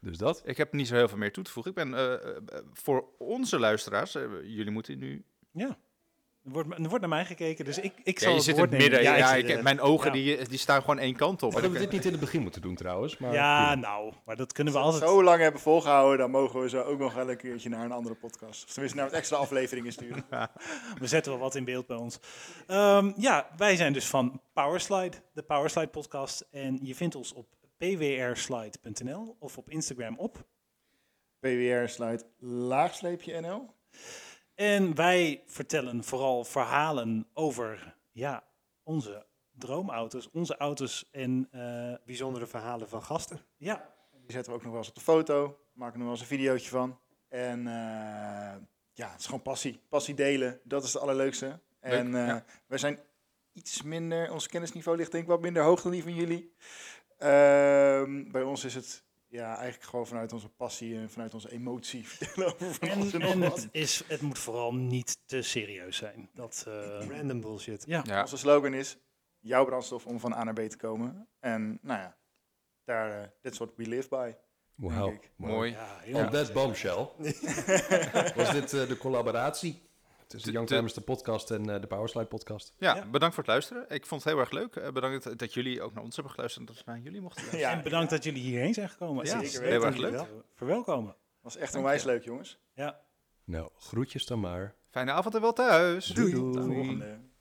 S1: Dus dat.
S3: Ik heb niet zo heel veel meer toe te voegen. Ik ben eh, eh, eh, voor onze luisteraars, eh, jullie moeten nu
S5: Ja. Er wordt, er wordt naar mij gekeken, dus ik, ik
S3: Ja,
S5: zal
S3: je
S5: het
S3: zit in
S5: woord
S3: het midden. Ja,
S5: nemen. ik
S3: ja,
S5: zit
S3: ik-
S5: er-
S3: mijn ogen
S5: ja.
S3: die, die staan gewoon één kant op.
S1: Hadden we
S3: Ik-
S1: dit niet in het begin moeten doen trouwens. Maar
S5: Ja,
S1: prima.
S5: nou, maar dat kunnen we
S4: Als we
S5: altijd.
S4: het zo lang hebben volgehouden, dan mogen we ze ook nog wel een keertje naar een andere podcast. Of tenminste, naar wat extra afleveringen [laughs] sturen.
S5: We zetten wel wat in beeld bij ons. Ehm, ja, wij zijn dus van Powerslide, de Powerslide podcast. En je vindt ons op pwrslide.nl of op Instagram op.
S4: PWR sluit laagstreepje NL.
S5: En wij vertellen vooral verhalen over ja, onze droomauto's, onze auto's. En eh,
S6: Bijzondere verhalen van gasten.
S5: ja,
S4: Die zetten we ook nog wel eens op de foto. Maken er nog wel eens een videootje van. En eh, ja, het is gewoon passie. Passie delen, dat is het allerleukste. En
S3: Leuk,
S4: eh,
S3: ja.
S4: wij zijn iets minder, ons kennisniveau ligt denk ik wat minder hoog dan die van jullie. Ehm, bij ons is het ja, eigenlijk gewoon vanuit onze passie en vanuit onze emotie [laughs] vertellen over van alles en,
S5: en,
S4: nog
S5: en
S4: wat.
S5: het, is, het moet vooral niet te serieus zijn. Dat, eh,
S6: Random bullshit.
S5: ja.
S3: Ja.
S4: Onze slogan is, jouw brandstof om van A naar B te komen. En nou ja, daar, eh, that's what we live by.
S1: Wauw.
S4: Denk ik.
S3: Mooi.
S5: Ja, heel
S1: On that bombshell. Was dit eh, de collaboratie tussen de Young
S3: de-
S1: Timers, de podcast en eh, de Powerslide podcast?
S3: Ja,
S5: Ja.
S3: bedankt voor het luisteren. Ik vond het heel erg leuk. Eh, Bedankt dat, dat jullie ook naar ons hebben geluisterd en dat we naar jullie mochten luisteren.
S4: Ja,
S5: En bedankt dat jullie hierheen zijn gekomen.
S3: Ja,
S5: Het is
S4: zeker weten.
S5: leuk om
S3: Heel erg
S5: jullie te Verwelkomen.
S4: was echt onwijs leuk jongens.
S5: Ja.
S1: Nou, groetjes dan maar.
S3: Fijne avond en wel thuis.
S4: Tot de
S1: Doei.
S4: volgende.